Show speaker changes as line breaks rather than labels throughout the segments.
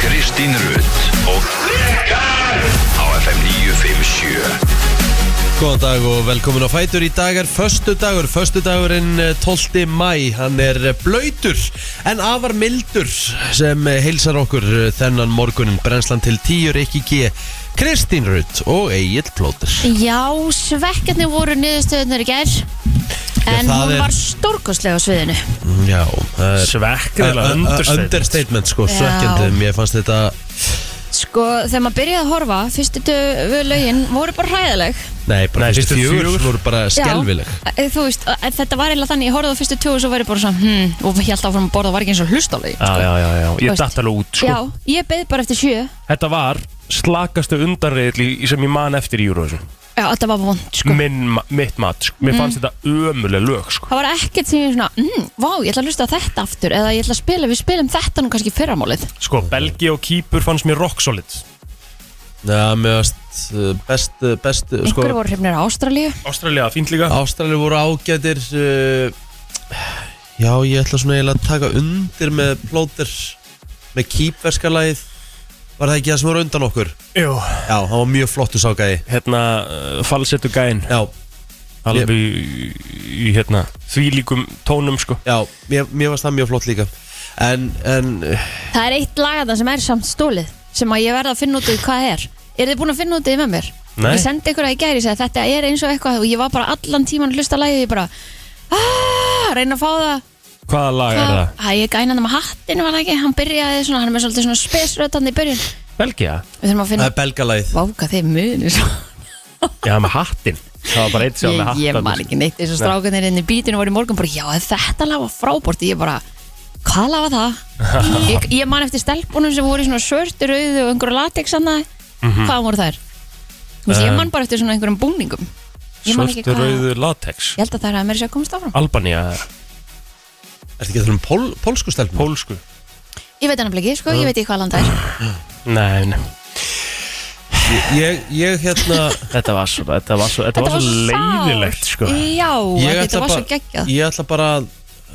Kristín Rutt og Rikar á FM 957
Góðan dag og velkomin á Fætur í dag er Föstu dagur, föstu dagurinn 12. mæ Hann er blöytur en afar mildur sem eh, heilsar okkur þennan morgunin Brennslan til 10, Rikki G, Kristín Rutt og Egil Plóter
Já, svekkarnir voru niðurstöðunar í gær En
það
hún
er-
var stórkostlega á sviðinu
Mm, Já, það er
Svekkilega understatement
understatement sko,
Já.
svekkjandi Mér fannst þetta,
Sko, þegar maður byrjaði að horfa Fyrstu döfu lögin voru bara hræðileg
nei, bara
Nei,
fyrstu
fyrstu
fjögur
fjögur.
voru bara
Já,
skelvileg
eh, Þú veist, eh, þetta var eiginlega þannig Ég horfði á fyrstu tjóðu og svo var ég bara svona hmm, Og held áfram að borða og var ekki eins og hlusta á lögin
Já, já, já, já, Sko. ég
Veist.
datt alveg út sko.
Já, ég beði bara eftir sjö Já,
Þetta var slakastu undanriðil sem ég man eftir í Eurovision
þetta var vond, sko Mm.
Minn, ma- Mitt mat, sko. mér fannst þetta ömuleg lög sko.
Það var ekkert sem ég svona, mm, vá, ég ætla að hlusta á þetta aftur Eða ég ætla að spila, við spilum þetta nú kannski í fyrramálið
sko, Belgi og Kýpur fannst mér rock solid
Já, mér fannst uh, best, uh, best uh, sko,
Einhverju voru hrifnir á Ástralíu
Ástralja, fínt líka
Ástralir voru ágætir uh, Já, ég ætla svona eiginlega að taka undir með plóter með kýpverskalagið Var það ekki það sem voru undan okkur?
Jú.
Já, það var mjög flottu ságæði
Hérna, uh, falsettu gæinn
Já,
Alveg um í, í hérna, þvílíkum tónum sko.
já, mér, mér varst það mjög flott líka En, en, uh,
Það er eitt lag að það sem er samt stólið sem að ég verða að finna út í hvað er Er þið búin að finna út í með mér?
Nei.
Ég sendi ykkur að ég gæri, ég sagði þetta er eins og eitthvað og ég var bara allan tíman að hlusta að lagið ég bara "Ah, reyna að fá það
Hvaða lag er það?
Æ, ég gæna það með hattinu var það ekki hann byrjaði svona, hann er með svolítið svona spesrötandi í byrjun
Belgia?
Við þurfum að
það
finna,
er belgalagið
váka þið munir svo
Já, með hattin Það var bara eitt sem var með
Ég, ég
hattin
man ekki neitt eins og
Nei.
strákunir inn í bítinu voru í morgun bara, já, þetta lag var frábort ég bara, hvað lag var það? ég, ég man eftir stelpunum sem voru í svona svörtu, rauðu og einhverju latex mm
Mhm.
Mhm.
hvað voru þær? Þú
Eh.
veist, ég man bara eftir svona einhverjum búningum ég man ekki
Svörtu
hvað,
rauðu latex
ég held að það er að mér sé að komast áfram
Albanía,
Er þetta ekki það um pól, pólsku stelpum?
pólsku
ég veit hann ekki,
Eh.
sko, ég veit ekki hvað land það er
Nei, nei
Ég, ég hérna
Þetta var svo, þetta var svo, þetta var svo
sárt.
leiðilegt sko.
já,
ég
þetta
ætla,
var svo
bara-
geggjað
ég ætla bara að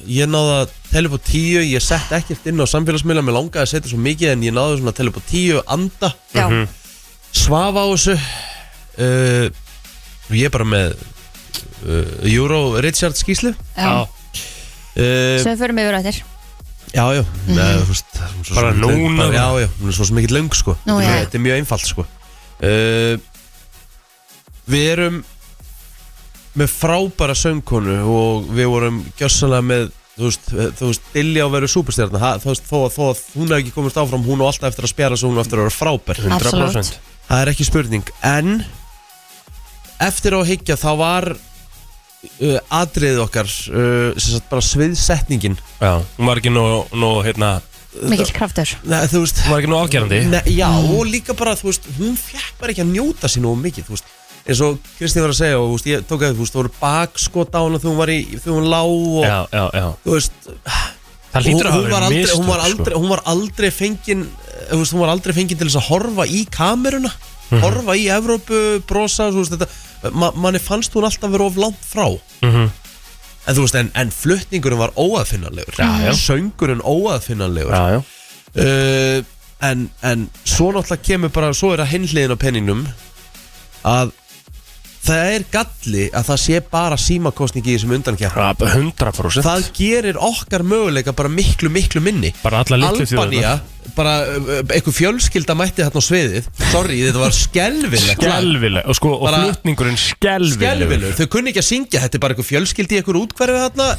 ég náði að telja upp á tíu ég sett ekkert inn á samfélagsmiðla mér langaði að setja svo mikið en ég náði svona að telja upp á tíu anda,
já,
Mhm.
svafa á þessu uh, ég er bara með uh, Euro Richard skíslu
já,
Já,
uh,
svo við förum yfir á þér
já, já mm -hmm.
Bara núna.
bara, já, já, hún er svo sem ekki löng sko
Nú,
þetta, er
já.
mjög- þetta er mjög einfalt sko uh, við erum með frábæra söngkonu og við vorum gjössanlega með þú veist, eh, þú veist, Dilja á veru súperstjarna Ha- þú veist, þó að, þó að hún hef ekki komist áfram hún á alltaf eftir að spjara svo hún á eftir að vera frábær
100%
Absolutt.
það er ekki spurning, en eftir á að higgja þá var uh, atriðið okkar uh, sem sagt bara sviðsetningin
Já, hún var ekki nóg, nóg hérna
mikill kraftur Mm.
Nei, þú veist,
Hún var ekki nóg afgerandi
Nei, já, og líka bara, þú veist, hún fekk bara ekki að njóta sín og mikið, þú veist eins og Kristín var að segja og þú veist, ég tók að þú veist, þú voru bakskot á hana þegar hún var í þegar hún lág og,
Já, já, já
þú veist
Það
hún,
lítur að hafa
hún, var
verið
aldrei,
mistök
hún, var aldrei,
sko.
hún var aldrei fengin eh, þú veist, hún var aldrei fengin til þess að horfa í kameruna
Mhm.
horfa í Evrópu, brosa þú veist, þetta, ma manni fannst hún alltaf vera of langt frá
Mhm.
en þú veist, en, en flutningurinn var óaðfinnanlegur
Já, já.
söngurinn óaðfinnanlegur
Já, já
uh, en, en svo náttúrulega kemur bara svo er að hinliðin á penningnum að það er galli að það sé bara símakostning í þessum undankeppnum
Það er 100%
það gerir okkar möguleika bara miklu, miklu minni
Bara alla litlu
Albanía, bara uh, einhver fjölskylda mætti þarna á sviðið sorry, þetta var skelvilegt
Skelvileg Og sko, og
Bara-
flutningurinn skelvileg
skelvilegt, þau kunni ekki að syngja þetta er bara einhver fjölskyldi í einhver útkverfi þarna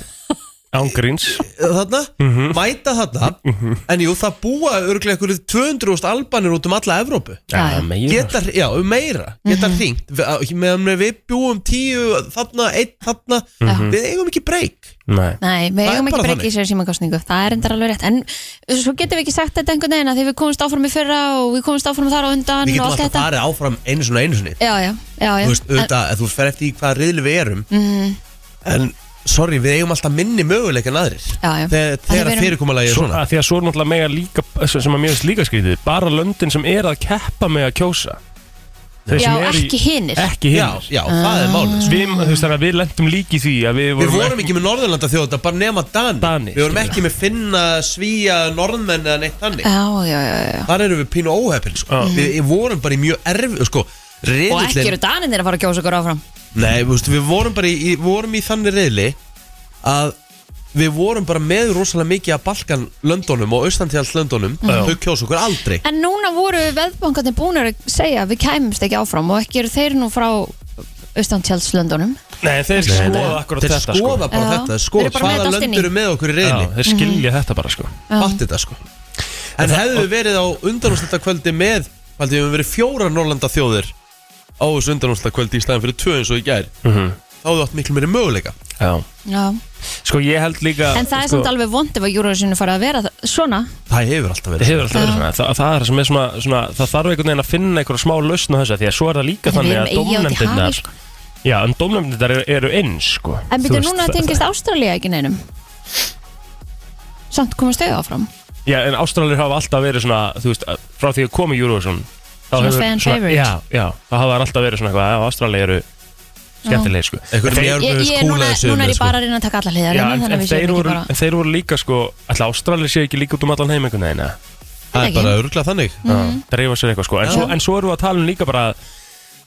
Ángríns
þarna,
Mhm.
mæta þarna en jú, það búa örglega einhverju 200.000 albanir út um alla Evrópu
Já, Mhm. já.
meira
geta, já, um meira geta mm -hmm. hringt, Vi- meðan við bjúum tíu þarna, einn þarna við eigum ekki breyk
Mhm. Nei
Nei, við
Það er
eigum ekki
bara
breyki í sér símakostningu Það er endar alveg rétt En svo getum við ekki sagt þetta einhvern veginn að Því við komumst áfram í fyrra og við komumst áfram þar á undan
við
og
getum
allt
alltaf
þetta
farið áfram einu svona einu svona
Já, já, já, já mhm,
þú veist, auðvitað, en, þú fer eftir í hvaða riðli við erum en sorry, við eigum alltaf minni möguleik en aðrir
Já, já.
þegar,
Af því
þegar
við
að
erum-
fyrirkomulagi er
Svo,
svona
að því að svo er náttúrulega mega líka sem að mér finnst líka skrítið bara löndin sem er að keppa með að kjósa Þeir
Já,
sem eru í-
ekki hinir
Ekki
Já,
hinnir
já,
Ah.
það er málið sko.
Við, þú veist þannig að við lendum líki því að við vorum,
Við vorum ekki með Norðurlanda þjóðþetta, bara nema Dani,
Dani,
Við vorum
skilur.
ekki með Finna, Svíja, Norðmenn eða neitt þannig
Já, já, já, já
Þar erum við pínu óheppin sko.
Já.
við, við vorum bara í mjög erfi sko.
Og ekki eru daninir að fara að kjósa okkur áfram
Nei, þú veist, við vorum bara í, í, vorum í þannig reyðli að við vorum bara með rosalega mikið af Balkan löndunum og austantjáls löndunum
Já.
þau kjósa okkur aldrei
En núna voru veðbankarnir búinir að segja að við kæmumst ekki áfram og ekki eru þeir nú frá austantjálslöndunum
Nei, þeir skoða akkurat
þeir
þetta sko.
skoða bara
Já.
þetta
Þeir
skoða
eru bara með
hvaða
allt inn í. Mhm.
lönd eru með okkur í
Já,
reyðli
þeir skilja þetta bara sko
fatt þetta sko en hefðu við verið á undanúslita kvöldi með haldið við höfum verið fjóra Norrlanda þjóðir á þessu undanúslita kvöldi í staðan fyrir tvö eins og í gær þá hefðu átt miklu meiri möguleika
Mhm. Já
Já.
Sko ég held líka
En það er
sko,
samt alveg vond ef að Eurovision fara að vera það- svona
það hefur alltaf
Það
verið
hefur alltaf verið svona, það, það er sem er svona, svona það þarf einhvern veginn að finna einhverja smá lausn á þessu því að svo er það líka
En við
þannig
erum
að
eigi átt í hafi,
dómnefndirnar
sko.
Já, en dómnefndirnar eru, eru eins sko
En
Þú
byrju
veist,
núna
það-
tengist Ástralía ekki neinum Samt komast þau áfram
Já, en Ástralir hafa alltaf verið svona, þú veist, að- frá því að komi Eurovision þá
Svona
hefur-
fan favorite.
Já, já, það hafa alltaf verið svona eitthvað, já, Ástralir eru skemmtilegir sko
Einhver
En þeir-
mjög-
Ég, ég, núna,
Skúlaði sig um
núna er
það,
ég
sko.
bara að reyna að taka alla hliðar
Já,
hérna,
en,
þannig að
en,
við
þeir
séum ekki
voru,
bara-
en þeir voru líka sko Alltaf Ástralir séu ekki líka út um allan heim einhvern veginn eða?
það er
ekki.
bara örglað þannig
mm. Dreifa sér eitthvað sko En,
Já.
svo, en svo erum við að tala um líka bara að,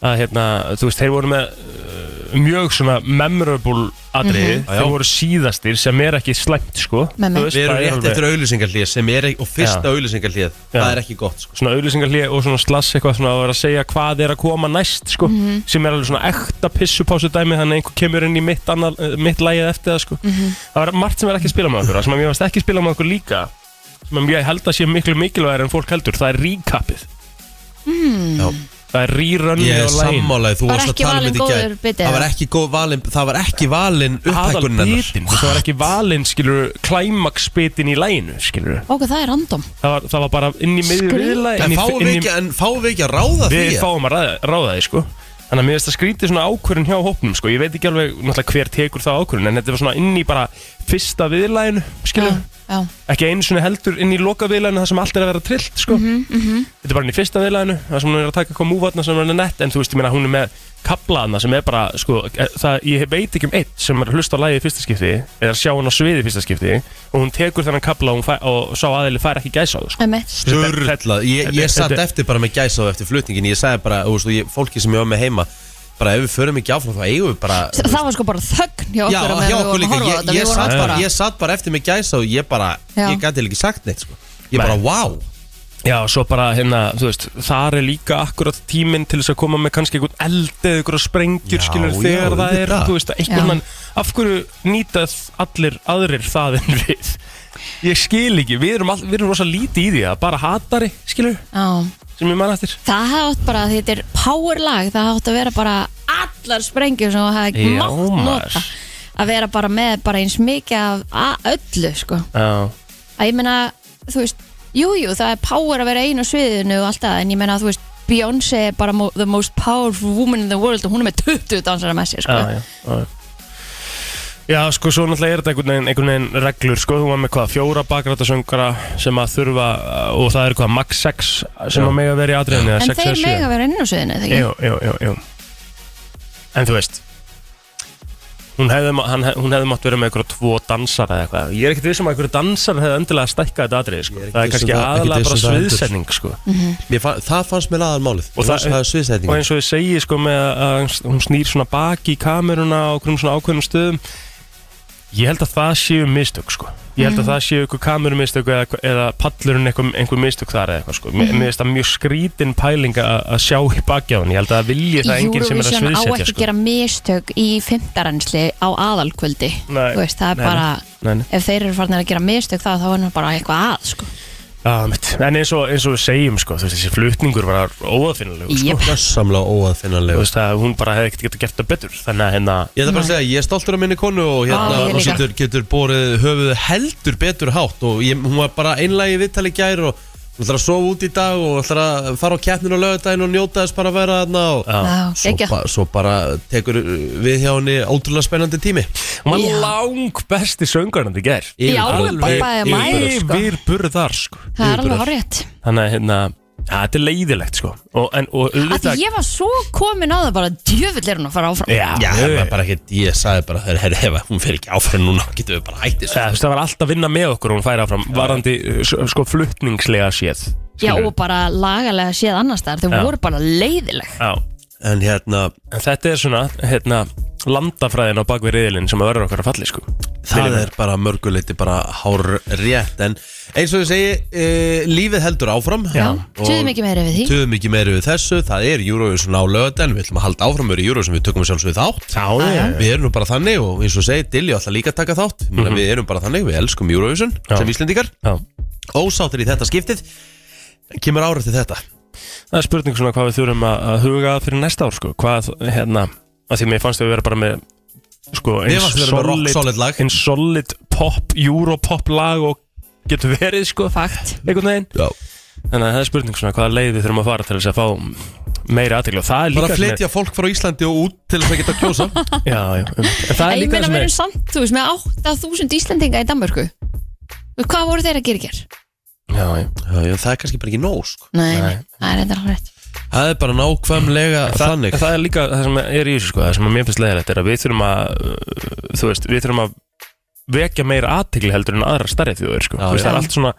að hérna, þú veist, þeir voru með uh, mjög svona memorable atriði,
Já, já.
þeir voru síðastir sem er ekki slæmt sko
Með mig.
Þú veist,
við erum
það er
rétt
alveg-
eftir auðlýsingarlið sem er ekki- og fyrsta
Já.
auðlýsingarlið
Já.
það er ekki gott sko.
svona auðlýsingarlið og svona slass eitthvað svona að vera að segja hvað er að koma næst sko,
Mhm.
sem er alveg svona ekta pissupásu dæmi þannig að einhver kemur inn í mitt, annar, eh, mitt lagið eftir það sko.
Mhm.
það var margt sem er ekki að spila með okkur það sem að mér varst ekki að spila með okkur líka sem að mér held að sé miklu mikilvægir en fólk heldur það er recapið
Mm.
Já.
það er
ég
rerunni
er
á lagin
sammálaði þú
Var
varst að
ekki
tala um
valinn
þetta í
góður biti,
gær það var
eða?
ekki góð valin það var ekki valin upphækkunin hennar
aðalbitin, það var ekki valinn skilur klæmaksbitin í læginu skilur
Ok, það er random
það var, það var bara inn í miðju
Skrýtið.
viðlagi
en
inn í-
fáum
inn
við
í-
ekki- en fáum við ekki að ráða því
við
eða?
fáum að ræða, ráða því sko Þannig að mér finnst að skrítið svona ákvörun hjá hópnum sko. Ég veit ekki alveg náttúrulega hver tekur það ákvörun En þetta var svona inn í bara fyrsta viðlæginu
Já,
Skilur
já
Ekki einu svona heldur inn í loka viðlæginu Það sem allt er að vera trillt sko.
Mhm,
Þetta er bara inn í fyrsta viðlæginu Það sem hún er að taka eitthvað múvatna sem er nett En þú veist, ég meina hún er með kaplaðna sem er bara sko, eh, það, Ég veit ekki um eitt sem er að hlusta á lagið í fyrsta skipti Eða að sjá hún á sviði í fyrsta skipti Og hún tekur þennan kapla og, hún fær, og sá aðeili fær ekki gæsa sko.
Einmitt.
Sturla, ég, ég
Þetta-
satt
þetta-
eftir bara með gæsa á eftir flutningin Ég sagði bara, þú veist, og ég, fólki sem ég var með heima Bara ef við förum ekki áfram þá eigum við bara
Það var sko bara þögn hjá okkur
Já,
á meðan
hjá
við
okkur
vorum að horfa
líka
á
Ég,
þetta. Við
ég,
vorum
satt
öll
bara,
bara-
ég satt bara eftir með gæsa og ég bara
Já.
Ég gæti ekki sagt neitt sko. Ég bara,
Nei.
wow
Já, svo bara hérna, þú veist, þar er líka akkurat tíminn til þess að koma með kannski einhvern eld eða einhverja sprengjur,
Já,
skilur,
já,
þegar það er,
auðvitað.
þú veist,
Já.
einhvern mann, af hverju nýtað allir aðrir það en við? Ég skil ekki, við erum, all, við erum rosa lítið í því að bara hatari, skilur,
Já.
sem ég mann eftir.
Það hafði átt bara, því þetta er power lag Það hafði átt að vera bara allar sprengjur sem þú hafði
Já,
mátt nota
maður.
Að vera bara með bara eins mikið af a- öllu sko
Já,
Að ég meina, þú veist, jújú, jú, það er power að vera einu á sviðinu og allt það En ég meina, þú veist, Beyoncé er bara mo- the most powerful woman in the world Og hún er með 20 dansara með sér sko
já, já, já. Já, sko, svo náttúrulega er þetta einhvern veginn, einhvern veginn reglur, sko, þú var með hvað, fjóra bakrættasöngara sem að þurfa, og það er hvað, max 6 sem að mega vera í atriðinni, eða
En
6 eða
þeir
7.
mega vera einu á sviðinu, þegar
Jú, jú, jú, jú En þú veist Hún hefði, má- hann, hef- hún hefði mátt vera með eitthvað tvo dansara eða eitthvað Ég er ekkert vissum að einhverju dansara hefði öndilega stækkað þetta atrið sko.
Ég er ekkert
Það er
viss um
kannski
það- ekkert
aðalega
viss um
bara
það heldur.
sviðsetning sko.
Mhm.
Mér fann, Það fannst mér aðal málið
Og
Og
það-
það, það er
Og
sviðsætning
eins og ég segi sko, með að hún snýr svona baki í kameruna á okkur um svona ákveðnum stöðum Ég held að það séu mistök sko. Ég held
Mhm.
að það séu eitthvað kamerumistök eða, eða pallurinn eitthvað, einhver mistök þar eða eitthvað sko.
Mhm.
Mér mér finnst það mjög skrítin pæling að að sjá í baki á hann Ég held að það vilji það enginn sem er að
Eurovision á
sviðsetja
ekki
sko.
gera mistök í fymtarensli á aðalkvöldi
sko. Nei.
Þú veist, það er
Nei,
bara
nei, nei.
ef þeir eru farnir að gera mistök það þá er nú bara eitthvað að sko.
Já, mitt. En eins og, eins og við segjum, sko, þú veist, þessi flutningur var óafinnilegu, sko.
Jep.
Samla
Þú
óaðfinnanlega
veist, að hún bara hefði ekkert getað gert það betur. Þannig að hérna,
Ég ætla bara að segja, ég er stoltur af minni konu og
Já,
hérna
ég
hún
líka.
getur, getur borið höfuð heldur betur hátt og ég, hún var bara einlægi viðtali í gær og hún ætlar að sofa út í dag og ætlar að fara á keppninu á laugardaginn og njóta þess bara að vera þarna og
Já.
Já,
svo,
geggjað.
ba svo bara tekur við hjá henni ótrúlega spennandi tími
hún var
Já.
lang besti söngarnandi ger.
Já,
Yfir-
Bobba er
yfir-
mæður, sko.
Yfir burðar, sko.
það er alveg
Yfirburðar.
horrið
Þannig að hérna, Ja, þetta er leiðilegt sko og, en, og
Af því ég var svo komin á það bara djöfull er hún að fara áfram
Já,
Já,
ég-
það var bara ekkert, ég sagði bara Herri, herri, ef hún fer ekki áfram núna Getum við bara hætti
Ja,
þessu
þú veist, það var alltaf að vinna með okkur og hún færa fram varandi uh, s- sko fluttningslega séð
Já,
skilurðu.
og bara lagalega séð annars staðar þau
Já.
voru bara leiðileg
Já.
En hérna,
En þetta er svona hérna, landafræðin á bakvið reyðilinn sem að verður okkar að falli sko
það er bara mörguleiti bara hár rétt En eins og ég segi, e, lífið heldur áfram
Já,
Og-
tuðum ekki meira við því
Töðum ekki meiri við þessu, það er Eurovision á löðan, við ætlum að halda áframur í Eurovision, við tökum við sjálfsögðu þátt.
Já, já.
Við erum nú bara þannig og eins og segi, Dilli ætla líka að taka þátt, mm við erum bara þannig, við elskum Eurovision
Mhm. Já.
sem Íslendingar,
já
ósáttir í þetta skiptið, kemur árið til þetta.
Það er spurning svona hvað við þurfum að að huga að fyrir næsta ár sko Hvað, hérna, að því mér fannst við vera bara með sko
Mér fannst við vera með rock solid lag.
eins solid pop, europop lag og getur verið sko
Fakt
einhvern veginn
Já.
Þannig að það er spurning svona hvaða leið við þurfum að fara til þess að fá meira aðteglu og það er líka
Bara að
sem er-
flytja fólk frá Íslandi og út til þess að geta að kjósa.
Já, já, um, en það er
En ég
líka
meina
sem
við
er
erum samt, þú veist, með 8000 Íslendinga í Danmörku Og Hvað voru þeir að gera í ger?
já, já.
Já, já, það er kannski bara ekki nóg, sko.
Nei,
Nei.
nei, það er þetta alveg rétt
Það er bara nákvæmlega þannig.
Það, það er líka það sem er í þessu sko, það sem að mér finnst leiðilegt er að við þurfum að uh, þú veist, við þurfum að vekja meira aðtegli heldur en aðra starri þjóður sko.
Já,
Þú veist,
já.
það er allt svona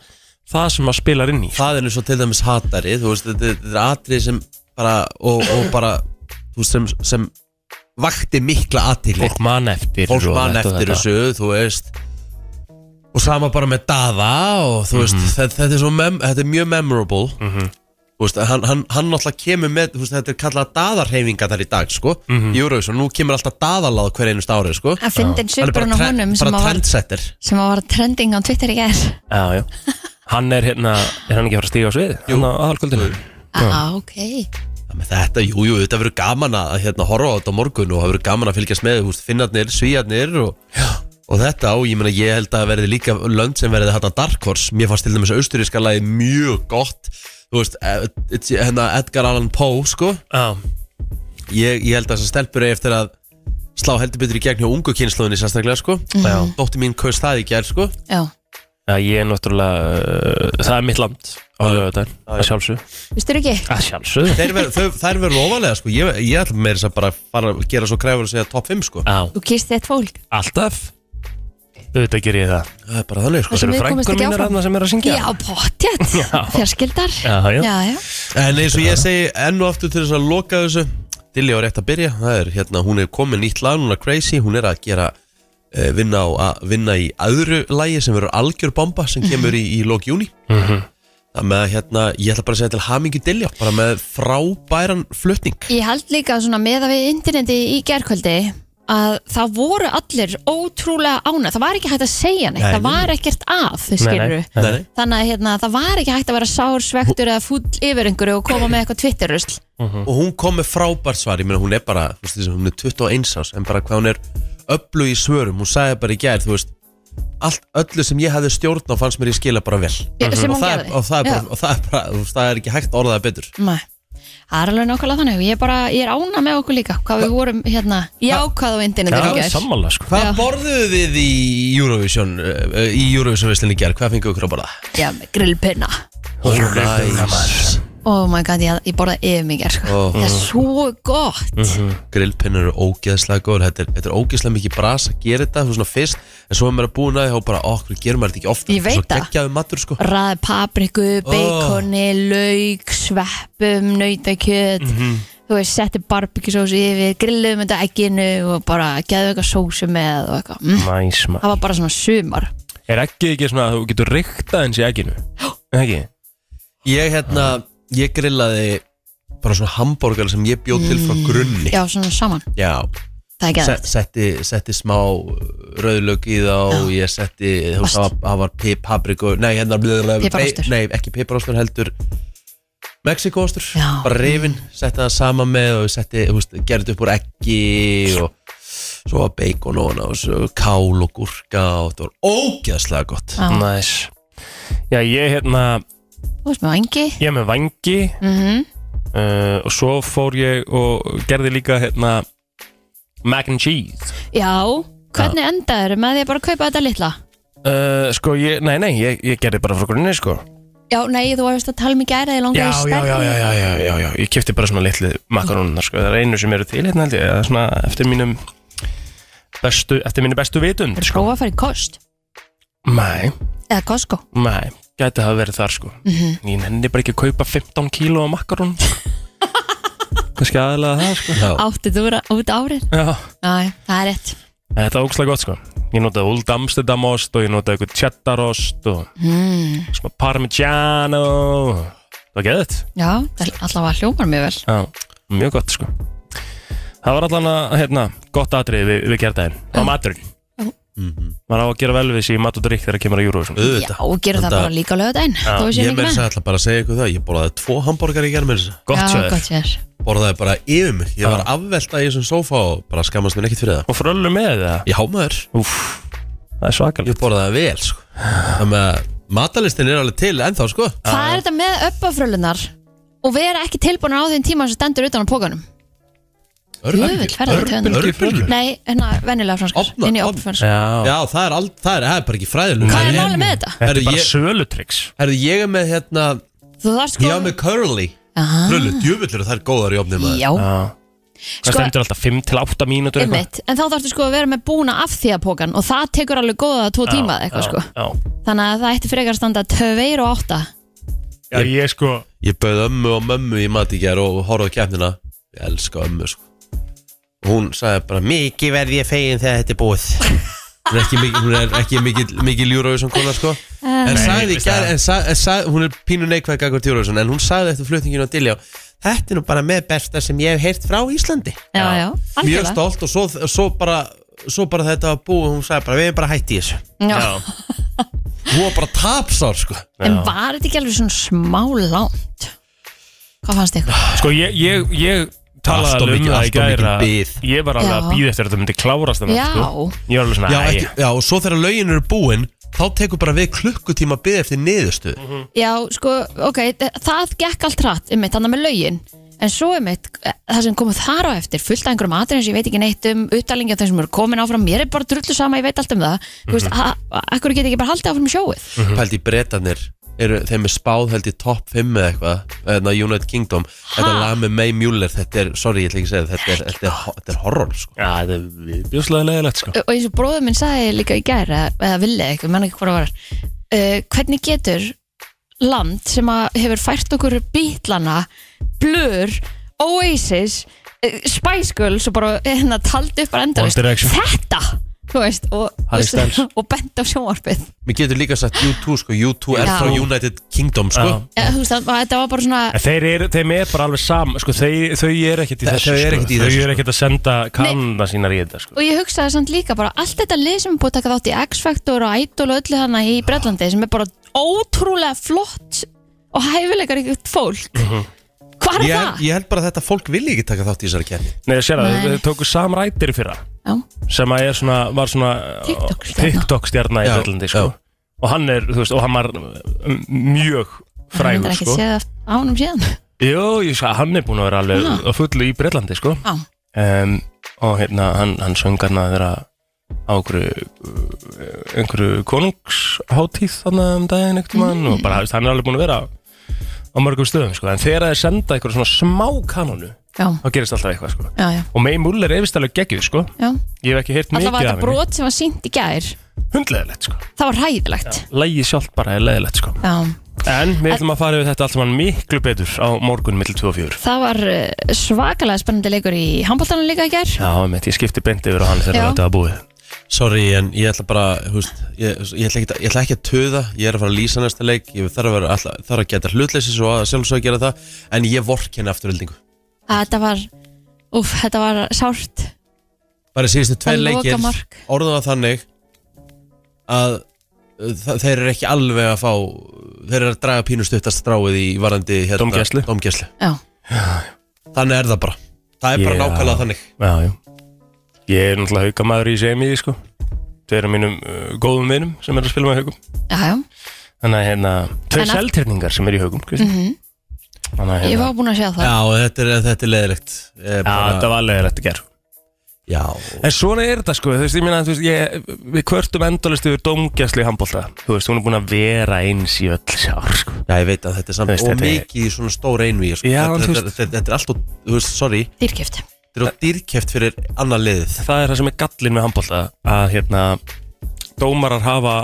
það sem að spilar inn í sko.
það er eins og til dæmis hatari þú veist, þetta, þetta er atrið sem bara, og, og bara þú veist, sem, sem vakti mikla aðtili
fólk man eftir
fólk
og
mann
þetta og
eftir
þetta.
þessu, þú veist og sama bara með Dada og þú veist,
Mhm.
þetta, þetta, er, svo mem, þetta er mjög memorable þú veist, hann, hann, hann náttúrulega kemur með, þú veist, þetta er kallað Dadarhefinga þar í dag, sko, mm
Mhm.
-hmm. Eurovision nú kemur alltaf Dadaláð hver einust árið, sko
Að fyndin
Hann er bara,
svipurinn á
tre-
honum sem
bara
að var,
trendsetter
sem að var trending á Twitter í ger
Já, já. Hann er hérna, er hann ekki að fara að stíga á svið? Hann á aðalkvöldinu?
ah, ok
Já, menn Þetta, jú, jú, þetta verður gaman að hérna, horfa á þetta á morgun og það verður gaman að fylgjast með húst, finnarnir, svíjarnir og, og þetta og ég meina ég held að það verði líka lönd sem verði þetta Dark Horse mér fannst til dæmis austuríska lagi mjög gott þú veist, eh, it's- hérna Edgar Allan Poe, sko
Já,
ég, ég held að þessar stelpur eigi eftir að slá heldur betur í gegn hjá ungu kynnslóðinni sérstaklega, sko
Já.
Dóttir mín kaus það í gær, sko
Já,
Já, ég er náttúrulega, uh, það er mitt land á lögadaginn, að sjálfsög.
vistu ekki?
Að sjálfsög?
Þeir verð, þau, þær verður ofalega, sko ég, ég ætla meira þess að bara fara að gera svo kræfur að segja top 5, sko
Já,
Þú kýrst þitt fólk
alltaf. Auðvitað ger ég það.
Það er bara þannig, sko
Það
sem
eru
við komumst
frængur
ekki
mínar
áfram.
aðna sem er að syngja
Já, pottjætt, fjarskildar
Já, já.
já, já.
En eins og ég segi enn og aftur til þess að loka þessu Dilli á rétt að byrja Það er hérna, hún er komin nýtt lag Núna Crazy, hún er að gera eh, vinna, á, að vinna í öðru lagi sem verður algjör bomba sem kemur í, í lók júni
Mhm.
Það með að hérna, ég ætla bara að segja til hamingju Dilli bara með frábæran flutning
Ég held líka svona með að við interneti í gerkvöldi að það voru allir ótrúlega ána það var ekki hægt að segja neitt,
Nei,
það var ekkert að þau skilur
Nei, nei.
þannig að hérna, það var ekki hægt að vera sár, svektur eða fúll yfir einhverju og koma með eitthvað twitterusl
Mhm.
Og hún kom með frábært svar Ég meina hún er bara, þú veist þess að hún er 21 árs En bara hvað hún er öllu í svörum Hún sagði bara í gær, þú veist Allt öllu sem ég hafði stjórn á fannst mér ég skila bara vel
sem
og
hún
það, er,
gerði
og, það er bara,
Já.
og það er bara, þú veist, það er ekki hægt að orða það betur
Nei. Það er alveg nákvæmlega þannig ég er, bara, ég er ána með okkur líka hvað við vorum hérna jákvæð á internetinu
Já,
í gær.
sammála sko
Hvað
Já.
borðuðu þið í Eurovision uh, í Eurovision veislinni gerð? Hvað fengu ykkur að borða?
Já, með grillpinna
Nice.
Oh my god, ég, ég borða yfir mig er, sko.
Ó.
Það er svo gott
Grillpinnur eru ógeðslega góður þetta er, þetta er ógeðslega mikið bras að gera þetta þú veist, svona fyrst, en svo er maður að búin að því og bara, okkur gerum maður þetta ekki ofta
Ég veit
Svo
það.
geggjaðu matur sko
ræði papriku,
Oh.
beikoni, lauk, sveppum, nautakjöt
Mhm.
þú veist, setti barbekjusósu yfir, grilluðum þetta egginu og bara geðu eitthvað sósu með og eitthvað mm.
Næs
Það
maður
var bara svona sumar
Er ekki ekki svona að þú getur reykta eins í egginu? Ekki?
Ég hérna, ég grillaði bara svona hambúrgar sem ég bjóð til frá grunni
Mm. Já, svona saman,
Já.
það er
Se-
geðvægt
setti, setti smá rauðlaug í það og ég setti þú veist,
Ost.
það var- það var pip- papriku nei, hérna,
Piparostur.
nei, ekki piparostur heldur Mexikóostur,
Já.
bara reyfin setti það sama með og setti þú veist, gerði upp úr eggi og svo var bacon og hana og svo kál og gúrka og þetta var ógeðslega gott
Já.
Næs Já, ég hérna,
Þú veist, með vangi
ég er með vangi
mm
uh, og svo fór ég og gerði líka hérna mac and cheese
Já, hvernig endaður með því að bara kaupa þetta litla?
uh, Sko, ég, nei, nei, ég, ég gerði bara frá grunni sko
Já, nei, þú varst að tala mig gæra því langar
Já, já, já, já, já, já, já, já, ég kipti bara svona litlu makarónunar, sko, það er einu sem eru til hérna held ég, eða svona eftir mínum bestu, eftir mínu bestu vitund,
Er
sko.
prófa að fara í kost?
Mæ,
Eða Costco?
mæ, gæti það verið þar, sko.
Mhm.
Ég nenni bara ekki að kaupa 15 kíló af makarón, sko. Kannski aðalega það, sko.
Já.
Áttið þú vera út árið?
Já,
Næ, það er rétt
en þetta er ógslag gott, sko. Ég notaði Old Amsterdam ost og ég notaði eitthvað cheddar ost og
mm.
smá parmigiano. Það var geðið.
Já, það er allavega hljómar mjög vel
Já, mjög gott sko Það var allan að, hérna, gott atrið við, við gerðaðin á maturinn maður á að gera vel við sér í mat og drikk þegar kemur að júru
Já, og gera það
Enda-
bara líka lögðaðinn Þú veist
Ég
ég
með
líka
þess að ætla bara að segja ykkur það Ég borðaði tvo hambúrgar í gerð með þess
gott
Já,
sjöður
gott sér
Borðaði bara yfir mig Ég var
Já.
afvelta í þessum sófa og bara skammast mér ekkert fyrir það
og fröllu með það
Ég hámaður,
Úf, það er svakalegt
ég borðaði vel sko. Þannig að matalistin er alveg til ennþá sko
Hvað er þetta með uppafrölunar og vera ekki tilbúinur á þeim tíma sem stendur utan á pókanum? Jöfull, hvað er þetta tegund?
Örbylgjufröllur
Nei, hérna, venjulega franskar
Opna-
Inn í
opna-
opnfranskar
Já,
Já, það er, ald, það er, það er bara ekki fræðilega
Hvað er málið með þetta?
þetta
Herru,
er bara
ég-
sölutryggs
Herðu, ég er með hérna
Þú þarft
Ég
sko
er með curly
Aha.
Krullu, djöfull eru þær góðar í opnið maður
Já,
Það
Sko-
stendur alltaf 5 til 8 mínútur eitthvað.
einmitt En þá þarftu sko að vera með búna af því að pókan og það tekur alveg góða tvo
Já,
tíma eða eitthvað
já,
sko
já.
Þannig að það ætti frekar að standa 2 og 8
Já, ég sko
Ég bauð ömmu og mömmu í mat í gerð og horfði á keppnina Ég elska ömmu sko Og Hún sagði bara Mikið verð ég fegin þegar þetta er búið Hún er ekki mikið, hún er ekki mikið, mikið ljúravísson kona sko
Ah.
En
Nei,
sagði í
veist
gerð
það.
en, sa- en sagði, Hún er pínu neikvæð gagvart ljúravísson En hún sagði eftir flutninginu á Diljá Þetta er nú bara með besta sem ég hef heyrt frá Íslandi
Já, já,
Mjög
algjörlega
stolt og svo, svo, bara, svo bara þetta var búið Hún sagði bara við erum bara hætt í þessu
Já.
Já,
Hún var bara tapsár sko
En
Já.
var þetta ekki alveg svona smá langt? Hvað fannst ykkur?
Sko ég, ég, ég talaði
Allt of
alveg um það í
mikið- allt of mikil
gæra
bið.
Ég var alveg að
Já.
býða eftir að þetta myndi klárast þennan,
Já.
sko. Ég var alveg svona,
já,
æ,
ekki, já, og svo þegar lögin eru búin þá tekur bara við klukkutíma bið eftir niðurstöð
Mhm.
Já, sko, ok, þ- það gekk allt rætt um mitt, þannig með lögin En svo um mitt, það sem komið þar á eftir fullt af einhverjum atriðum sem ég veit ekki neitt um upptalningi af þeim sem eru komin áfram, mér er bara drullu sama ég veit allt um það, þú veist, a- a- akkur get ég ekki bara haldið áfram í sjóið
pælt í bretarnir eru, þeim er spáð held í topp 5 eða eitthvað, eða United Kingdom þetta lag með May Mueller, þetta er, sorry ég ætla ekki að segja það, þetta er, þetta er, þetta er horror sko.
Já, það er viðbjóðslega leðilegt sko.
og eins og bróður minn sagði líka í gær eða, eða villið eitthvað, menn ekki hvað það var uh, hvernig getur land sem að hefur fært okkur bítlana, blur Oasis uh, Spice Girls og bara hérna taldi upp bara
One
endalaust,
Direction.
þetta þú veist, og,
Harry Styles.
og bent á sjónvarpið
mér getur líka sagt U2 sko, U2 er
Já.
frá United Kingdom sko.
Já.
Eh, þú veist, það- þetta var bara svona
En þeir eru, þeim er bara alveg sam sko, þeir, þau eru ekkert í
Þau
þessu
eru ekkert í
sko.
þessu,
Þau eru ekkert að senda kanna sínar í þetta sko.
og ég hugsaði samt líka bara allt þetta lið sem er búið að taka þátt í X-Factor og Idol og öllu hana í Bretlandi sem er bara ótrúlega flott og hæfilegar ykkur fólk
Mhm.
hvað er
ég,
það?
ég held bara að þetta fólk vilja ekki taka þátt í þessari kefni
Nei, það sér að
Nei.
þau þau tóku sam rætir fyrra
Já,
sem að er svona, var svona
TikTok-stjarna.
TikTok-stjarna í
Já,
Böllandi sko.
já.
og hann er, þú veist, og hann var mm, mjög
hann er
frægur
ekki
sko.
séð aft- á honum síðan
Jó, ég sko, hann er búin að vera alveg
Já.
á fullu í Breitlandi sko.
Já,
um, og hérna, hann, hann söng hann að vera á einhverju, uh, einhverju konungsháttíð þannig um daginn einhvern mann
Mm.
og bara, þú veist, hann er alveg búin að vera á mörgum stöðum sko. en þegar það er senda einhverju svona smá kanonu
já,
þá gerist alltaf eitthvað sko.
já, já,
og May Muller er vist alveg geggjuð sko.
já.
ég hef ekki heyrt
Alltaf var
mikið
þetta brot sem var sínt í gær
hundleðilegt sko.
Það var hræðilegt
lægi sjálft bara er leðilegt sko.
Já,
en við ætlum að fara yfir þetta allt saman miklu betur á morgun millir 2 og 4
það var eh, svakalega spennandi leikur í handbóltanum líka í gær
Já, mitt, ég skipti beint yfir á hann þegar
Já.
þetta var búið
sorry, en ég ætla bara húst, ég, ég, ætla ekki, ég ætla ekki að töða ég er að fara að lýsa næsta leik ég þarf að, vera, alltaf, þarf að geta hlutleysis og að sjálfsög gera það en ég hérna vorkenni afturöldingu
Þetta var, úf, þetta var sárt
bara síðustu tveir
Að loka
leikir
mark.
orðan það þannig að uh, þa- þeir eru ekki alveg að fá þeir eru að draga pínu stuttast stráið í varandi hérna,
Dómgæslu.
dómgæslu.
Já,
þannig er það bara það er bara
Já.
nákvæmlega þannig
Já, já. Ég er náttúrulega haugamaður í semi, sko. Þau eru mínum uh, góðum vinum sem er að spila með haugum.
já, já
Þannig að hérna, tvei
En aft-
seltirningar sem er í haugum, Kristi. Þannig að
Mhm. Ég
hérna,
var búin að sjá það
já, þetta er, þetta er leðilegt
já, þetta var alveg rétt að gera.
Já
En svona er þetta sko, þú veist, ég meina, þú veist, ég, við kvörtum endalist yfir dómgjæslu í handbólta Þú veist, hún er búin að vera eins í öll sár sko
Já, ég veit að þetta er samt
Þú veist,
og
þetta er-
mikið í svona stór einví sko.
Já, en
þetta,
þú
þetta, þetta, þetta er allt og, þú veist, sorry
dýrkift
Þetta er á dýrkeft fyrir annað liðið
Það er það sem er gallin með handbólta að, hérna, dómarar hafa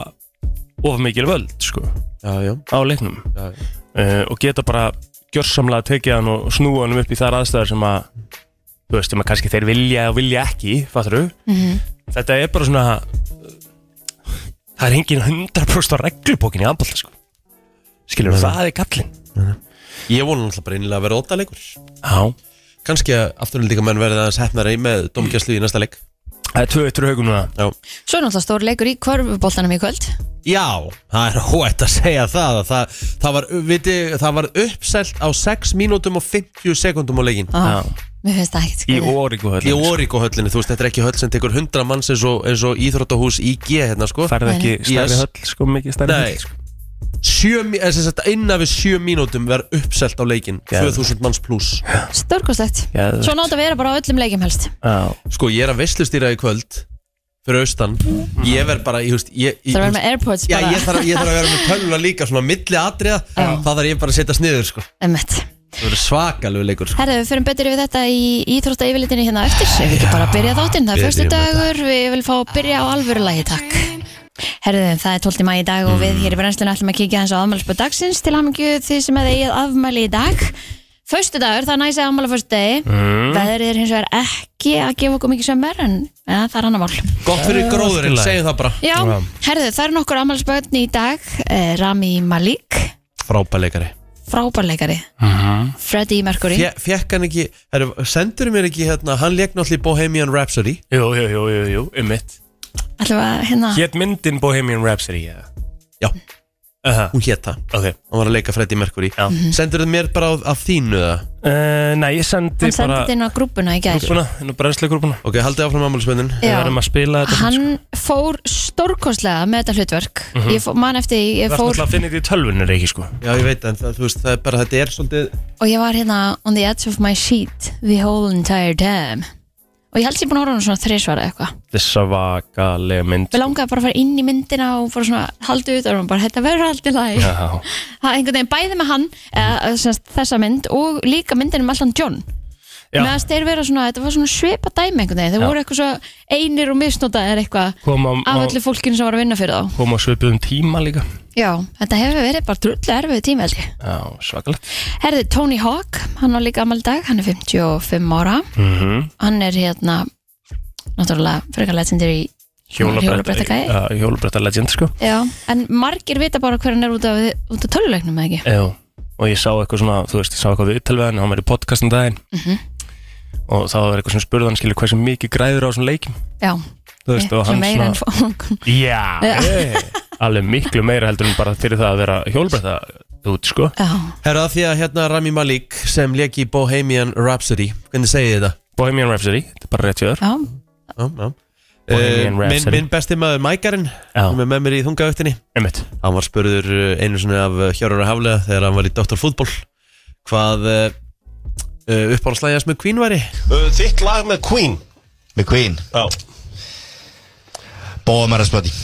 of mikil völd sko
Já, já,
á leiknum
já, já.
uh, og geta bara gjörsamlega tekið hann og snúa hann upp í þar aðstæður sem að þú veist, sem að kannski þeir vilja og vilja ekki, fattur þetta er bara svona uh, það er engin 100% á reglubókin í handbólta sko skilur, það er gallin
Ég vona alltaf bara einlega að vera óta leikur
Já,
Kanski að afturlendinga menn verði aðeins hefnari með domgjæslu í næsta leik
það er 2-1 haugum núna
Já,
Svo er náttúrulega stór leikur í körfuboltanum í kvöld
já það er hóætt að segja það að Það, það, var, viti, það var uppselt á 6 mínútum og 50 sekundum á leikin
ah,
Já.
Mér finnst það ekkert
Í sko.
skrítið.
Óriku höll
Í Origo höllinni, þú veist, þetta er ekki höll sem tekur 100 manns eins og, eins og íþróttahús IG hérna, sko
Færði ekki
Nei.
stærri
Yes.
höll, sko mikið stærri
Nei,
höll sko.
sjö, mí- eða sem sagt, innan við 7 mínútum verð uppselt á leikin
Geðvegt.
2000 manns pluss
Stórkostlegt
Geðvegt.
Svo nátt að vera bara á öllum leikjum helst
Já,
Sko, ég er að veslustýra í kvöld fyrir austan Ég verð bara, ég veist ég, ég,
Það var með airpods
Já,
bara
ég þarf, ég þarf að vera með tölvuna líka svona milli atriða, það þarf ég bara að setja sniður sko.
Emmett
Það verður svakalegu leikur sko.
Herðu, við fyrir betur yfir þetta í íþrótta yfirlitinu hérna á eftir Ef við ekki bara byrja þáttinn, það er
Byrjum
fyrstu dagur Við vil fá að byrja á alvöru lagi, takk Herðu, það er 12. mæ í dag og
Mm.
við hér í brennslunum ætlum að kíkja hans á afmælisbúr dagsins til hamingju því sem að eigið afmæli í dag Föstu dagur, það er næsið afmæla föstu degi
Mm.
Veðrið er hins vegar ekki að gefa okkur mikið sömmer en ja, það er annar mál
Gott fyrir
allt í
gróðurinn,
lagi.
segjum það bara
Já, herðu, það eru nokkur afmælisbörn í dag eh, Rami Malik,
Frábæleikari
frábærleikari
Mhm.
Freddie Mercury
Fjekk hann ekki, heru, sendur mér ekki hérna, hann leik náttúrulega í Bohemian Rhapsody
jú, jú, jú, jú, jú, um mitt
Ætlum við að hérna
Hétt myndin Bohemian Rhapsody eða?
Já,
Aha,
hún hét það,
ok
hann var að leika Freddie Mercury
Já. Mhm.
Sendur þið mér bara af þínu það
uh, Nei, ég sendi
Hann sendi
bara
þetta inn á grúpuna í gær
grúpuna, inn á brennsleigrúpuna
Ok, haldið áfram ammálsmennin
Við
Já.
verðum að spila þetta
Hann fór stórkostlega með þetta hlutverk Ég fó, man eftir, því, ég
Mhm. sko. Þú ert
fór
náttúrulega að finna þetta í tölvunni, ekki sko
Já, ég veit, en það, þú veist, það er bara, þetta er svolítið
og ég var hérna on the edge of my seat the whole entire time og ég held sér búin að horfa á hann svona þrisvar eða eitthvað
Þetta er svakalega mynd
Við langaði bara að fara inn í myndina og fór svona haldið út og hann bara, þetta verður allt í lagi
Já,
Það er einhvern veginn bæði með hann eða, semst, þessa mynd og líka myndin um allan John
Já.
Meðan þeir vera svona, þetta var svona svipa dæmi einhvern veginn, þeir
Já.
voru eitthvað svo einir og misnotaðir eitthvað
kom á,
af
á,
öllu fólkinu sem var að vinna fyrir þá
kom á svipuðum tíma líka
Já, þetta hefur verið bara drullu erfið tími held ég.
Já, svakalegt
Herði, Tony Hawk, hann á líka amal dag, hann er 55 ára.
mm
Hann er hérna, náttúrulega, frekar legendir í Hjólabrettagæi.
Hjólabretta legend, sko
Já, en margir vita bara hver hann er út af, út af töluleiknum, eða ekki?
Já, og ég sá eitthvað svona, þú veist, ég sá eitthvað við yttalveðan, hann var í podcastin daginn
Mhm.
og þá var eitthvað sem spurði hann, skilur, hversu mikið græður á svona leikim,
Já,
þú veist, og
sem
hann
meira
svona,
en fólk.
já, hey, alveg miklu meira heldur en bara fyrir það að vera hjólbreyta út, sko,
Já,
Herra, af því að hérna Rami Malik sem leik í Bohemian Rhapsody Hvernig segið þið þetta?
Bohemian Rhapsody, þetta er bara rétt fjöður,
já,
Já, já.
Bohemian
Eh, minn,
Rhapsody.
minn besti maður Mækarinn
Já.
sem er með mér í þungaugtinni
einmitt,
hann var spurður eh, einu sinni af Hjörur og Haflega þegar hann var í Dr. Fútbol hvað uh, uppáhaldslægjast með Queen væri
Uh, Þitt lag með Queen
Með Queen
Já
Bóðum er að spöti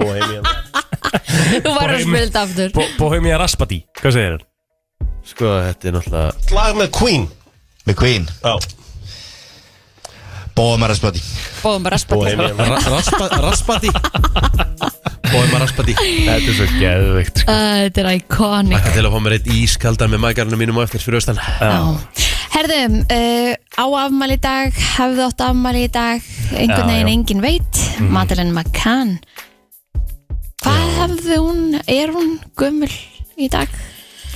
Bohemian
þú var að
Bohemian-
spila þetta aftur.
Bo Bohemian Rhapsody, hvað segir hann?
sko þetta er náttúrulega
Þitt lag með Queen
Með Queen
Já
Bóðum er að spöti
Bóðum bara að spila.
Bohemian
ra raspa raspati bóðum að raspati
Þetta er svo geðvikt, sko,
Ah, Þetta er iconic.
Akka til að fá mér eitt ískaldan með Mækarinnum mínum á eftir fyrir austan
Já. Herðum, uh, á afmæli í dag, hefðu átt afmæli í dag, einhvern
Já,
veginn
já. Mhm.
engin veit, Madeleine McCann. Hvað hefðu hún, er hún gömul í dag?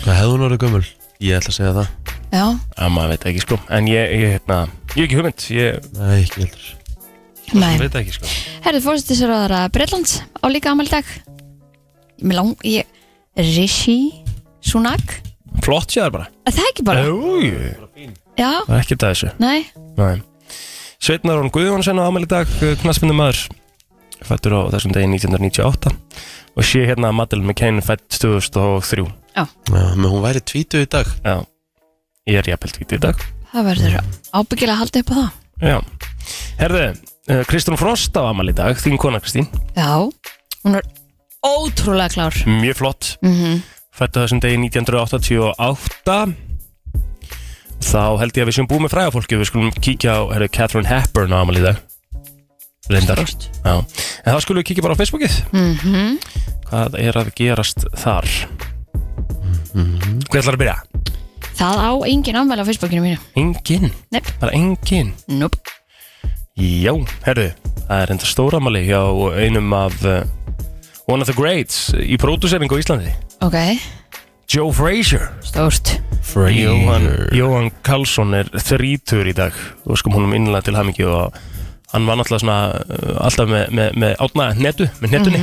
hvað hefði hún orðið gömul? ég ætla að segja það
Já,
að maður veit ekki, sko, en ég, ég, hérna, ég er ekki hugmynd, ég
Nei, ekki heldur
nei.
veit það ekki, sko,
Herðu, fórstættisraðara Breitlands á líka afmæli í dag. Mér lang, ég, Rishi Sunak,
flott séðar bara,
Er það ekki bara,
Jú,
já,
það er ekkert að þessu.
nei,
Nei. Sveitnar Rón Guðjónsson á ámæli dag, knaspindu maður fættur á þessum degi 1998 og sé hérna að Madeleine McCain fætt 2003
Já, menn hún væri tvítu í dag
Já, ég er jafnveld vítið í dag
það verður ábyggilega að halda upp á það.
Já, Herðu, uh, Kristrún Frost á amal í dag, þín kona Kristín
Já, hún er ótrúlega klár
Mjög flott mm Fættu þessum degi 1988 Þá held ég að við séum búið með fræga fólki Við skulum kíkja á herru, Catherine Hepburn á amal í dag Reyndar Já. En þá skulum við kíkja bara á Facebookið
Mm. Mhm.
-hmm. Hvað er að gerast þar? Hvað ætlar að byrja?
Það á engin ámæli á Facebookinu mínu
Engin,
Nei,
bara engin
núp
Já, herru, það er enda stóramali hjá einum af uh, One of the Greats í pródúseringu á Íslandi
Ok,
Joe Frazier
stórt
Jóhann, Jóhann Karlsson er þrítur í dag og skum honum innlega til hamingju og hann var náttúrulega svona uh, alltaf með, með, með átna netu, með netunni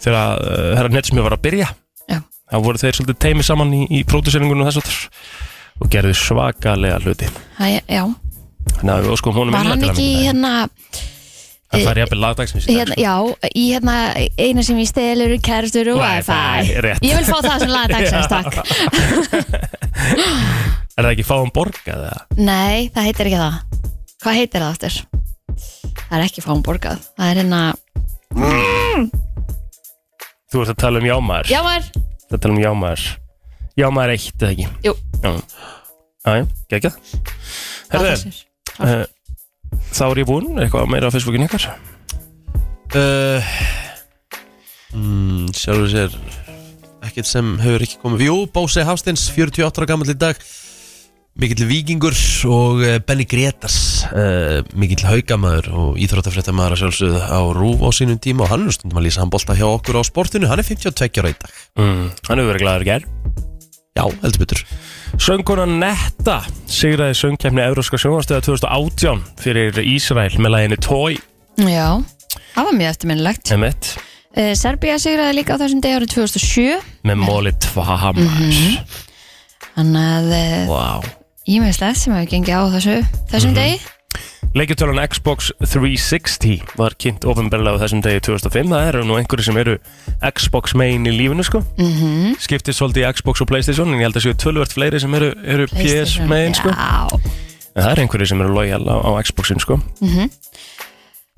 þegar uh, herra netusmið var að byrja
Mhm, Já.
þá voru þeir svolítið teimi saman í, í pródúseringunum og þess að og gerðu svakalega hluti
Hæ, Já,
þannig að við óskum honum
var hann
innlega til
ekki í
hamingju
hérna,
það fær jafnvel lagdagsins í dag,
hérna Já, í hérna eina sem ég stelur kærtur og
Wi-Fi,
Hérna, wifi
rétt.
Ég vil fá það sem laga dagsins, takk
Er það ekki fáum borgað eða?
Nei, það heitir ekki það Hvað heitir það aftur? Það er ekki fáum borgað Það er hérna,
Þú ert að tala um jámaður
já maður
Það tala um jámaður Jámaður eitt eða ekki
Jú.
Já, já, já geggjað Herðu, uh, þá er ég búinn Eitthvað meira á Facebookinu ykkar
Uh, mm, sjálfur sér ekkert sem hefur ekki komið Jú, Bósi Hafsteins, 48 ára gammal í dag mikill vikingur og eh, Benny Gretars uh, mikill haugamæður og íþróttafréttamaður að sjálfsögðu á rúf á sínum tíma og hann er stundum að lýsa hann bolta hjá okkur á sportinu hann er 52 ára í dag
mm, Hann hefur verið glæður í gær
Já, heldur betur
Sönguna Netta sigraði söngkefni Evróska sjónvastöða 2018 fyrir Ísrael með læginu Toy
Já, það var mjög eftirminnilegt
M1
uh, Serbía sigraði líka á þessum degi árið 2007
með móli Tvamar
Mhm.
mm
Þannig að uh,
Wow
ímiðslegt sem hefur gengið á þessu
Mhm.
þessum
Leikjartölan Xbox 360 var kynnt ofinbarlega á þessum degi 2005 það eru nú einhverju sem eru Xbox main í lífinu sko
Mhm.
-hmm. skiptist svolítið í Xbox og Playstation en ég held að séu tölvört fleiri sem eru, eru
degi
PS
PlayStation,
main sko
Já,
en það eru einhverju sem eru lojal á, á Xboxin sko
Mhm.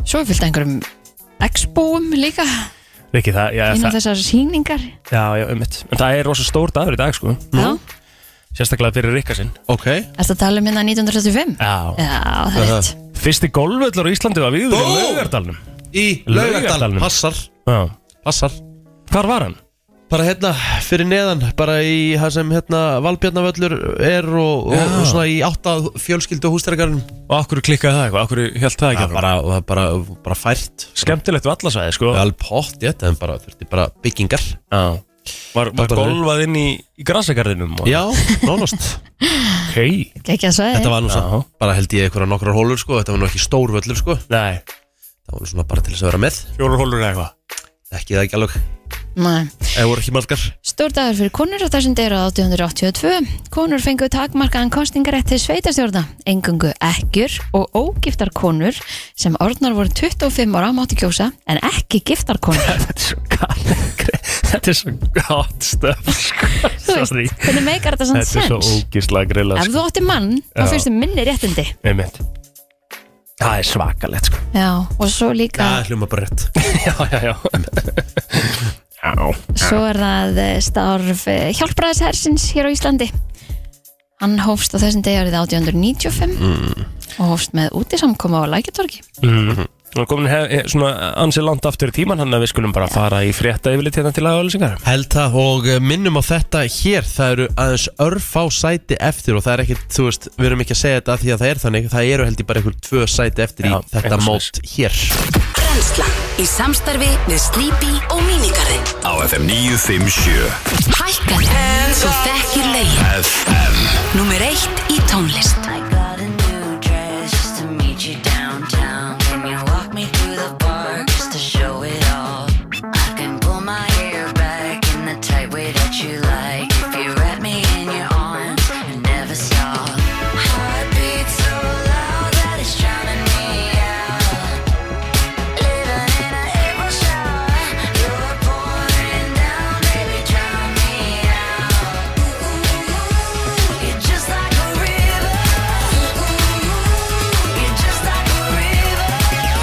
svo er fyllt einhverjum Expoum líka
Riki, það, já,
inn á
það,
þessar síningar
já, já, um en það er rosa stór dagur í dag sko
Já,
sérstaklega fyrir Rikka sinn
Ok,
ertu að tala um hérna 1935?
já.
Já, það er rétt
fyrsti golfvöllur á Íslandi var við í
Bó!
Laugardalnum
í
Laugardalnum.
Laugardalnum Passar,
já.
passar
hvar var hann?
Bara hérna, fyrir neðan, bara í það sem hérna Valbjarnavöllur er og, og,
Já.
og svona í átta fjölskyldu hústærikarinn
og akkur klikkaði það eitthvað, akkur held það ekki
Það
áfram?
bara, það bara, bara fært
skemmtilegt vallasæði sko
Alveg pott, ég þetta en bara, þurfti bara byggingar
Já. Var, var
Þetta var
golfað inn í, í grasagarðinum? og-
Já, nánast
Ok.
Gekja svo
Þetta var nú
Já.
svona, bara held ég einhverja nokkrar hólur sko Þetta var nú ekki stór völlur sko
Nei,
Það var nú svona bara til þess að vera með
fjórar hólur eða eitthvað.
Ekki það ekki alveg,
Nei.
eða voru ekki margar
Stór dagur fyrir konur á þessum degi á 1882. Konur fengu takmarkaðan kostingarétt til sveitastjórna, engungu ekkjur og ógiftar konur sem orðnar voru 25 ára mátti kjósa en ekki giftar konur.
Þetta er svo gæt Þetta er svo gott stöf
Þú veist,
Sorry.
hvernig meikar þetta svona
Þetta er svo
sens?
ógislega grilla
Ef þú átti mann, þá
sko. Já.
fyrstu minni réttindi.
Það er svakalegt sko
Já, og svo líka,
Það hljóma bara rétt
Já, já, já Já
svo er það eh, starf hjálpræðishersins hér á Íslandi. Hann hófst á þessum degi árið 1895
Mm.
og hófst með útisamkoma á Lækjatorgi.
Nú komin hef, hef, svona ansi langt aftur í tíman hann að við skulum bara fara í frétta yfirlit hérna til aðalysingar
Held það og eh, minnum á þetta hér Það eru aðeins örf á sæti eftir Og það er ekkert, þú veist, við erum ekki að segja þetta af Því að það er þannig, það eru held ég bara einhver tvö sæti
Já,
eftir Í þetta
eitthvað
mót hér
Brennslan í samstarfi við Sleepy og Minigarðin
á FM 957
Hækkaði Þú þekkir lögin
FM
Númer eitt í tónlist
I got a new dress just to meet you downtown. Can you walk me through the park just to show it all? I can pull my hair back in the tight way that you like. If you wrap me in your arms and never stop. Heartbeat so loud that it's drowning me out. Living in an April shower, you're pouring down, baby, drown me out. You're just like a river. You're just like a river.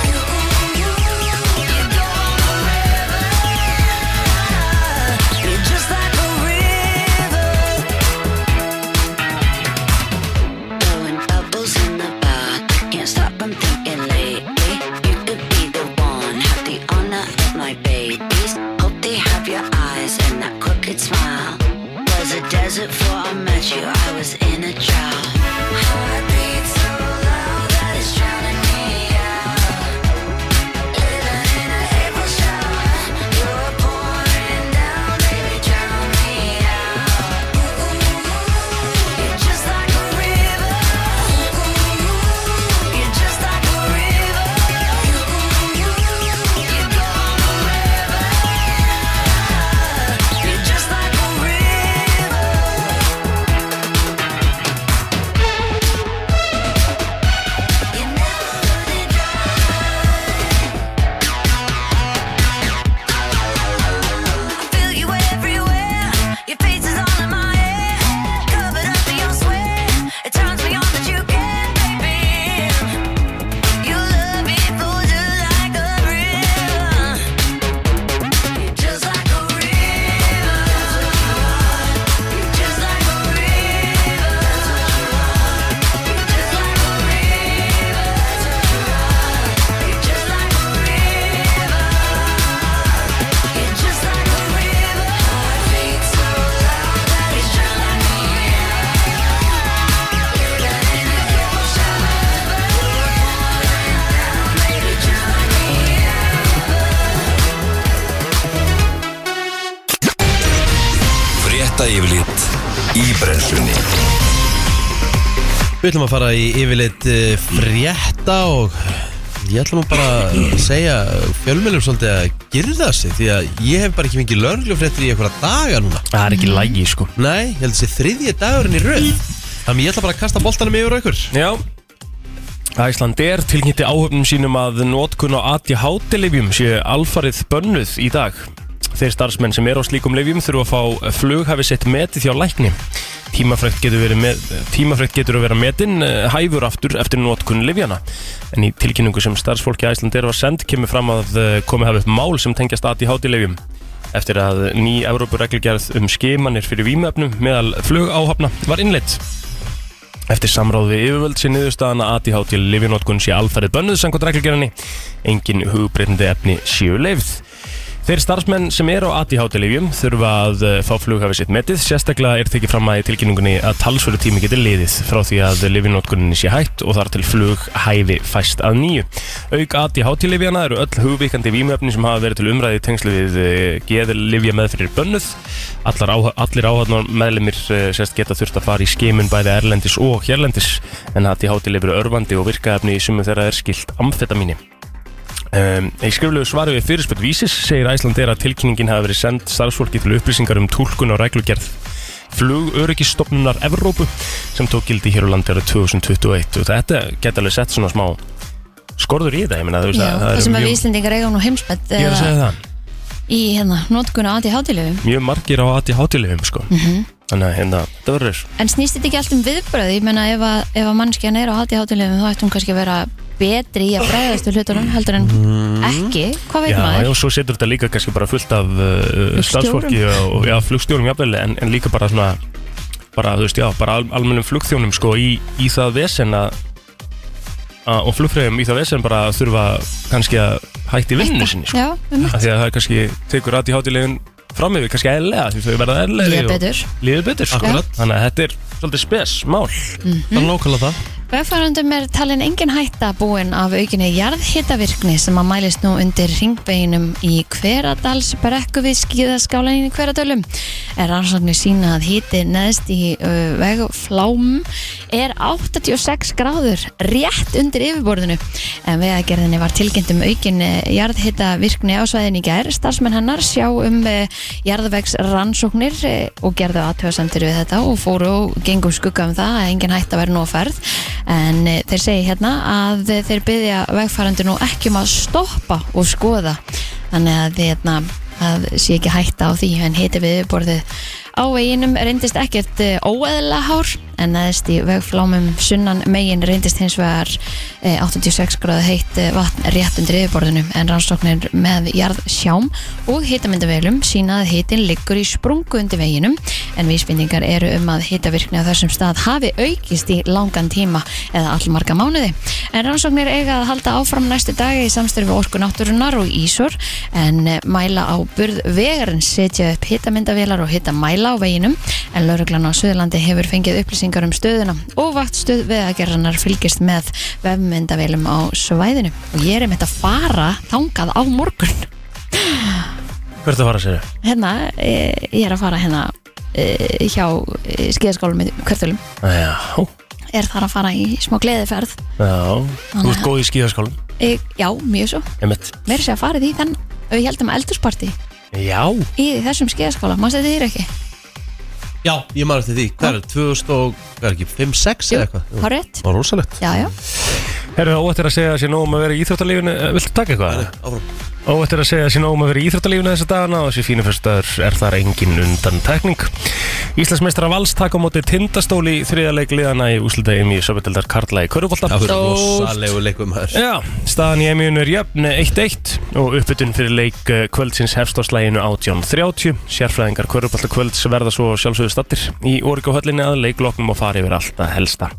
at you, I was in a drought. Heartbeat so loud that it's drowning me out. Living in an April shower, you're pouring down, baby, drown me out. Ooh, you're just like a river. Ooh, you're just like a river. Ooh, you're going forever. You're just like a river. You never really dry. I feel you everywhere. Your face is all in my hair. Covered up in your sweat. It turns me on that you care, baby. You love me flows like a river. You're just like a river. You're just like a river. You're just like a river. You're just like a river. You're just like a river. Heartbeat so loud that it's drowning me out. Living in an April shower, you're pouring down, baby, drown me
Frétta yfirlit í brenslunni
Við ætlum að fara í yfirleitt eh, frétta og ég ætlum að bara segja fjölmjölum svolítið að girða sig því að ég hef bara ekki fengið lörgljófréttir í einhverja daga núna
Það er ekki lægi sko
Nei, ég held að þessi þriðji dagurinn í röð Þannig ég ætla bara að kasta boltanum yfir á ykkur
Já Æslander tilkynnti áhöfnum sínum að notkun á ADHD-lifjum sé alfarið bönnuð í dag. Þeir starfsmenn sem eru á slíkum lifjum þurfa að fá flughæfi sitt metið hjá lækni. Tímafrekt getur, verið með, tímafrekt getur að vera metin eh, hæfur aftur eftir notkun lifjana. En í tilkynningu sem starfsfólki Æslander var send kemur fram að eh, komið hafa upp mál sem tengjast ADHD-lifjum eftir að ný Evrópureglugerð um skimanir fyrir vímöfnum meðal flugáhafna var innleitt. Eftir samráð við yfirvöld sé niðurstaðan að ADHD lifinótkun sé alfærið bönnuð samkvæmt reglugjörninni. Engin hugbreytandi efni séu leifð. Þeir starfsmenn sem eru á ADHD-lifjum þurfa að eh, fá flughafi sitt metið, sérstaklega er tekið fram að í tilkynningunni að talsverðu tími getur liðið frá því að lifinótkuninni sé hætt og þar til flughæfi fæst að nýju. Auk ADHD-lifjana eru öll hugvíkandi vímöfni sem hafa verið til umræði í tengslu við geðlifja meðfyrir bönnuð. Allar áha, allir áhafnar meðlemir sérst geta þurft að fara í skimun bæði erlendis og hérlendis en ADHD-lifur er örvandi og virkaefni í sumum þeirra er skilt amfetamíni. Um, í skriflegu svari við fyrirspöld vísis segir Æslandeir að tilkynningin hafi verið send starfsfólki til upplýsingar um tólkun og reglugerð flugöryggistofnunar Evrópu sem tók gildi hér á landi árið 2021 og þetta geta alveg sett svona smá skorður í þetta, ég meina þú veist
Já,
að
það,
eru
sem að
mjög-
við Íslendingar eigum nú heimsmet
um
eh,
Ég er að segja það,
í hérna, notkun á aði hátilöfum
mjög margir á ADHD-lifum sko
Mhm.
þannig að hérna, þetta verður
en snýst þetta ekki allt um viðbröð ég menna ef að, ef að mannskjan er á aði hátilöfum þá ætti hún kannski að vera betri í að bregðast við hlutunum heldur en ekki hvað veit
Mm. Já, já,
maður?
og svo setur þetta líka kannski bara fullt af uh, starfsfólki og já, flugstjórum jafnvel, en, en líka bara svona bara, þú veist, já, bara al, almennum flugþjónum sko, í, í það vesen að að- og flugfræðum í það vesen bara að þurfa kannski að hætti vinnu sinni sko.
Já, um
af því að það kannski tekur aðt í hátilegin fram yfir, kannski eðlega, því þau verða eðlega
Líða betur.
Líða betur, sko.
Akkurat.
Þannig að þetta er svolítið spes mál
Mhm.
Það er nákvæmlega það
Vegfærandum er talin engin hætta búin af aukinni jarðhitavirkni sem að mælist nú undir ringbeginum í Hveradals brekku við skíðaskálanin í Hveradölum. Er rannsóknir sína að hiti neðst í uh, vegflám er 86 gráður rétt undir yfirborðinu. En vegagerðinni var tilkynnt um aukin jarðhitavirkni á svæðinni í gær. Starfsmenn hennar sjá um uh, jarðvegs rannsóknir og gerðu aðtöðasendir við þetta og fóru og gengum skugga um það að engin hætt að vera nú að ferð en eh, þeir segi hérna að eh, þeir byggja vegfærandu nú ekki um að stoppa og skoða þannig að hérna að sé ekki hætta á því en hiti við borðið á veginum reyndist ekkert eh, óeðlilega hár en neðist í vegflámum sunnan megin reyndist hins vegar eh, 86 gráðu heitt eh, vatn rétt undir yfirborðinu en rannsóknir með jarðsjám og hitamyndavegilum sína að hitin liggur í sprungu undir veginum en vísbendingar eru um að hitavirkni á þessum stað hafi aukist í langan tíma eða allmarga mánuði. En rannsóknir eiga að halda áfram næstu dagi í samstarfi orku náttúrunar og Ísor en eh, mæla á burð vegarinn setja upp hitamyndavélar og hita mæla á veginum en lauruglan á Suðurlandi hefur fengið upplýsingar um stöðuna og vaktstöð vegagerðanar fylgist með vefmyndavélum á svæðinu og ég er einmitt að fara þangað á morgun
Hvert að fara sér?
hérna, eh, ég er að fara hérna eh, hjá skeiðaskólum í Kvörtölum,
Já,
er þar að fara í smá gleðiferð
já Þú ert góð í skíðaskólan
Eh, Já, mjög svo.
Einmitt.
Mér sé að farið í þann við heldum eldursparti
Já,
í þessum skeiðaskóla, maður þetta þér ekki
Já, ég maður eftir því, hvað er, 2000 og, hvað er ekki, 5-6 eða eitthvað?
Há rétt?
Það var rosalegt
Já, já,
er það óættir að segja að sé nóg um að vera í íþróttalífinu Eh, Viltu taka eitthvað?
Áfram
Óættir að segja að sé nóg um að vera í íþróttalífinu þessa dagana og þessi fínu fyrstaður er þar engin undan tekning Íslandsmeistara Vals taka á móti tindastóli í þriðarleik liðana í úslutegum í Söpindildar Karla í Körubólta
Það voru rosalegu leikum maður
Já, staðan í emjun er jöfn 1-1 og uppbytun fyrir leik eh, kvöldsins hefst á slæginu 18.30 Sérfræðingar kvörubalta kvölds verða svo sjálfsögðu stattir í orguhöllinni að leikloknum og fari yfir allt að helsta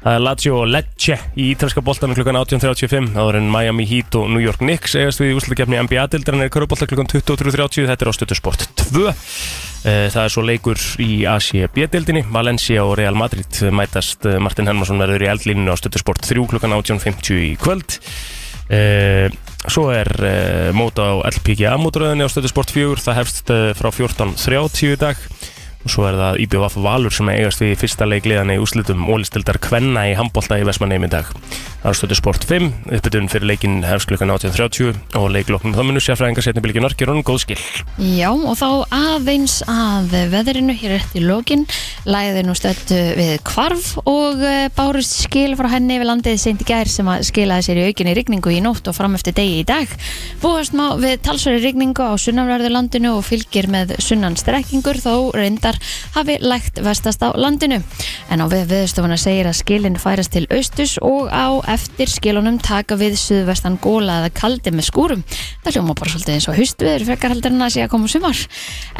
Það er Lazio og Lecce í ítalska boltanum klukkan 18.35 áður en Miami Heat og New York Knicks eigast við í úslutakefni NBA-dildran er kvörubalta klukkan 23.30 þetta er á Stöttusport 2 Eh, Það er svo leikur í ACB-deildinni Valencia og Real Madrid mætast eh, Martin Hermansson verður í eldlíninu á Stöttusport 3 klukkan 18.50 í kvöld Eh, Svo er eh, mót á LPGA mótröðinni á Stöttusport 4 það hefst eh, frá 14.30 í dag og svo er það IBVF Valur sem eigast við í fyrsta leikliðan í úslitum ólistildar Kvenna í handbólta í Vestmannheim í dag Það er Stöttusport 5 uppbytun fyrir leikin hefst klukkan 18.30 og leikloknum þá munur sérfræðingar setni bylgjum orkjörun góð skil
já og þá aðeins að veðrinu hér rétt í lokin læði nú stöttu við kvarf og eh, bárust skil frá henni yfir landið seint í gær sem að skilaði sér í aukinni rigningu í nótt og fram eftir degi í dag búast má við talsverði rigningu á sunnanverðu landinu og fylgir með sunnan strekkingur þó reyndar hafi lægt vestast á landinu en á við viðstofuna segir að skilin færast til austus og á eftir skilunum taka við suðvestan góla eða kaldi með skúrum það hljóma bara svolítið eins og hustviður frekar heldur en að sé að koma sumar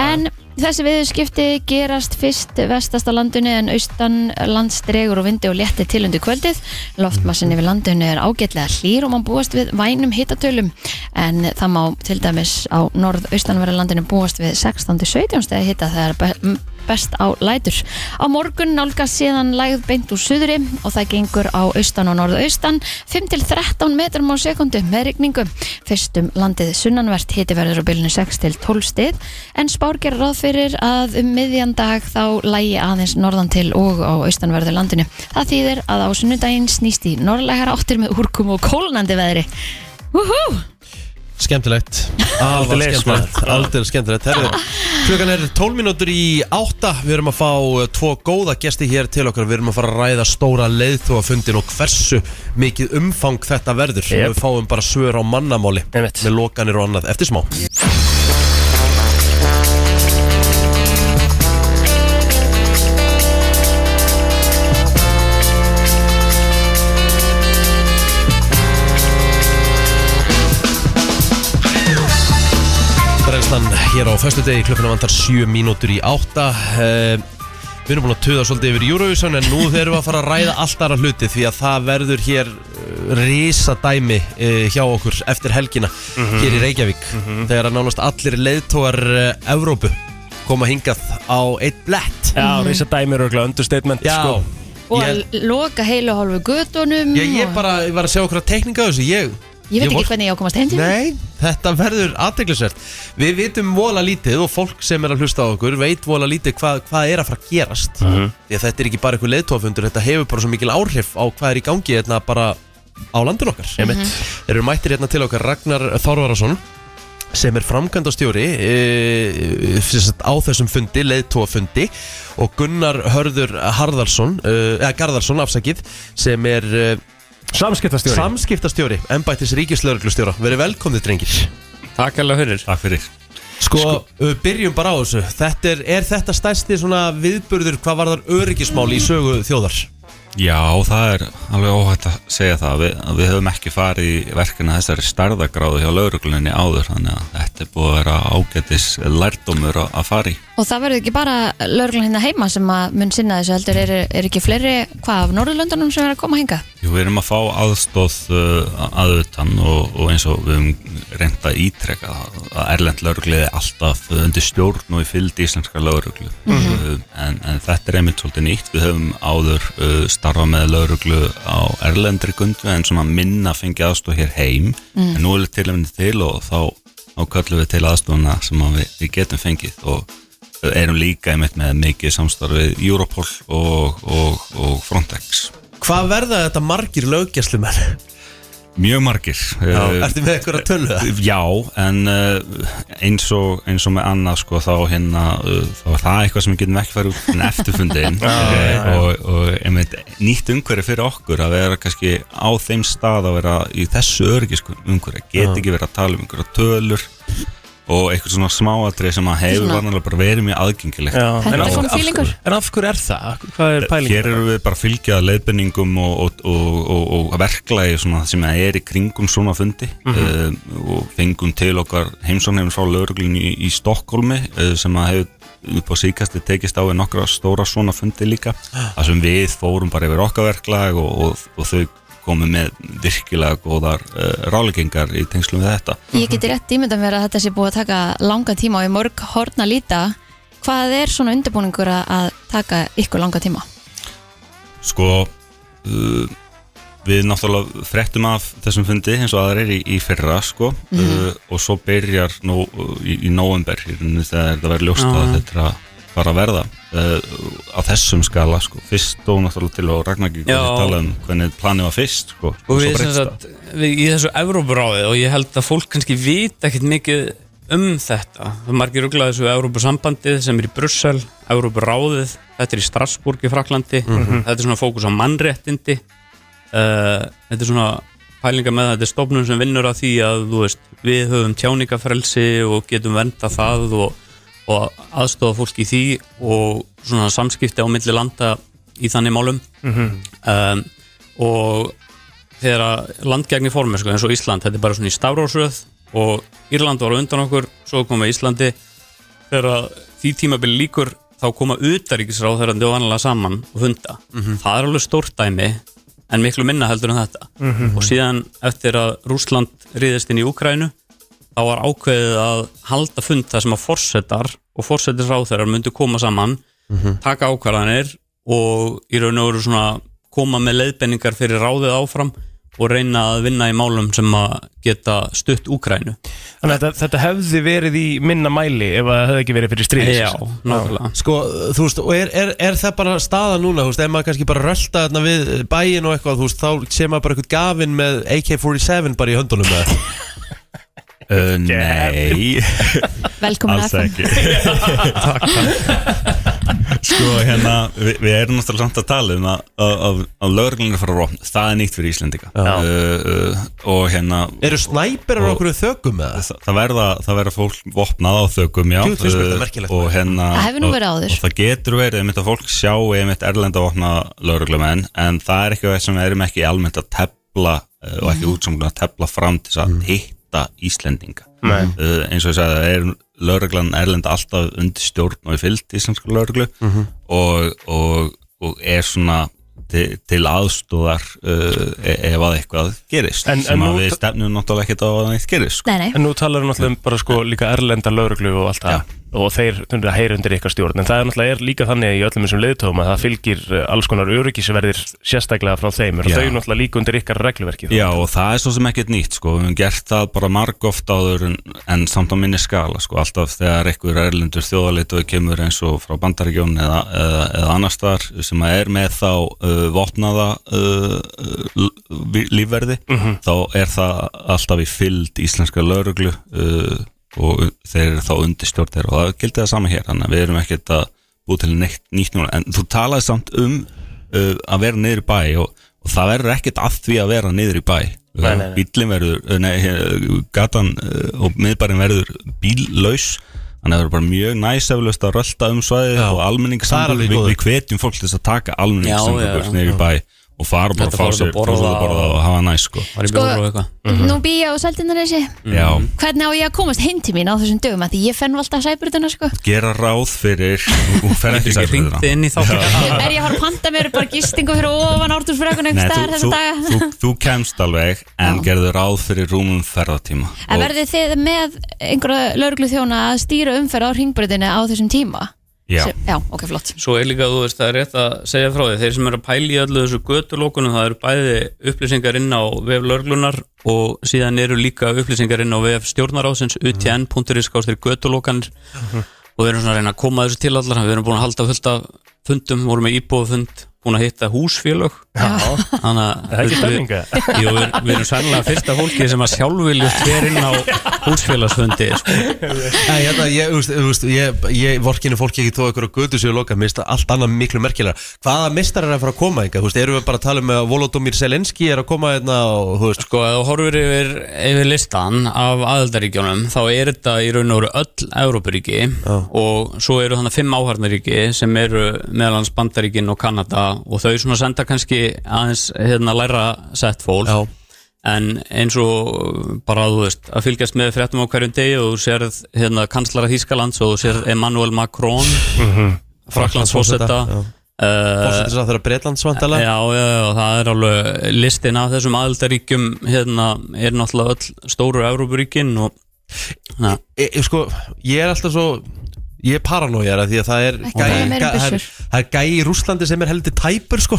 en þessi viðskipti gerast fyrst vestast á landinu en austan landstregur og vindi og létti til undir kvöldið loftmassin yfir landinu er ágætlega hlýr og mann búast við vænum hitatölum en það má til dæmis á norðaustanverða landinu búast við 16-17 stegi hita þegar be- best á lætur. Á morgun nálgast síðan lægð beint úr suðri og það gengur á austan og norðaustan 5-13 metrum á sekundu með rigningu. Fyrstum landið sunnanvert hiti verður á bylnu 6-12 stið en spár gerir ráð fyrir að um miðjan dag þá lægi aðeins norðan til og á austanverðu landinu. Það þýðir að á sunnudaginn snýst í norðlegar áttir með úrkum og kólnandi veðri. Woohoo!
Skemmtilegt Alveg
Aldeilis,
skemmtilegt Aldrei skemmtilegt Herri, Klukkan er 12 mínútur í 8 Við erum að fá eh, tvo góða gesti hér til okkar Við erum að fara að ræða stóra leiðtóafundin og hversu mikið umfang þetta verður
Jep.
Við fáum bara svör á mannamáli
Einmitt.
Með lokanir og annað Eftir smá Brennslan hér á föstu degi klukkuna vantar 7 mínútur í 8 uh, Við erum búin að tuða svolítið yfir Eurovision en nú þeir eru að fara að ræða allt aðra hluti því að það verður hér uh, risadæmi uh, hjá okkur eftir helgina
Mhm.
hér í Reykjavík þegar að nánast allir leiðtógar uh, Evrópu koma hingað á eitt blett
Já, reysa dæmir og understatement
Já,
sko.
Og
ég,
að loka heilu og hálfu gödunum
ég, ég bara ég var að sjá okkur að tekninga þessu Ég,
og ég veit
vor-
ekki hvernig ég á að komast heim til mín.
Nei, þetta verður aðteglisvert Við vitum vola lítið og fólk sem er að hlusta á okkur veit vola lítið hvað, hvað er að fara að gerast Því að þetta er ekki bara eitthvað leiðtófundur Þetta hefur bara svo mikil áhrif á hvað er í gangi hérna bara á landin okkar mm
Mhm.
-hmm. Þeir eru mættir hérna til okkar Ragnar Þorvarason sem er framkvæmdastjóri e, e, sem sagt á þessum fundi, leiðtóafundi og Gunnar Hörður Harðarsson, e, eða Garðarsson afsakið sem er e,
Samskiptastjóri
samskiptastjóri, embættis ríkislauruglustjóra Verið velkomnið drengir
Takk alveg fyrir Takk fyrir
Sko, við byrjum bara á þessu Þetta er, er þetta stærsti svona viðburður hvað varðar öryggismál í sögu þjóðar?
Já, það er alveg óhætt að segja það við, að við höfum ekki farið í verkina þessari starðagráðu hjá laurugluninni áður þannig að þetta er búið að vera ágætis lærdómur að að fara í
Og það verður ekki bara lögreglan hérna heima sem að mun sinna þessu heldur er, er ekki fleiri hvað af Norðurlöndunum sem er að koma hinga
Jú, við erum að fá aðstóð uh, að utan og, og eins og við höfum reynt að ítreka það, að erlend lauruglu er alltaf undir stjórn og í fylgd íslenska lauruglu uh, en, en þetta er einmitt svolítið nýtt við höfum áður uh, starfa með lauruglu á erlendri gundu en svona minna fengi aðstóð hér heim en nú er tilhæmni til og þá, þá kallum við til aðstóðuna sem að við, við getum fengið og uh, erum líka einmitt með mikið samstarfið Europol og, og, og Frontex
Hvað verða þetta margir löggæslumenn?
Mjög margir
Já,
Eh,
Ertu með eitthvað að tölu það?
Já, en eh, eins og, eins og með annað sko þá hérna eh, þá er það eitthvað sem við getum ekki farið út en eftirfundin og, og einmitt, nýtt umhverfi fyrir okkur að vera kannski á þeim stað að vera í þessu örgisku umhverfi get ekki verið að tala um einhverja tölur og eitthvað svona smáatrið sem að hefur
Svona-
vanalega bara verið mjög aðgengilegt
Þetta
en,
er
af,
svona
af,
fílingur.
en af hverju er það? Hvað er pæling?
Hér eru við bara að fylgja leiðbenningum og, og, og, og, og verklagi svona sem það er í kringum svona fundi mm
Mhm.
og fengum til okkar heimsóknir frá lauruglun í, í Stokkólmi uh, sem að hefur upp á síkasti tekist á við nokkra stóra svona fundi líka þar sem við fórum bara yfir okkar verklag og, og, og þau komum með virkilega góðar uh, rálegengar í tengslum við þetta
Ég geti rétt ímynda mér að þetta sé búið að taka langa tíma og í mörg horn að líta hvað er svona undirbúningur að- að taka ykkur langa tíma?
Sko uh, Við náttúrulega frettum af þessum fundi eins og aðra er í, í fyrra sko
Mhm.
uh, og svo byrjar nú, í, í november í rauninni þegar þetta verður ljóst
Ah.
að þetta er að fara að verða uh, á þessum skala sko fyrst dó náttúrulega til og Ragnar ekki
Já.
tala um hvernig planið var fyrst sko
og
svo
við, sem
breytist það.
sagt, við í þessu Evrópuráði og ég held að fólk kannski vita ekkit mikið um þetta það er margir rugglaði þessu Evrópusambandið sem er í Brussel, Evrópuráðið þetta er í Strasbourg í Fraklandi
Mhm.
þetta er svona fókus á mannréttindi uh, þetta er svona pælinga með að þetta er stofnun sem vinnur að því að þú veist, við höfum tjáningafrelsi og getum vernda það og, og aðstofa fólk í því og svona samskipti á milli landa í þannig málum
Mhm.
um, og þegar að land gegnir formið sko, eins og Ísland, þetta er bara svona í stafrósröð og Írland var á undan okkur svo koma Íslandi þegar að því tímabili líkur þá koma utaríkisráðherrandi og annarlega saman og funda. Það er alveg stórt dæmi en miklu minna heldur en þetta og síðan eftir að Rúsland riðist inn í Úkrænu þá var ákveðið að halda fund þar sem að forsetar og forsetisráðherrar myndu koma saman taka ákvarðanir og í raun og veru svona koma með leiðbenningar fyrir ráðið áfram og reyna að vinna í málum sem að geta stutt Úkrænu
Þannig að þetta, þetta hefði verið í minna mæli ef að það hefði ekki verið fyrir stríð
Já, nákvæmlega
Sko, þú veist, og er, er, er það bara staða núna, þú veist, ef maður kannski bara rölda þarna við bæin og eitthvað, þú veist, þá sé maður bara eitthvað gafin með AK-47 bara í höndunum með
Uh, nei
Velkomin að FM.
Alls ekki Sko hérna við, við erum náttúrulega samt að tala um að, að, að, að lögreglunir fara að rofna Það er nýtt fyrir Íslendinga uh, uh, Og hérna
Eru snæperar okkur þökum með það?
Þa- Það verða, það verða fólk vopnað á þökum, já
Djú, þú veist hvað þetta er merkilegt.
Og hérna
Það hefur nú
og-
verið áður.
Og það getur verið, einmitt að fólk sjá einmitt erlenda vopna lauruglumenn En það er ekki það sem við erum ekki almennt að tepla uh, Og
Mm.
ekki útsamlega að tepla fram til þess
Mm.
að hitta Íslendinga
Mm.
uh, Eins og ég sagði, það er lauruglan erlenda alltaf undir stjórn og í fyllt íslenska lauruglu
Mhm.
og, og, og er svona til, til aðstóðar uh, e- ef að eitthvað gerist
En-
sem
en
að
nú-
við stefnum náttúrulega ekkert á að neitt gerist sko.
Nei, nei.
En nú talar við náttúrulega um bara sko líka erlenda lauruglu og allt það og þeir tundur að heyra undir ykkar stjórn en það er náttúrulega er líka þannig í öllum þessum leiðtófum að það fylgir eh, alls konar öryggisverðir sérstaklega frá þeim og
Já.
þau náttúrulega líka undir ykkar regluverki
Já og það er svo sem ekkert nýtt sko Við höfum gert það bara marg oft áður en, en samt á minni skala sko Alltaf þegar einhver erlendur þjóðaleitu kemur eins og frá Bandaríkjón eða, eða, eða annar staðar sem að er með þá uh, vopnaða uh, uh, vi- lífverði þá er það alltaf í fylld íslenska lauruglu uh, og þeir eru þá undirstjórn þeirra og það gildi það sama hér þannig að við erum ekkert að búið til neitt nýtt núna en þú talaði samt um uh, að vera niður í bæ og, og það verður ekkert að því að vera niður í bæ
Nei, nei, nei.
bílinn verður, nei, eh, gatan eh, og miðbærin verður bíllaus þannig að það verður bara mjög næs eflaust að rölda um svæðið og
Það er alveg
almenningssamgöngur við, við hvetjum fólk til þess að
Já,
taka
já,
almenningssamgöngur niður í bæ og fara bara
Þetta
að fá
fór
sér
að borða
fór sér að borða
og-
og hafa næs sko.
var í
Sko-
bjóður og eitthvað
Mhm.
Mhm.
Nú býja á Seltjarnarnesi
já,
Hvernig á ég að komast heim til mín á þessum dögum að Því ég fenn alltaf sæbrutuna sko
gera ráð fyrir og fer ekki
Ég
sætbrautina.
ringdi inn í þátt
Er ég að fara að panta mér bara gistingu fyrir ofan ártúrsfrekun
Nei,
einhver staðar
þú,
þessa
þú,
daga
þú, þú kemst alveg en gerðu ráð fyrir rúmum ferðatíma
En
Og-
verðið þið með einhverja lögreglu þjóna að stýra umferð á ringbrutinu á þessum tíma?
Já.
Sem- Já, ok, flott
Svo er líka, þú veist, það er rétt að segja frá því Þeir sem eru að pæla í öllu þessu götulókunum Það eru bæði upplýsingar inn á vef lörglunar Og síðan eru líka upplýsingar inn á vef stjórnaráðsins utn.is kástir götulókanir Og við erum svona að reyna að koma þessu til allar Við erum búin að halda fullt af fundum Vorum með íbúðfund, búin að hitta húsfélög Þannig að
Það er ekki
þú veist,
stemninga
við- Jú, við, við erum sannlega fyrsta fólki sem að sjálfviljust fer inn á húsfélagsfundi sko.
Nei, hérna, ég, þú veist, þú veist, ég, ég vorkinu fólki ekki tóð ykkur á götu sér loka, mista allt annað miklu merkilega. Hvaða mistar er að fara að koma eitthvað, þú veist, erum við bara að tala um að Volodomir Selenski er að koma hérna og, þú veist,
Sko, ef þú horfir yfir, yfir listan af aðildaríkjónum þá er þetta í raun og veru öll Európaríki og svo eru þannig fimm áharnaríki sem eru meðal hans Bandaríkin og Kanada og þau svona senda kannski aðeins hérna læra sett fólk
Já.
en eins og bara þú veist að fylgjast með fréttum á hverjum degi og þú sérð hérna kanslara Þýskalands og þú sérð Emmanuel Macron Fraklands fósetta
já.
uh,
fórsetis að það er Breitlands vandalega.
Já, já, já, það er alveg listin af þessum aðildaríkjum hérna er náttúrulega öll stóru Európaríkin og na,
e, e, sko, ég er alltaf svo ég er paranójar af því að það er
Ekki tala meira um
það er,
byssur.
það er gæi í Rúslandi sem er heldur tæpur sko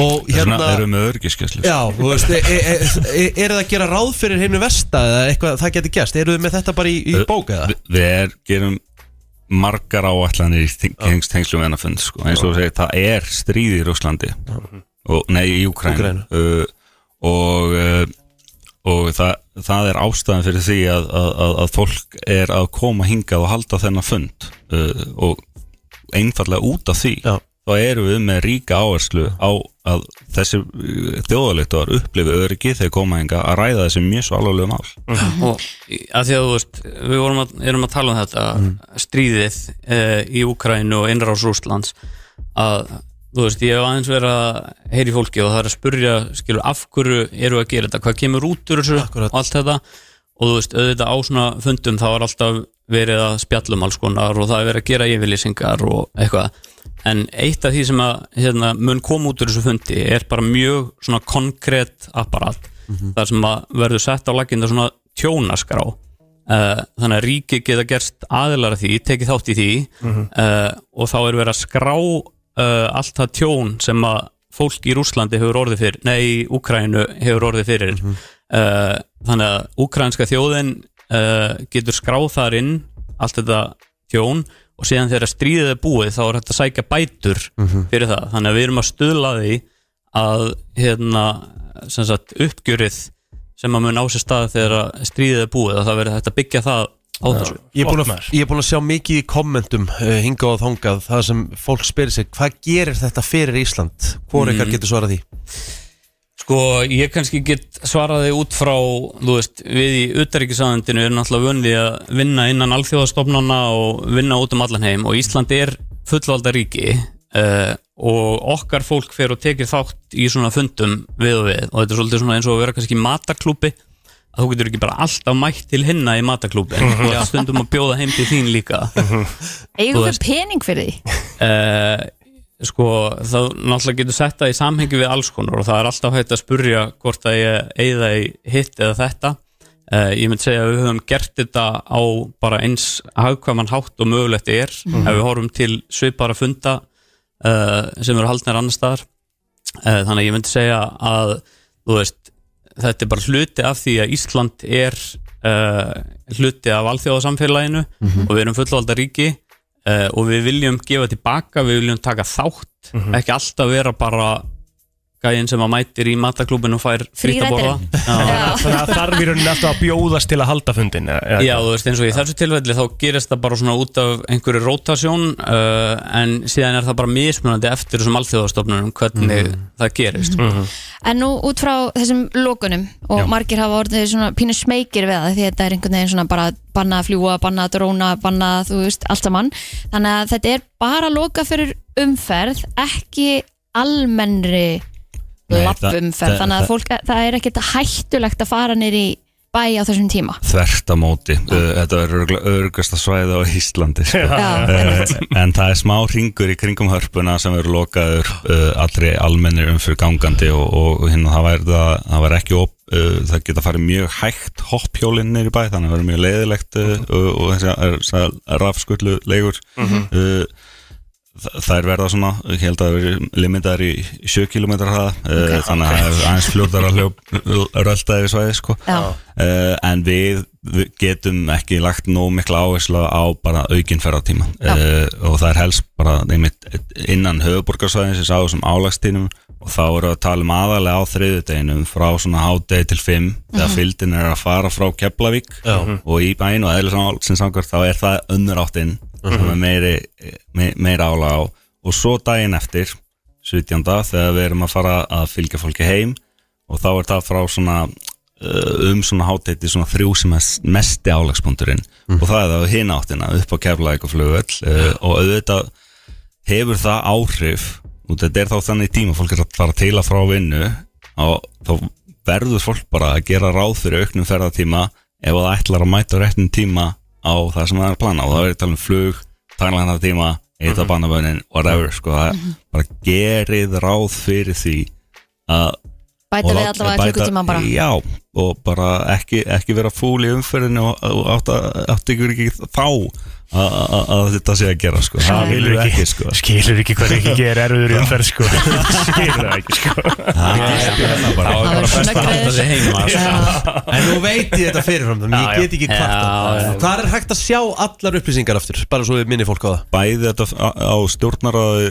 og
Hérna,
hérna
erum við örgiskeslu
Já, þú veist, e, e, e, er það að gera ráð fyrir heimnu versta eða eitthvað það getur gæst, eru þið með þetta bara í, í bók eða?
Vi- Við er, gerum margar áallanir í þing- tengst tengslum við hennar fund sko. eins og þú segir, það er stríð í Rúslandi og, nei, í Ukræn
Úkraínu.
uh, og uh, og það, það er ástæðan fyrir því að, að, að, að fólk er að koma hingað og halda þennan fund uh, og einfallega út af því
Já.
þá erum við með ríka áherslu á að þessi þjóðalegtuar upplifi öryggi þegar koma hinga að ræða þessi mjög svo alvarlegu mál
og í- að því að þú veist við vorum að, erum að tala um þetta
Mm.
stríðið e, í Úkrænu og innrás Rússlands að þú veist, ég hef aðeins verið að heyri fólki og það er að spurja skilur, af hverju eru að gera þetta, hvað kemur út úr þessu
Akkúrat.
og allt þetta og þú veist, auðvitað á svona fundum þá er alltaf verið að spjallum alls konar og það er verið að gera yfirlýsingar og eitthvað en eitt af því sem að hérna, mun koma út úr þessu fundi er bara mjög svona konkrétt apparat þar sem að verður sett á laginda svona tjónaskrá uh, þannig að ríki geta gerst aðilar að því, tekið þátt í því uh, og þá er verið að skrá uh, allt það tjón sem að fólk í Rúslandi hefur orðið fyrir nei, í Úkrænu hefur orðið fyrir uh, þannig að úkrænska þjóðin uh, getur skráð þar inn allt þetta tjón og síðan þegar stríðið er búið þá er hægt að sækja bætur fyrir það þannig að við erum að stuðla að því að hérna, sem sagt, uppgjörið sem að mun á sér stað þegar að stríðið er búið að það verður hægt að byggja það á
Ég
þessu
er búin að-
Opnar.
ég er búin að sjá mikið í kommentum uh, hinga og þangað, það sem fólk spyrir sig hvað gerir þetta fyrir Ísland? Hvor ykkar getur svarað því?
Sko, ég kannski get svaraði út frá, þú veist, við í utaríkisaðendinu erum náttúrulega vunni að vinna innan alþjóðastofnana og vinna út um allan heim og Ísland er fullvalda ríki uh, og okkar fólk fer og tekir þátt í svona fundum við og við og þetta er svolítið svona eins og að vera kannski í mataklúpi að þú getur ekki bara alltaf mætt til hinna í mataklúpi og ert stundum að bjóða heim til þín líka
Eigum
Þú
við pening fyrir því?
uh, sko þá náttúrulega getur sett það í samhengi við alls konar og það er alltaf hægt að spurja hvort að ég eigða í hitt eða þetta uh, ég myndi segja að við höfum gert þetta á bara eins hagkvæman hátt og mögulegt er ef við horfum til svipara funda uh, sem eru haldnir annar staðar uh, þannig að ég myndi segja að þú veist, þetta er bara hluti af því að Ísland er uh, hluti af alþjóðasamfélaginu og við erum fullvalda ríki uh, og við viljum gefa tilbaka, við viljum taka þátt ekki alltaf vera bara gæinn sem að mætir í mataklúbin og fær frítt að borða
Frírættirinn.
Já.
Þannig að þarf í rauninni alltaf að bjóðast til að halda eh, fundin eða-
Já, þú veist, eins og í þessu tilfelli þá gerist það bara svona út af einhverju rótasjón uh, en síðan er það bara mismunandi eftir þessum alþjóðastofnunum hvernig
Mhm.
það gerist
En nú út frá þessum lokunum og margir hafa orðið svona pínu smekir við það því þetta er einhvern veginn svona bara banna að fljúa, banna að dróna, banna að þú veist allt saman. Þannig að þetta er bara loka fyrir umferð ekki almennri
Nei,
lappumferð.
það-
Þannig
það-
að fólk, það er ekkert hættulegt að fara niður í bæ á þessum tíma.
þvert á móti uh, þetta er örgasta svæði á Íslandi sko.
Já,
uh, en það er smá ringur í kringum hörpuna sem eru lokaður uh, allri almennir umfyrir gangandi og, og hérna, það, væri, það, það væri ekki op, uh, það geta farið mjög hægt hopphjólinn niður í bæ, þannig að það verður mjög leiðilegt uh, og, og þessi rafskullu leigur uh, þa- þær verða svona, ég held að það verður limitar í 7 km hraða okay, þannig að það er aðeins fljórdar að hljóp rölda yfir svæði sko.
Já.
uh, en við, við getum ekki lagt nóg mikla áherslu á bara aukinferðartíma uh, og það er helst bara einmitt, innan höfuborgarsvæðinsins á þessum álagstíðnum og þá erum við að tala um aðalega á þriðudeginum frá svona hádegi til 5 þegar fylgdin er að fara frá Keflavík og í bæinn og eðlisam sem samkvæmt þá er það önnur áttinn sem er meiri, me, meira ála á og svo daginn eftir 17. þegar við erum að fara að fylgja fólki heim og þá er það frá svona uh, um svona hátætti svona þrjú sem er s- mesti álagspunkturinn
Mhm.
og það er það hinn áttina upp á keflaðik og flugvöll uh, og auðvitað hefur það áhrif og þetta er þá þannig tíma fólk er að fara til að frá vinnu og þá verður fólk bara að gera ráð fyrir auknum ferðatíma ef það ætlar að mæta á réttin tíma á það sem það er að plana og það verður að tala um flug, tannlæna tíma eitthvað
Mhm.
mm -hmm. bannabönin, whatever sko, það er bara gerið ráð fyrir því að
Bæta
og
við
lát-
allavega
bæta-
klukkutíma bara.
já, og bara ekki, ekki vera fúl í umferðinu og, og átt átt ykkur ekki þá að- að að þetta sé að gera sko. það
Skilur
viljum við
ekki,
ekki sko.
skilur ekki hvað ekki gerir erfiður í umferð sko. skilur það ekki sko.
bara.
Það var svona
Það er
greið.
heima sko.
En nú veit ég þetta fyrirfram þannig
Já,
ég get ekki
Já,
kvarta
já.
Hvar er hægt að sjá allar upplýsingar aftur Bara svo við minni fólk á það
bæði þetta á á stjórnaraði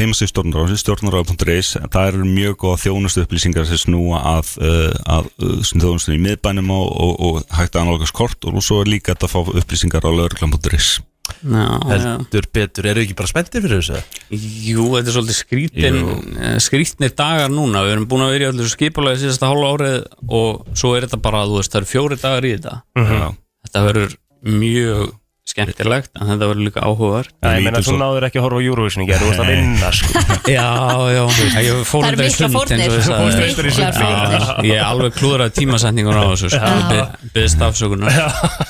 heimasíð stjórnaraði, stjórnaraði.is það eru mjög góða þjónustu upplýsingar sem snúa að, uh, að uh, þjónustu í miðbænum og, og, og hægt að analogast kort og svo er líka þetta að fá upplýsingar á lögreglan.is
Já, já.
Heldur betur, eru ekki bara spenntir fyrir þessu?
Jú, þetta er svolítið skrítin, eh, skrítnir dagar núna Við erum búin að vera í allir skipulagi síðasta hálfa árið og svo er þetta bara, þú veist, það eru fjóri dagar í þetta
Já.
Mhm.
Þetta verður mjög skemmtilegt en þetta verður líka áhugaður
Nei, ég meina
Lítur
þú
svo-
náður ekki að horfa á Eurovision í gerð þú varst að vinna sko.
Já, já, ég fór
Það eru
reyndar í
miklar
sund, eins og ég
fórnir.
sagði.
Fórstu reyndar í sund.
Já, Ég er alveg klúður að tímasetningur á þessu sko. Ég Byðst afsökunar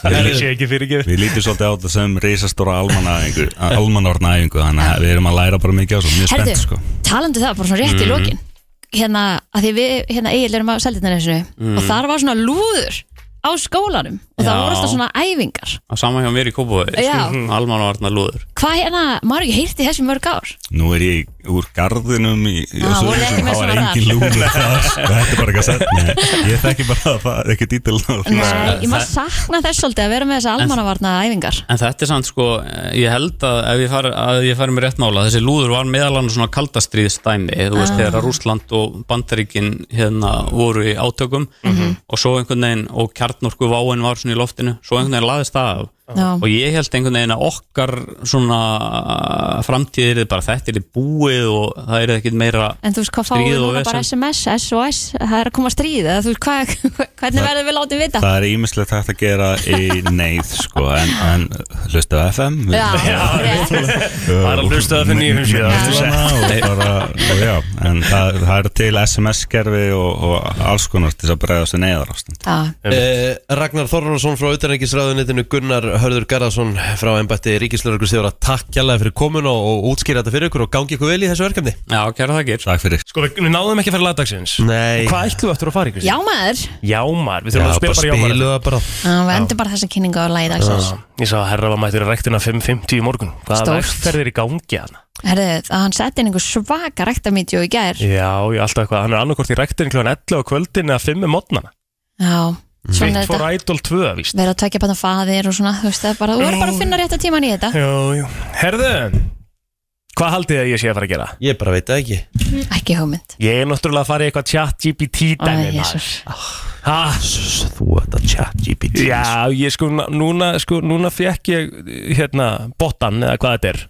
það sé ekki fyrir gerð
Við lítum svolítið á þetta sem reysastóra almanæðingu almanárnæðingu, þannig að við erum að læra bara mikið á þessu, mjög spennt sko Mm.
talandi um það, bara svona rétt í lokin hérna, að því við, hérna Egil erum að selja og þar var svona lúður á skólanum og það
Já.
voru alltaf svona æfingar
Saman hjá mér í Kópavöði
Já.
Alman og Arna Lúður
hvað hérna, maður hefur ekki heyrt í þessu í mörg ár
Nú er ég úr garðinum í, í
Ah, voru ekki með
það var
svona
engin lúður þar sko, þetta er bara ekki að setna Ég þekki bara að það er ekki dítil
Nei, sko. ég maður sakna þess svolítið að vera með þessa almannavarna æfingar
En þetta er samt sko, eh, ég held að ef ég fari, að ég fari með rétt mála þessi lúður var meðal annars svona kaldastriðstæmi þú
Ah.
veist þegar að Rússland og Bandaríkin hérna voru í
Mm.
átökum
Mhm.
Mhm.
og svo einhvern veginn og kjarnorku váin var svona í loftinu, svo einhvern veginn laðist það af
Já.
og ég held einhvern veginn að okkar svona framtíðir bara þetta er búið og það er ekkit meira
en þú veist hvað fáum
Stríð
við
og
núna bara
vesen.
SMS, SOS það er að koma stríð, eða þú veist hvað hvernig verður við látið vita
Það er ímislegt hægt að gera í neyð sko, en, en hlustu á FM við-
Já, rétt.
Það
er að hlusta á FM 957.
og já, en það, það er til SMS-kerfi og, og alls konar til þess að bregðast í neyðar
Já.
Eh, Ragnar Þorvarsson frá utanengisræðunitinu Gunnar Hörður Garðarsson frá embætti Ríkislörgustjóra Takk kjærlega fyrir komin og, og útskýra þetta fyrir ykkur og gangi ykkur vel í þessu verkefni
Já, kæra þakir
Takk fyrir
sko, við, við náðum ekki að fara lagdagsins
Nei,
Hvað ætlum við aftur að fara ykkur?
já maður,
Jámar, við
Já,
þurfum að
bara
spila bara jámar
spilu það bara
Já, við endum bara þessa kynningu á lagi dagsins
Ég sá að herra var mættur að rektina 5.50 í morgun Hvað
Stórt.
vegferðir í gangi hann?
Herðu, að hann setti inn einhver svaka ræktamídjó í gær
Já, ég alltaf eitthvað, hann er annarkort í rektin kl. 11 á kvöldin eða 5 um mótnana
Já,
Svitt
svona
fór
þetta
Idol 2, víst
vera að tekja bara faðir og svona, þú veist það er bara, þú verður bara að finna rétta tíman í þetta
Jú, jú Herðu, hvað haldið þið að ég sé að fara að gera?
Ég bara veit það ekki
Ekki hugmynd
Ég er náttúrulega að fara í eitthvað chat GPT dæmi
Æ,
maður.
Jesús.
Ha?
Ah. Þú ert að chat GPT
Já, ég sko, n- núna, sko, núna fekk ég hérna, botan eða hvað þetta er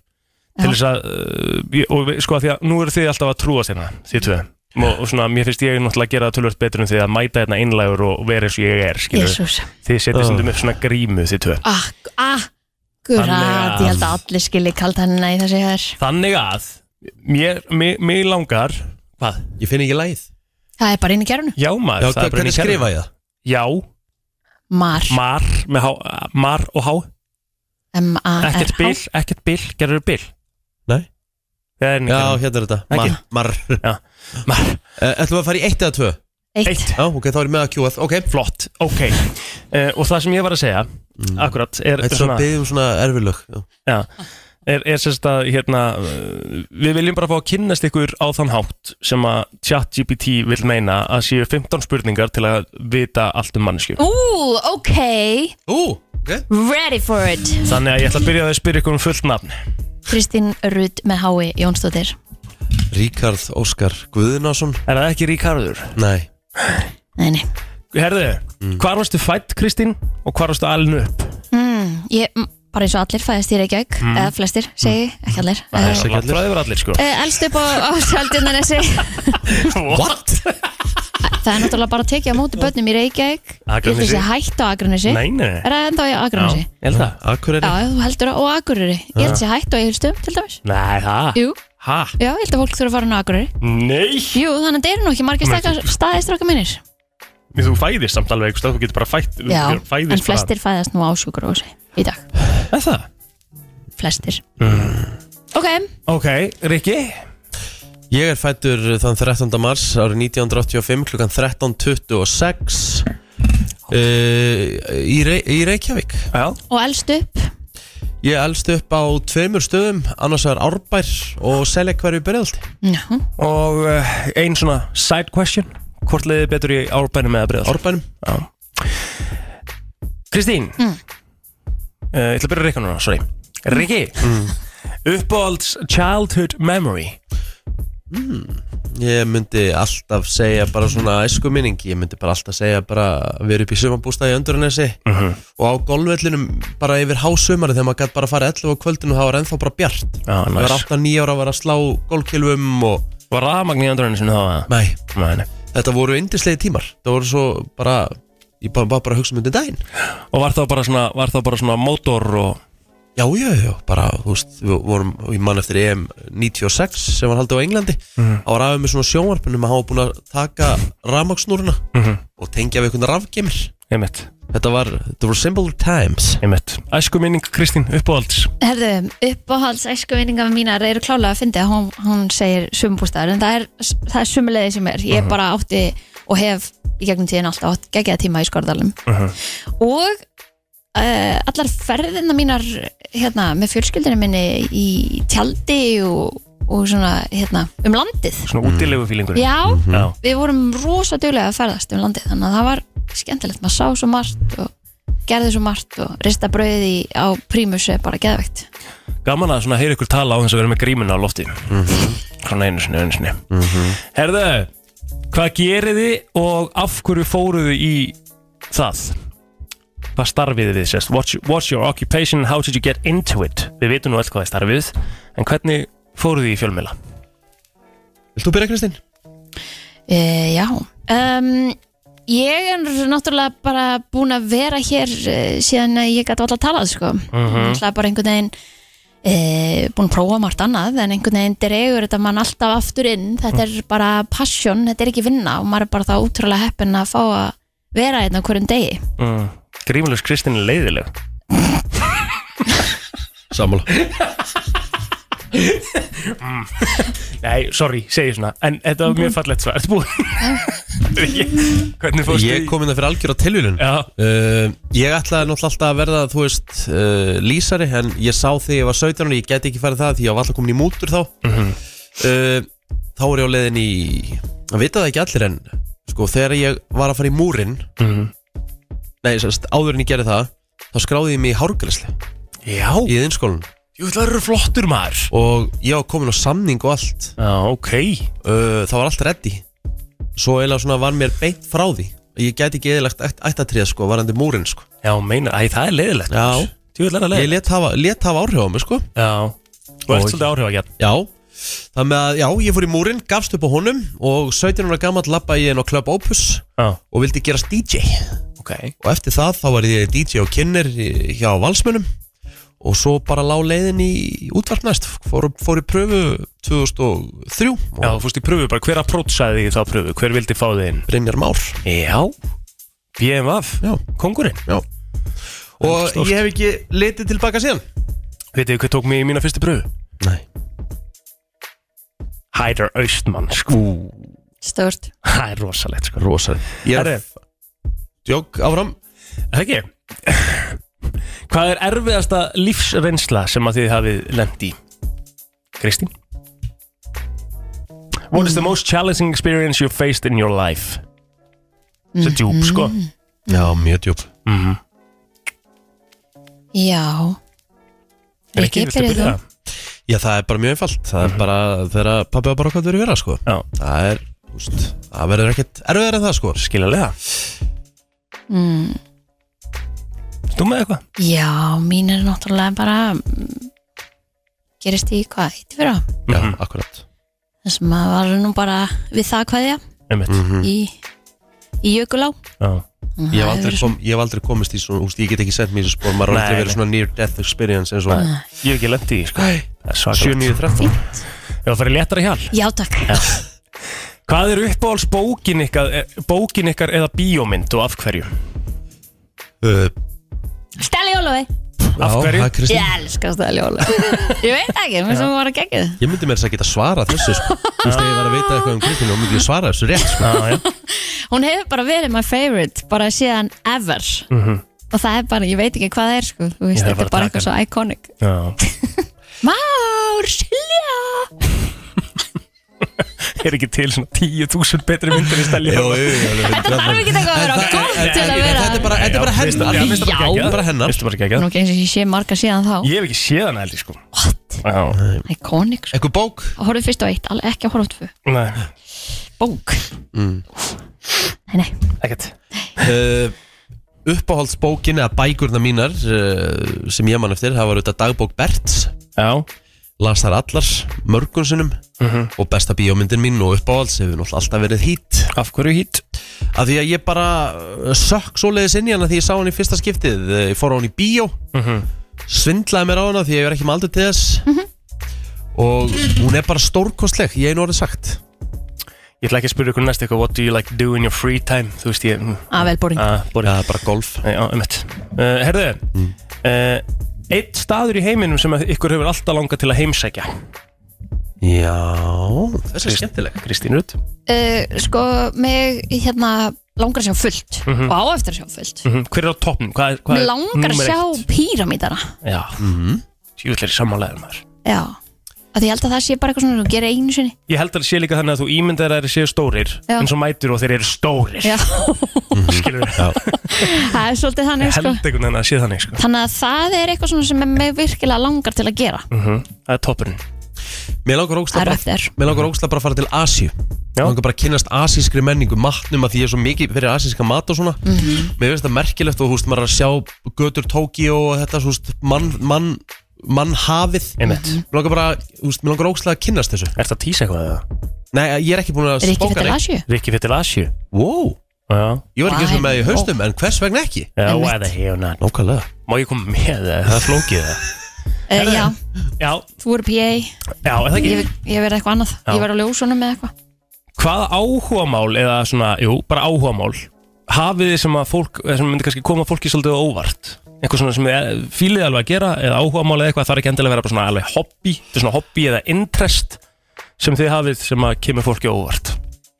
til þess að, uh, ég- og við- sko, af því að nú eru þið alltaf að trúa þérna, þið tvö og, og svona, mér finnst ég náttúrulega að gera það tölvöld betur en þið að mæta hérna einlægur og vera eins og ég er, skilur
Jesús.
þið setjum stundum upp svona grímu, þið tvö
Ak-
Þannig
Akkurat,
að-
ég held að allir skilji kald hann í þessi hér
Þannig að, mér, mér, mér langar Hvað?
Ég finn ekki læð
Það er bara inn í kjærunu
Já, maður,
Já,
það er bara inn
hvernig
í kerfinu.
skrifa ég það?
Já,
Mar,
mar, með há, mar og há Ekkert
M-A-R-H
bil, ekkert bil, gerður bil
Nei.
Já,
Já, hérna er þetta Mar,
Ekki.
mar.
Mar,
Uh, Ætlum við að fara í eitt eða tvö?
Eitt
eitt,
Já, ok, þá er ég með að kjúað Ok,
flott, ok uh, Og það sem ég var að segja, akkurat Er
Mm. þetta er svo
svona,
að byggja um svona erfilög Já,
já, er, er sérst að hérna, eh, Við viljum bara fá að kynnast ykkur á þann hátt sem að ChatGPT vil meina að séu 15 spurningar til að vita allt um manneskju
Ú, ok,
Ú, ok
ready for it
Þannig að ég ætla að byrja að spyrja ykkur um fullt nafn
Kristín Rut með hái Jónsdóttir
Ríkard Óskar Guðnason
Er það ekki Ríkarður?
Nei Mm.
Nei, nei,
Herðu, hvar varstu fætt Kristín og hvar varstu alin upp?
Hmm, ég, m- bara eins og allir fæðist í Reykjavík eða flestir, segi, ég, ekki allir
Hmm. Það
uh,
er landfræði var allir sko
uh, Elst upp á, á Sjaldundanesi
What?
Það er náttúrulega bara að tekja á móti börnum í Reykjavík Ég
Akranesi?
ætla þessi hætt á Akranesi
Nei, nei
Er það enda á Akranesi?
Já, ég held það
Akureyri
Já, þú heldur á Akureyri Ég held þessi hætt á Egilstöðum til dæmis
Nei, það
Jú,
Ha?
já, ég held að fólk þurfa að fara á Akureyri
Nei
Jú, þannig að það eru nú ekki margir
Men
stakar
þú-
staðistráka minnir
Þú fæðist samt alveg eitthvað, þú getur bara fætt þú
Já,
getur- fæðist
en flestir fæðast nú á sjúkurhúsi í dag,
bara. Er það?
flestir Ok,
Mm. Ok, Rikki
Ég er fættur þann 13. mars árið 1985 klukkan 13.26 uh, í, Rey í Reykjavík
Já
og elst upp
Ég elst upp á tveimur stöðum annars vegar Árbær og selja hverju byrjald
Já,
Og uh, ein svona side question Hvort leiði betur í árbænum eða bregðar?
Árbænum
Kristín uh, Ég ætla að byrja Rikka núna, sorry Rikki Uppáhalds childhood memory
Ég myndi alltaf segja bara svona æsku minning Ég myndi bara alltaf segja bara að vera upp í sumarbústaði í Öndurinnesi
Mhm.
og á golfvellinum bara yfir hásumari þegar maður gætt bara að fara 11 á kvöldinu og það var ennþá bara bjart
Já,
Ég var 8-9 ára að vera að slá golfkilvum og
Var rafmagn í andrunni sinni þá?
Nei,
Nei, nei.
þetta voru indislegi tímar Það voru svo bara Ég bara, bara, bara hugsa um undir daginn
Og var þá bara svona, var þá bara svona mótor og
Já, já, já, bara, þú veist Við vorum, ég man eftir EM 96 sem var haldið á Englandi
Mhm.
Það var aðeins með svona sjónvarpunum að hafa búin að taka rafmaksnúruna og tengja við einhvern rafgeimir
Mhm. Einmitt,
Þetta var, þetta voru simple times
einmitt Æsku minning Kristín, uppáhalds
herðu, uppáhalds æskuvinningar mínar eru klálega að fyndi að hún, hún segir sumabústæður en það er, það er sumulegði sem er ég bara átti og hef í gegnum tíðin alltaf átt geggjað tíma í skorðalum og uh, allar ferðina mínar hérna, með fjölskyldinu minni í tjaldi og, og svona, hérna, um landið
Svona útilegu fílingur
Já,
Já.
við vorum rosa duglega að ferðast um landið þannig að það var skemmtilegt, maður sá svo margt og gerði svo margt og rista brauði á prímusu er bara geðvegt
Gaman að svona heyra ykkur tala á þess að vera með grímuna á lofti Svona einu sinni, einu sinni
Mhm.
Herðu, hvað gerið þið og af hverju fóruð þið í það? Hvað starfið þið sérst? What's, what's your occupation and how did you get into it? Við vitum nú öll hvað þið starfið En hvernig fóruð þið í fjölmela?
Vilt þú byrja, Kristín?
e, Já um, Ég er náttúrulega bara búin að vera hér eh, síðan að ég gæti alltaf talað sko. mm -hmm. bara einhvern veginn e, búin að prófa margt annað en einhvern veginn dregur þetta mann alltaf aftur inn þetta er bara passion, þetta er ekki vinna og maður er bara þá útrúlega heppin að fá að vera hérna á hverjum degi
Mm. Grímulegs Kristín er leiðileg
Sammála
Mm. Nei, sorry, segi svona En þetta var mjög fallegt svar Ertu búin? hvernig fórstu
Ég
í-
kom inn að fyrir algjör á tilvílun
Já,
Uh, ég ætlaði náttúrulega alltaf að verða þú veist, uh, lýsari en ég sá þegar ég var 17 og ég gæti ekki farið það því ég var alltaf komin í mútur þá
Mhm.
uh, þá er ég á leiðin í að vita það ekki allir en sko, þegar ég var að fara í múrin nei, sérst, áður en ég gerði það þá skráði ég mig í hárgræsli
já,
í þinnskólan
Jú, það eru flottur maður
Og ég var komin á samning og allt
Já, ok
uh, Það var allt reddi Svo eiginlega svona var mér beint frá því Ég gæti ekki eðilegt ættatrið sko, varandi múrin sko
Já, meina, æ, það er leiðilegt
Já
Tjóðlega
Ég let hafa, let hafa áhrif á mig sko
Já Þú ert svolítið áhrif að
Já Það með að, já, ég fór í múrin, gafst upp á honum Og 17 ára gammal lappa ég inn á Club Opus
Já.
Og vildi gerast DJ
Ok
Og eftir það þá var ég DJ og kynner í- hjá valsmönum Og svo bara lá leiðin í útvarp næst Fór, fór í pröfu 2003 og
Já, þú fórst í pröfu bara, hver approachaði þig í þá pröfu? Hver vildi fá þig inn?
Brynjar Már
Já BMF
Já.
Kongurinn
Já. Og
Stórt.
ég hef ekki litið tilbaka síðan
Vitið þið hvað tók mig í mína fyrstu pröfu?
Nei
Hæder Austmann, sko
Stört
Það er rosalegt, sko
Rosaleg Ég
Herri.
er Jók áfram
Er Það ekki Hvað er erfiðasta lífsreynsla sem að þið hafið lent í? Kristín What is the most challenging experience you faced in your life? Þetta er djúb, sko
Já, mjög djúb
Mhm.
Já Rikki,
viltu
byrjaðu
byrja?
Já, það er bara mjög einfalt Það er bara þegar pappi var bara hvað þau eru vera sko
Mhm. Já,
Það er, úst, það verður ekkert erfiðar en það sko
skilalega
Mm.
Þú með eitthvað?
Já, mín er náttúrulega bara mm, gerist í hvað, eitt fyrra
Já,
Mhm.
akkurat
það sem að var nú bara við það hvaðja
Einmitt
Mhm.
í, í Jökulá
Já.
Ég hef aldrei, kom, ég hef aldrei komist í svona, úst, ég get ekki sendt mér í þessu spór Maður har
Nei,
aldrei
nei.
verið svona near death experience eins og
Ég hef ekki lent í, því, sko Það er svakalegt
7-9-13
Ég var að fara í léttara hjal
Já, takk
Hvað er uppáhalds bókin ykkar, eh, bókin ykkar eða bíómynd og af hverju?
Uh,
Stæli Jólafi
Af
já,
hverju?
það er Kristín.
Ég elska Stæli Jólafi Ég veit það ekki, mér sem var að gegja
Ég myndi mér þess að geta svarað þessu sko. Þú veist, ef ég var að veita eitthvað um Kristín og myndi ég svara þessu rétt sko.
Já, já
Hún hefur bara verið my favorite bara síðan ever
Mhm.
og það er bara, ég veit ekki hvað það er sko. þú veist,
Ég þarf
þetta er bara
bara að taka
eitthvað svo iconic
Já
Már, Silja
er ekki til svona 10.000 betri myndir í stæli hérna?
Jú, jú, jú, alveg
Þetta þarf ekki eitthvað að vera gott til að vera
Þetta er bara, þetta er bara hennar
Já.
Þetta er bara hennar
Vistu bara geggjað
Nú ekki eins og ég sé marga síðan þá
Ég hef ekki séð hana heldur sko Já,
Iconic, sko.
Eitthvað bók
horfðu fyrst á eitt, alveg ekki að horfa á tvö
nei,
Bók
Mm.
Nei, nei,
ekkert
uh, Uppáhaldsbókin eða bækurna mínar uh, sem ég man eftir það var auðvitað dagbók Berts
Já, Mhm.
las þar allar mörgum sinnum og besta bíómyndin mín og uppáhalds hefur náttúrulega alltaf verið hít
af hverju hít?
af því að ég bara uh, sökk svoleiðis inn í hana því ég sá hann í fyrsta skiptið Uh, ég fór á hann í bíó
Mhm.
svindlaði mér á hana því að ég er ekki með aldur til þess og hún er bara stórkostleg ég einu orðið sagt
Ég ætla ekki að spyrja ykkur næst eitthvað What do you like to do in your free time? Þú veist ég mm,
að vel boring
ah, Bóri
það er bara golf
Já, um eitt uh, Herðu mm. Eitt staður í heiminum sem að ykkur hefur alltaf langað til að heimsækja
já, þessi er skemmtileg
Kristín Rutt
uh, Sko, mig hérna langar að sjá fullt og á eftir að sjá fullt
mm Hver er á toppnum? Hvað er, hvað
Mig
er
langar að
númer
sjá
eitt?
píramítana
Já mm
Mhm.
-hmm. Júllir sammálaður maður
Já, að því ég held að það sé bara eitthvað svona sem þú gerir einu sinni
Ég held að það sé líka þannig að þú ímyndar að þeir séu stórir
Já.
En svo mætur og þeir eru stórir
Já,
Mhm.
Skilur
það er svolítið þannig
Ég
sko.
held einhvern veginn að sé þannig sko.
Þannig að það er eitthvað svona sem er mig virkilega langar til að gera
Mhm. Það er toppurinn
Mér langar ógst
Það
að
er
bara,
eftir.
mér langar ógeðslega bara að fara til Asíu
Já.
Mér langar bara að kynnast asískri menningu matnum að því ég er svo mikið fyrir asíska mat og svona
Mhm.
Mér finnst það merkilegt og húst maður er að sjá götur Tókíó og þetta húst mann mann mann hafið
Einmitt.
Mhm.
Mér langar bara, húst, mér langar ógstlega að kynnast þessu
Er það tísa eitthvað eða?
Nei, ég er ekki búin að
Er ekki
spóka
fyrir
neitt.
Asju?
Rikki fyrir til Asju
Wow,
Já
ég var ekki eins
Why
og með í haustum, en hvers vegna ekki?
Já,
Einmitt.
eða hefna
Nákvæmlega
Má ég koma með það? Það er flókið það
Uh, já,
Já,
þú eru PA,
já, er það
ég,
ekki
ég verði eitthvað annað
Já.
Ég verði á ljósunum eða eitthvað
Hvaða áhugamál eða svona, jú, bara áhugamál Hafið þið sem að fólk, eða sem myndi kannski koma fólki svolítið á óvart Eitthvað svona sem þið eh, fílið alveg að gera Eða áhugamál eða eitthvað, það er ekki endilega að vera bara svona alveg hobby Þetta er svona hobby eða interest Sem þið hafið sem að kemur fólki á óvart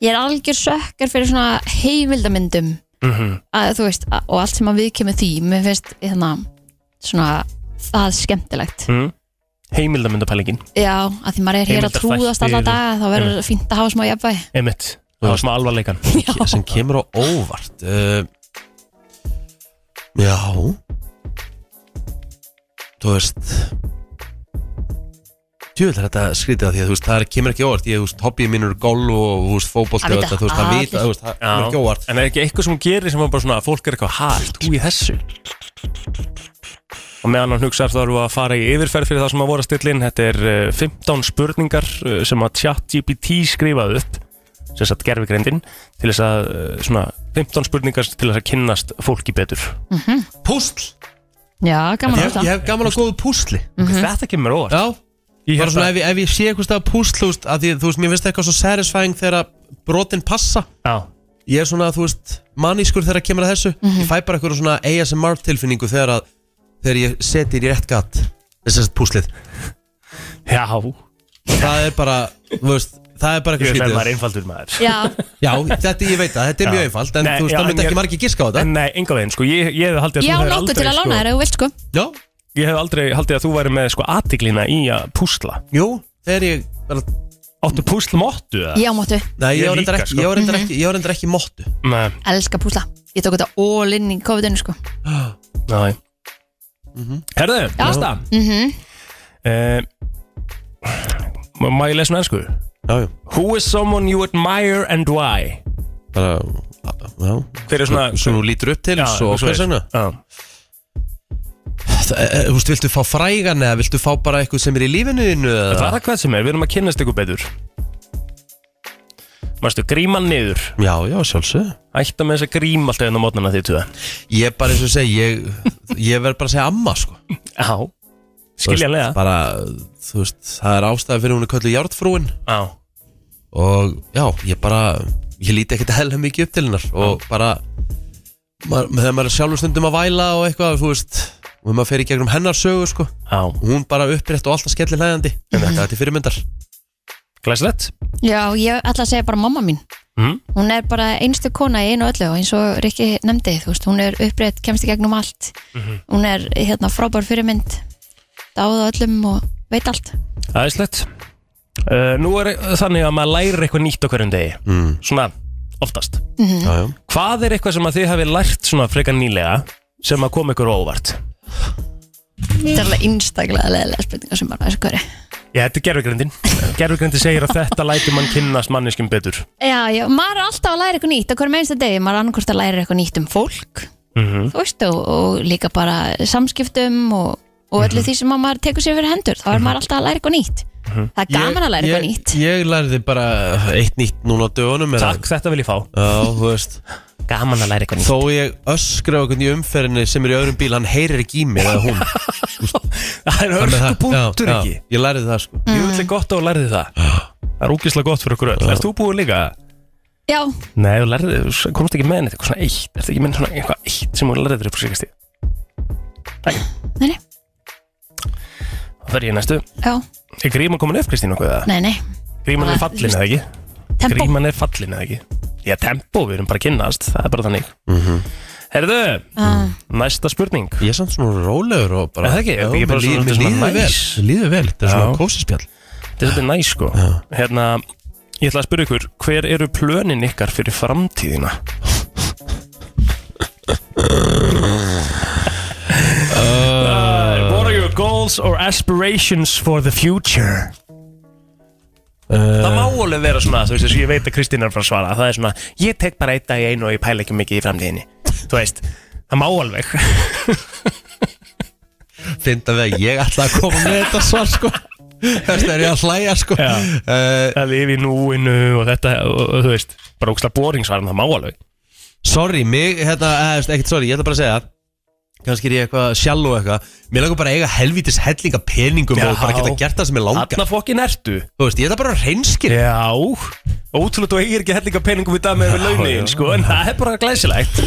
Ég er algjör sökkar fyrir svona heimildamyndum
Mhm.
að, þú veist, að, og allt sem að við kemur því mér finnst hérna, svona það skemmtilegt
mm. Heimildamöndapælingin
já, að því maður er hér að
Heimildaþættir
trúðast alla
og-
daga þá verður fínt að hafa smá jafnvæg
Einmitt, það var smá alvarleikan
Ke- sem kemur á óvart uh, Já Þú veist Tjóðlega þetta skrítið að því að þú veist, það er- kemur ekki óvart Ég, þú veist, hobbyið mín eru golf og, þú veist, fótbolti
Það
og
vita
þetta, þú veist, það
allir.
vita, þú veist, það kemur ekki óvart
En er ekki eitthvað sem hún gerir sem var bara svona að fólk er eitthvað hægt úr í þessu Og meðan hann hugsaðar þá erum við að fara í yfirferð fyrir það sem að voru að stilla inn Þetta er eh, 15 spurningar eh, sem að ChatGPT skrifaði upp sem satt gerfigreindin til þess að eh, svona 15 spurningar til þess að kynnast fólki betur
Púsl
Mhm. Já, gaman
Ég- ég hef gaman að góðu púsli
Mhm.
Þetta kemur óvart
Já,
ég
bara
held
svona
að-
ef, ég- ef ég sé eitthvað stað púsl, þú veist, að því, þú veist, mér finnst eitthvað svo satisfying þegar að brotin passa
Já Mhm.
Ég er svona, þú veist, mannískur þegar að kemur að þessu Ég fæ bara eitthvað svona ASMR tilfinningu þegar að, þegar ég seti í rétt gatt Þess að púslið
Já
Það er bara, þú veist, það er bara
Ég
eitthvað
veit að maður er
skrítið
einfaldur maður
Já,
Já, þetta ég veit að, þetta er mjög einfalt En
Nei,
þú veist,
já,
það myndi
ég-
ekki margir giska á þetta
En nei, enga veginn, sko, ég, ég hef haldið
ég á
að þú hefur
nokkuð
aldrei,
til að lána þér ef þú vilt sko
Já
Ég hef aldrei haldið að þú væri með, sko, aðtiklina í að púsla
Jú, þegar ég
Áttu púslmottu, eða?
Já, mottu. Mhm.
Nei, ég,
Ég
ég, reyndar
líka,
ekki,
sko.
ég, reyndar ekki, ég reyndar ekki mottu
Nei,
Elska púsla Ég tók þetta all in í COVID-19 sko
nei Herðu, næsta
Mhm.
Eh, Má ég lesa um ennsku?
Já, já
Who is someone you admire and why?
Bara, já
Hver er svona
Svo nú lítur upp til,
Já,
svo
svo
hvers
er.
vegna
Já.
Það- eh, Þú veist, viltu fá frægan eða viltu fá bara eitthvað sem er í lífinu þínu
Það er
eða
það hvað sem er, við erum að kynnast ykkur betur Mástu, gríman niður
Já, já, sjálfsög
Ætta með þess að grím alltaf enn á mótnana því tuða
Ég bara eins og segi, ég, ég verð bara að segja amma, sko
Já,
Þú veist,
skiljanlega
Bara, þú veist, það er ástæði fyrir hún er köllu járnfrúin
Já,
og já, ég bara ég líti ekkert heðlega mikið upp til hennar og bara maður, þegar maður er sjálfur stundum að væla og eitthvað þú veist, og maður fer í gegnum hennar sögu sko,
já,
og hún bara upprétt og alltaf skellir hlæðandi, þetta er til fyrirmyndar
glæslegt
Já, ég ætla að segja bara mamma mín
Mhm.
mm.
Hún er bara einstu kona í einu og öllu og eins og Rikki nefndi, þú veist, hún er upprétt kemst í gegnum allt
Mhm.
Hún er hérna frábær fyrirmynd dáð á öllum og veit allt
Æðislegt uh, Nú er þannig að maður lærir eitthvað nýtt á hverjum degi
mm.
Svona, oftast
Mhm.
já, já.
Hvað er eitthvað sem að þið hafi lært svona frekar nýlega sem að kom ykkur á óvart?
Þetta er alveg einstaklega leðilega spurningar sem bara þessu hverju
Já, þetta er gerfugrindin Gerfugrindin segir að þetta læti mann kynnast manneskum betur
Já, já, maður er alltaf að læra eitthvað nýtt á hverju meðinsta degi, maður er annarkvort að læra eitthvað nýtt um fólk,
mm
Mhm.
-hmm.
þú veist, og, og líka bara samskiptum og, og öllu
Mhm.
því sem að maður tekur sér fyrir hendur, þá er maður alltaf að læra eitthvað nýtt
Mhm.
Það er gaman að læra eitthvað nýtt
ég, ég lærði bara eitt nýtt núna á dögunum eða-
Takk, þetta vil ég fá
Já, þú veist,
Gaman að læra eitthvað nýtt
þó ég öskra okkur í umferðinni sem er í öðrum bíl, hann heyrir ekki í mig eða hún
Það er
Þannig að það-
hörku punktur
já,
ekki
já, Ég lærði það
Mm.
sko
Ég vil gott að þú lærði það Það er úkislega gott fyrir okkur öll Erst þú búin líka?
Já,
Nei, þú lærði, þú komst ekki með neitt eitthvað svona eitt Ertu ekki með svona eitthvað eitt sem þú lærði þér upp á síkast
nei, nei,
Það fer ég í næstu
já,
Er gríman komin upp, Kristín, okkur það?
nei, nei
Gríman er
Bara,
fallin eða ekki?
Tempo,
Gríman er fallin eða ekki? Já, tempo, við erum bara að kynnast Það er bara þannig Herðu,
Ah.
næsta spurning
Ég er samt svona rólegur og bara
Er það ekki?
Já,
Ég er bara
mér líður-
svona-
mér
svona
líður vel
næs.
Mér líður vel, þetta er
Já.
svona kósispjall
Þetta er svolítið næ, sko Hérna, ég ætla að spyrja ykkur Hver eru plönin ykkar fyrir framtíðina? Uh, what are your goals or aspirations for the future? Það
Eh.
má alveg vera svona, þú veist, þess að ég veit að Kristín er frá að svara Það er svona, ég tek bara eitt dag í einu og ég pæla ekki mikið í framtíðinni Þú veist, það má alveg
Fynd að vega, ég ætla að koma með þetta svar sko Þess er ég að hlæja sko
Já.
uh,
Það lifi í núinu og þetta, og, og, þú veist, bara ógstlega boringsvaran, það má alveg
Sorry, mig, hérna, eh, ekkert sorry, ég ætla bara að segja Kannski er ég eitthvað sjálf og eitthvað Mér langar bara að eiga helvítis hellinga peningum
Já.
Og bara geta gert það sem ég langar
Þarna fokkin ertu
Þú veist, ég ætla bara að reynskir
Já, ótrúlega þú eigir ekki hellinga peningum í dag með við launin, sko, en það er bara glæsilegt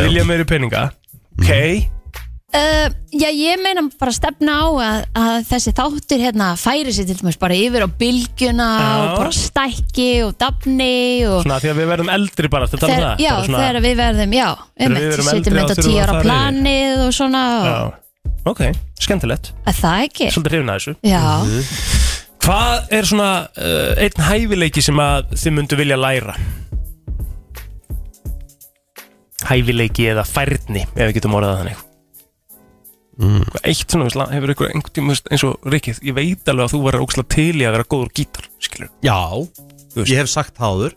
Vilja meiri peninga
Mhm.
Ok,
uh, já, ég meina bara stefna á að, að þessi þáttur hérna færi sér til dæmis bara yfir á bylgjuna
Já.
og bara stækki og dafni og
svona því að við verðum eldri bara, þetta er um
þegar,
það
já,
bara svona-
þegar við verðum, já um
við
eitt,
verðum
setjum
eldri, þá
þetta
þurfum
10
við að
ára
fara yfir.
planið og svona, og,
Já, ok, skemmtilegt
að það ekki
Svolítið hrifin að þessu Mhm.
já,
Hvað er svona uh, einn hæfileiki sem að þið myndu vilja læra? Hæfileiki eða færni, ef við getum orðað það þannig
Mm.
Eitthvað Eitt svona, veist, lag- hefur ykkur einhvern tíma veist, eins og Rikið, ég veit alveg að þú verður ógslag til í að vera góður gítar, skilur
Já, ég hef sagt það áður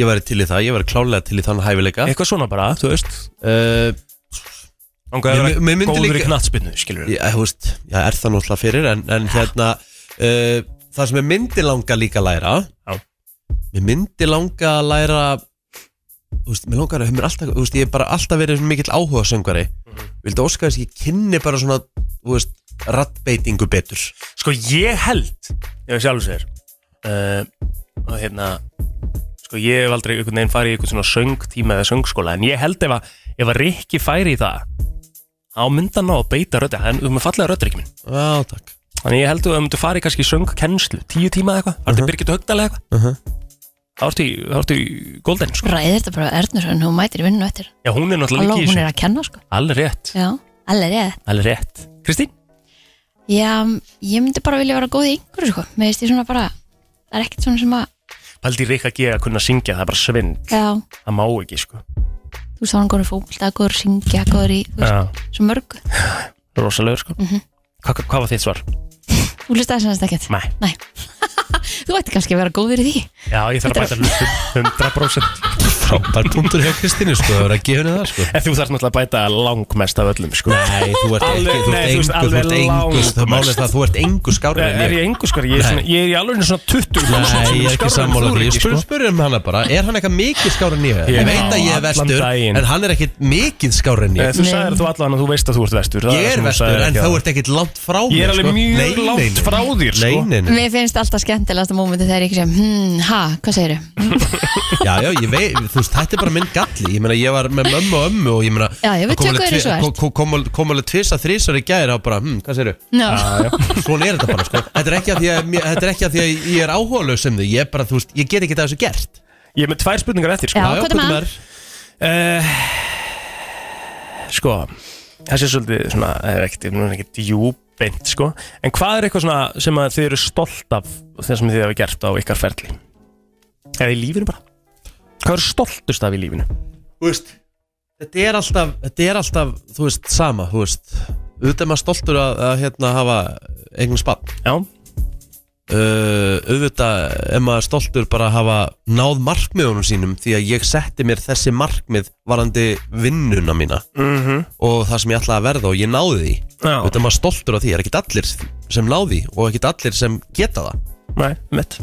Ég væri til í það, ég væri klálega til í þann hæfileika
Eitthvað svona bara, þú veist
uh,
Langaði að vera góður í knattspyrnu,
skilur Já, þú veist, já, er það náttúrulega fyrir En, en hérna, uh, það sem ég myndi langa líka að læra
Já
Mér myndi langa að læra Þú veist, mér langar að mér alltaf Þú veist, ég hef bara alltaf verið svona mikill áhuga söngvari
Mhm.
Vildi óska þess að ég kynni bara svona Þú veist, rattbeitingu betur
Sko, ég held Ég veist sjálf sér uh, Og hérna Sko, ég hef aldrei einhvern veginn farið í einhvern svona söngtíma eða söngskóla En ég held ef að, ef að Rikki færi í það Á mynda ná að beita röddi Hann um að fallega röddi ekki minn
Já, takk
Þannig ég held að þú myndir farið kannski í söngkennslu Tíu tíma eða eitthvað, farið til Birgit Högdal eða eitthvað
uh -huh.
Þá ertu í, þá ertu í Golden sko.
Ræði þetta bara Ernursson, hún mætir í vinninu eftir
Já, hún er náttúrulega
Halló,
líka í
hún er
þessu
að kenna sko
Allir rétt,
Já, alveg rétt
allir rétt Kristín?
Já, ég myndi bara vilja vera góð í einhverju sko Mér veist ég svona bara Það er ekkert svona sem að
Paldi Rikka G að kunna syngja, það er bara svind
Já,
Það má ekki, sko
þú veist þá er hann góður í fókbalta, góður í syngja, góður í þú
Já.
veist, Svo mörgu
Rosalegur, sko
Mhm.
Hva- hva- Hvað var þitt svar?
Þú list aðeins aðeins ekkert
Nei.
Þú ætti kannski að vera góður í því
Já, ég þarf að bæta hlustum 100%
Frábær punktur hjá Kristínu sko, að vera að gefa henni það sko
En þú þarf náttúrulega að bæta langmest af öllum sko
Nei, þú ert ekki, þú ert engu, þú ert engu, það er málið það að þú ert engu skárið en
Er ég engu skar? Ég er,
Nei.
svona, ég er í alveg svona 20
Nei, ég er ekki sammála því, ég
sko.
spurði spurði um hana bara, er hann eitthvað mikið skárið en ég?
Ég-
Ég veit að ég er
allan
vestur,
daginn.
en hann er ekkit mikið skárið en
Eh,
ég
Þú sagðir þú allan að þú veist að þú ert vestur það það
Ég er
sem þú
vestur,
sagðir
en
ekki
þú
áðan.
ert ekkit langt frá
Ég er
mér,
alveg
sko.
mjög
Nei, nei,
langt
nei, nei.
frá þér, sko.
Nei, nei, nei,
Mér finnst alltaf skemmtilegasta mómenti þegar ég ekki sem hmm, ha, hvað segir
já, já, ég veit, þú veist, þetta er bara minn galli Ég meina, ég var með mömmu og ömmu og ég meina
Já, já, við
það kom
tökum
alveg
þér
tvi-
eins og
kom- kom- kom- Kom alveg tvisa þrísar í gæri og bara, hm, hvað segirðu?
Já.
Svona er þetta bara sko Þetta er ekki að því að, mér, þetta er ekki að, því að ég er áhugaðlaus sem þau Ég er bara, þú veist, ég get ekki það þessu gert
Ég er með tvær spurningar eftir sko
Já, Já, hvað er hvað er maður?
Eh, Sko Það sé svolítið svona Það er ekkert, nú er ekkert djúbeint sko En hvað er eitthvað svona sem að þið eru stolt af Það sem þið hefur gert á ykkar ferli Eða í lífinu bara Hvað eru stoltust af í lífinu?
Þú veist Þetta er alltaf, þetta er alltaf, þú veist, sama Þú veist, auðvitað er maður stoltur að, að hérna hafa eigin spann Uh,
Já
Auðvitað er maður stoltur bara að hafa náð markmiðunum sínum Því að ég setti mér þessi markmið varandi vinnuna mína
Mhm.
Og það sem ég ætlaði að verða og ég náði því
Já.
Auðvitað er maður stoltur á því, er ekkit allir sem náði því Og ekkit allir sem geta það
Nei, mitt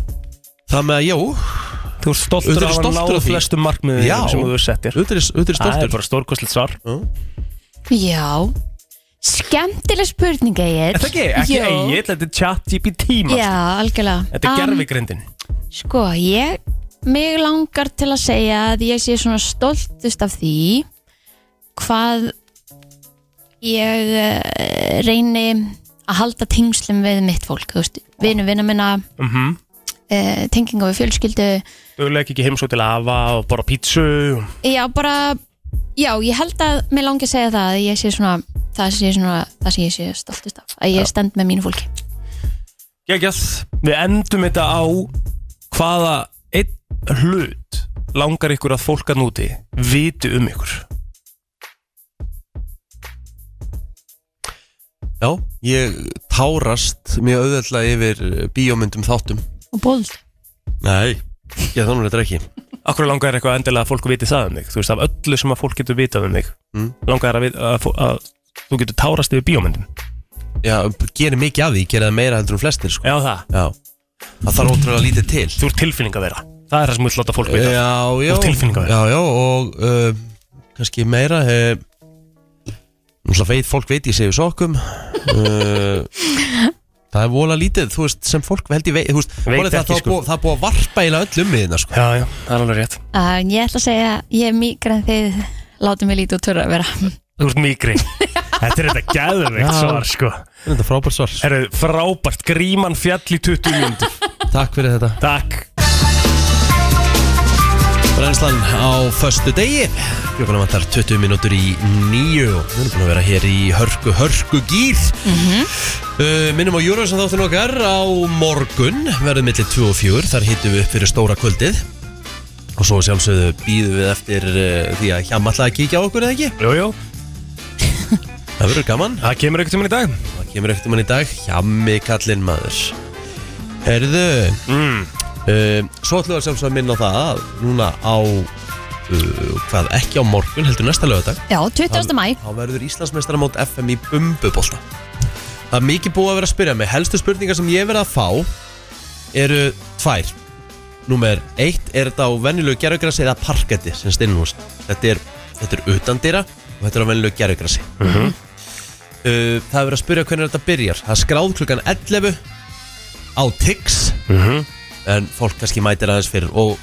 Það með að, jú
Þú ert stoltur af að ná flestum markmiðum sem þú hefur settir.
Þú ert stoltur
Það er bara stórkostlegt svar
þau? Já, skemmtileg spurning Egil
Þetta ekki, ekki eigið, þetta er chat GPT manstu.
Já, algjörlega
Þetta er
Am,
gerfigrindin
Sko, ég mig langar til að segja að ég sé svona stoltust af því hvað ég uh, reyni að halda tengslum við mitt fólk, þú veist, vinu vinna minna
mm -hmm.
uh, tenginga við fjölskyldu
ekki í heimsók til afa og borða pítsu
Já, bara, já, ég held að mér langi að segja það að ég sé svona það sé svona, það sé ég sé stoltust af að ég stend með mínu fólki
Gægjað, við endum þetta á hvaða einn hlut langar ykkur að fólk að núti viti um ykkur
Já, ég tárast mjög auðveldlega yfir bíómyndum þáttum
og bóld
Nei, ég þannig þetta ekki
Akkur langar eitthvað endilega að fólk viti það um þig Þú veist, af öllu sem að fólk getur vitað um þig
Mm.
Langar að, vit- að, fó- að þú getur tárast yfir bíómyndin
Já, gerir mikið af því, gerir það meira heldur um flestir sko.
Já, það
Já, það þarf ótrúlega lítið til
Þú ert tilfinning að vera Það er það sem við láta fólk vita
Já, já
Og tilfinningar.
Já, já, og uh, kannski meira uh, Náttúrulega veit, fólk veit ég segjum sokkum uh, Það er vola lítið, þú veist, sem fólk held ég veit Þú veist,
Veit
málið það,
ekki,
það,
sko.
sko. það er búið að varpa eiginlega öll um við hérna sko.
Já, já, það er alveg rétt
uh, Ég ætla að segja, ég er mýgra en þið látið mig lítið og törra að vera
Þú ert mýgri Þetta er þetta gæðveikt
Já.
svar, sko
Þetta er frábært svar
Herru, frábært, gríman fjall í 20 mínútur
Takk fyrir þetta
Takk
Brænslan á föstu degi Klukkan vantar 20 mínútur í nýju og við erum búin að vera hér í hörku, hörku gýr
Mhm.
uh, Minnum á Júruvísan þáttin okkar á morgun verðum millir 2 og 4 þar hittum við upp fyrir stóra kvöldið og svo sjálfsögðu eh, býðum við eftir uh, því að hjá alltaf að kíkja á okkur eða ekki
Jú, jú
Það verður gaman Það kemur ekkert um hann í dag Það kemur ekkert um hann í dag Hjammi kallinn maður Herðu mm. Svo ætlum við að sjálfsög að minna á það að Núna á uh, Hvað ekki á morgun heldur næsta lögadag
Já, 20.
Hann-
mæ
Þá verður Íslandsmeistaramót FM í bumbubólta Það er mikið búið að vera að spyrja mig Helstu spurningar sem ég verið að fá Eru tvær Númer eitt er þetta á venjulegu gerðugrassi eða parketti sem stinnum Þetta er, þetta er utan dýra og þetta er á venjulegu gerðugrassi
Mhm.
uh, Það er verið að spyrja hvernig þetta byrjar Það er skráð klukkan 11 á Tix
Mhm.
En fólk kannski mætir aðeins fyrir Og,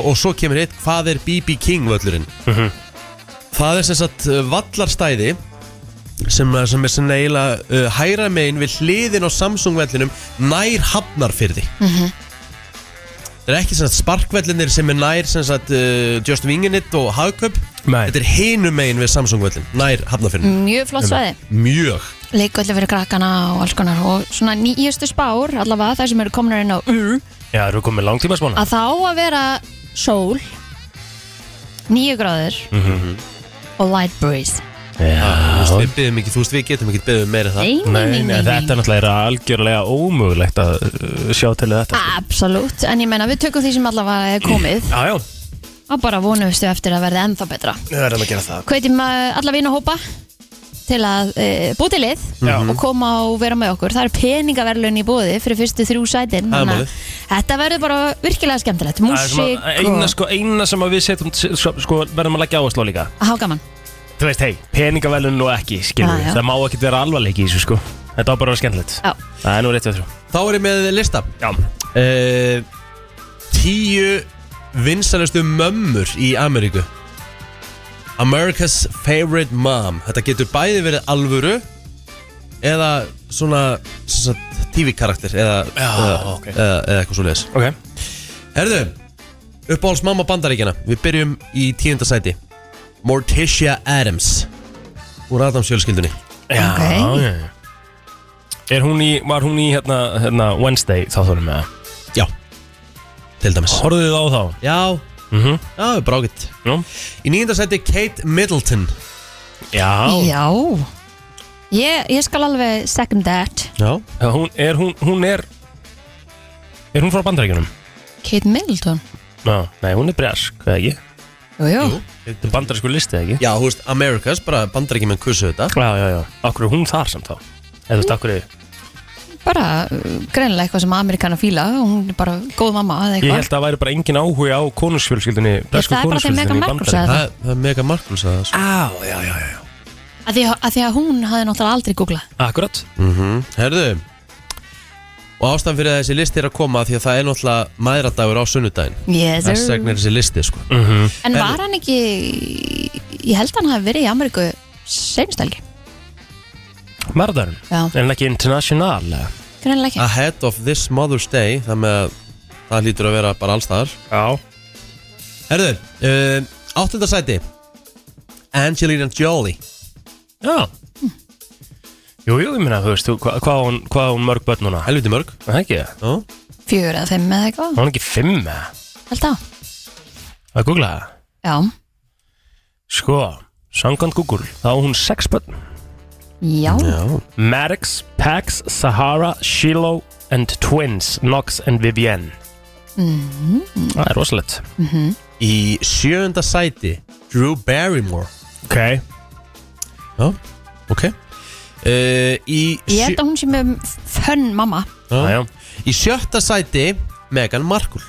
og svo kemur hitt Hvað er BB King völlurinn?
Mhm.
Það er sem sagt uh, vallarstæði sem, uh, sem er sem eiginlega uh, hæra megin við hliðin á Samsung-vellinum nær hafnarfyrði
Mhm.
Það er ekki sem sagt sparkvellinir sem er nær sem sagt uh, Just Winginit og Hagköp Nei. Þetta er hinum megin við Samsung-vellin nær hafnarfyrði
Mjög flott svæði.
Mjög
leikvöldi fyrir krakkana og alls konar og svona nýjustu spár, allavega þær sem eru komnar inn á UR,
Já, erum við komið langtíma
Ah.
smána?
að þá að vera sól nýju gráður
Mhm.
og light breeze
Já, þú veist, við byggum ekki, þú veist, við getum ekki byggum meira en það
Nei, nei, nei, nei, nei.
þetta er náttúrulega algjörlega ómögulegt að uh, sjá til þetta
Absolutt, en ég menna við tökum því sem allavega er komið
Já, já, Mm.
og bara vonumstu eftir að verða ennþá betra
við verðum að gera það
Hveitum alla vina hópa til að e, búi til lið
Já.
og koma og vera með okkur. Það er peningaverlun í bóði fyrir fyrstu þrjú sætin. þannig
Það er
að
málið.
Þetta verður bara virkilega skemmtilegt. Músík
Það er sem að- eina,
og
sko, eina sem að við setjum sko, sko, verðum að leggja áherslu á líka
að hafa gaman.
Þú veist, hei, peningavelun og ekki, skilur
Ah, Já, já.
við Það má ekkert vera alvarleiki í þessu, sko Þetta á bara að vera skemmtilegt
Já.
Það er nú rétt við þrjú
Þá er ég með lista Eh,
Já
Tíu vinsalustu mömmur í Ameríku America's favorite mom Þetta getur bæði verið alvöru Eða svona, svona TV-karakter Eða,
Já,
eða,
ok.
eða, eða eitthvað svo leiðis
Ok
Herðu, uppáhalds mamma bandaríkjana Við byrjum í tíunda sæti Morticia Adams Úr Adams fjölskyldunni
Já,
Ok.
Ah, já, já. Er hún í, var hún í hérna, hérna Wednesday þá þórum með það?
Já, til dæmis
Horfðu þið á þá?
Já
mm -hmm.
Já, brákitt Í nýjunda sæti Kate Middleton
Já
Já. Ég, ég skal alveg second that.
Já
Hún er, hún, hún er Er hún frá bandaríkjunum?
Kate Middleton.
Já, nei, hún er bresk, eða ekki?
Jú, jú.
Þetta er bandarísku listið, ekki?
Já, þú veist, Americas, bara bandaríkjum en kussu þetta
Já, já, já, okkur er hún þar samt þá Eða þú veist, okkur er
Bara uh, greinilega eitthvað sem Amerikana fíla. Hún er bara góð mamma eða
Ég
eitthvað.
held að það væri bara engin áhuga á konungsfjölskyldinni Bresku
það er bara þeim
konungsfjölskyldinni
Meghan
í
Markle sagði
bandaríkjunum
það.
Það er mega markul að það sko.
Á, já, já, já
Að því, að því að hún hafði náttúrulega aldrei googlað.
Akkurat
mm Herðu Og ástæðan fyrir að þessi listi er að koma Því að það er náttúrulega mæðradagur á sunnudaginn
Yes, sir.
Þess vegna er þessi listi, sko mm
Mhm.
-hmm.
En var hann ekki, ég held að hann hafi verið í Ameríku seinstælgi.
Marðarinn
Já.
Er hann ekki international? eða?
Greinilega ekki.
Ah.
Ahead of this Mother's Day Það með að það hlýtur að vera bara allstaðar
Já
Herðu, uh, áttunda sæti Angelina Jolie
Já Jú, jú, ég meina, þú veist, þú- hva- hvað á hún, hvað á hún mörg börn núna?
Helviti mörg
Það ekki,
já
Fjögur eða fimm eða eitthvað.
Hún er ekki fimm, eða?
Held að.
að googla það
Já.
Sko, samkvæmt Google, þá á hún sex börn
Já.
Maddox, Pax, Sahara, Shiloh and Twins, Knox and Vivienne
Mm
Það er rosalegt
-hmm.
Í sjöunda sæti Drew Barrymore
Ok
Já, ok uh, Í
Ég held að hún sé með fönn mamma.
Já. Í sjötta sæti Meghan Markle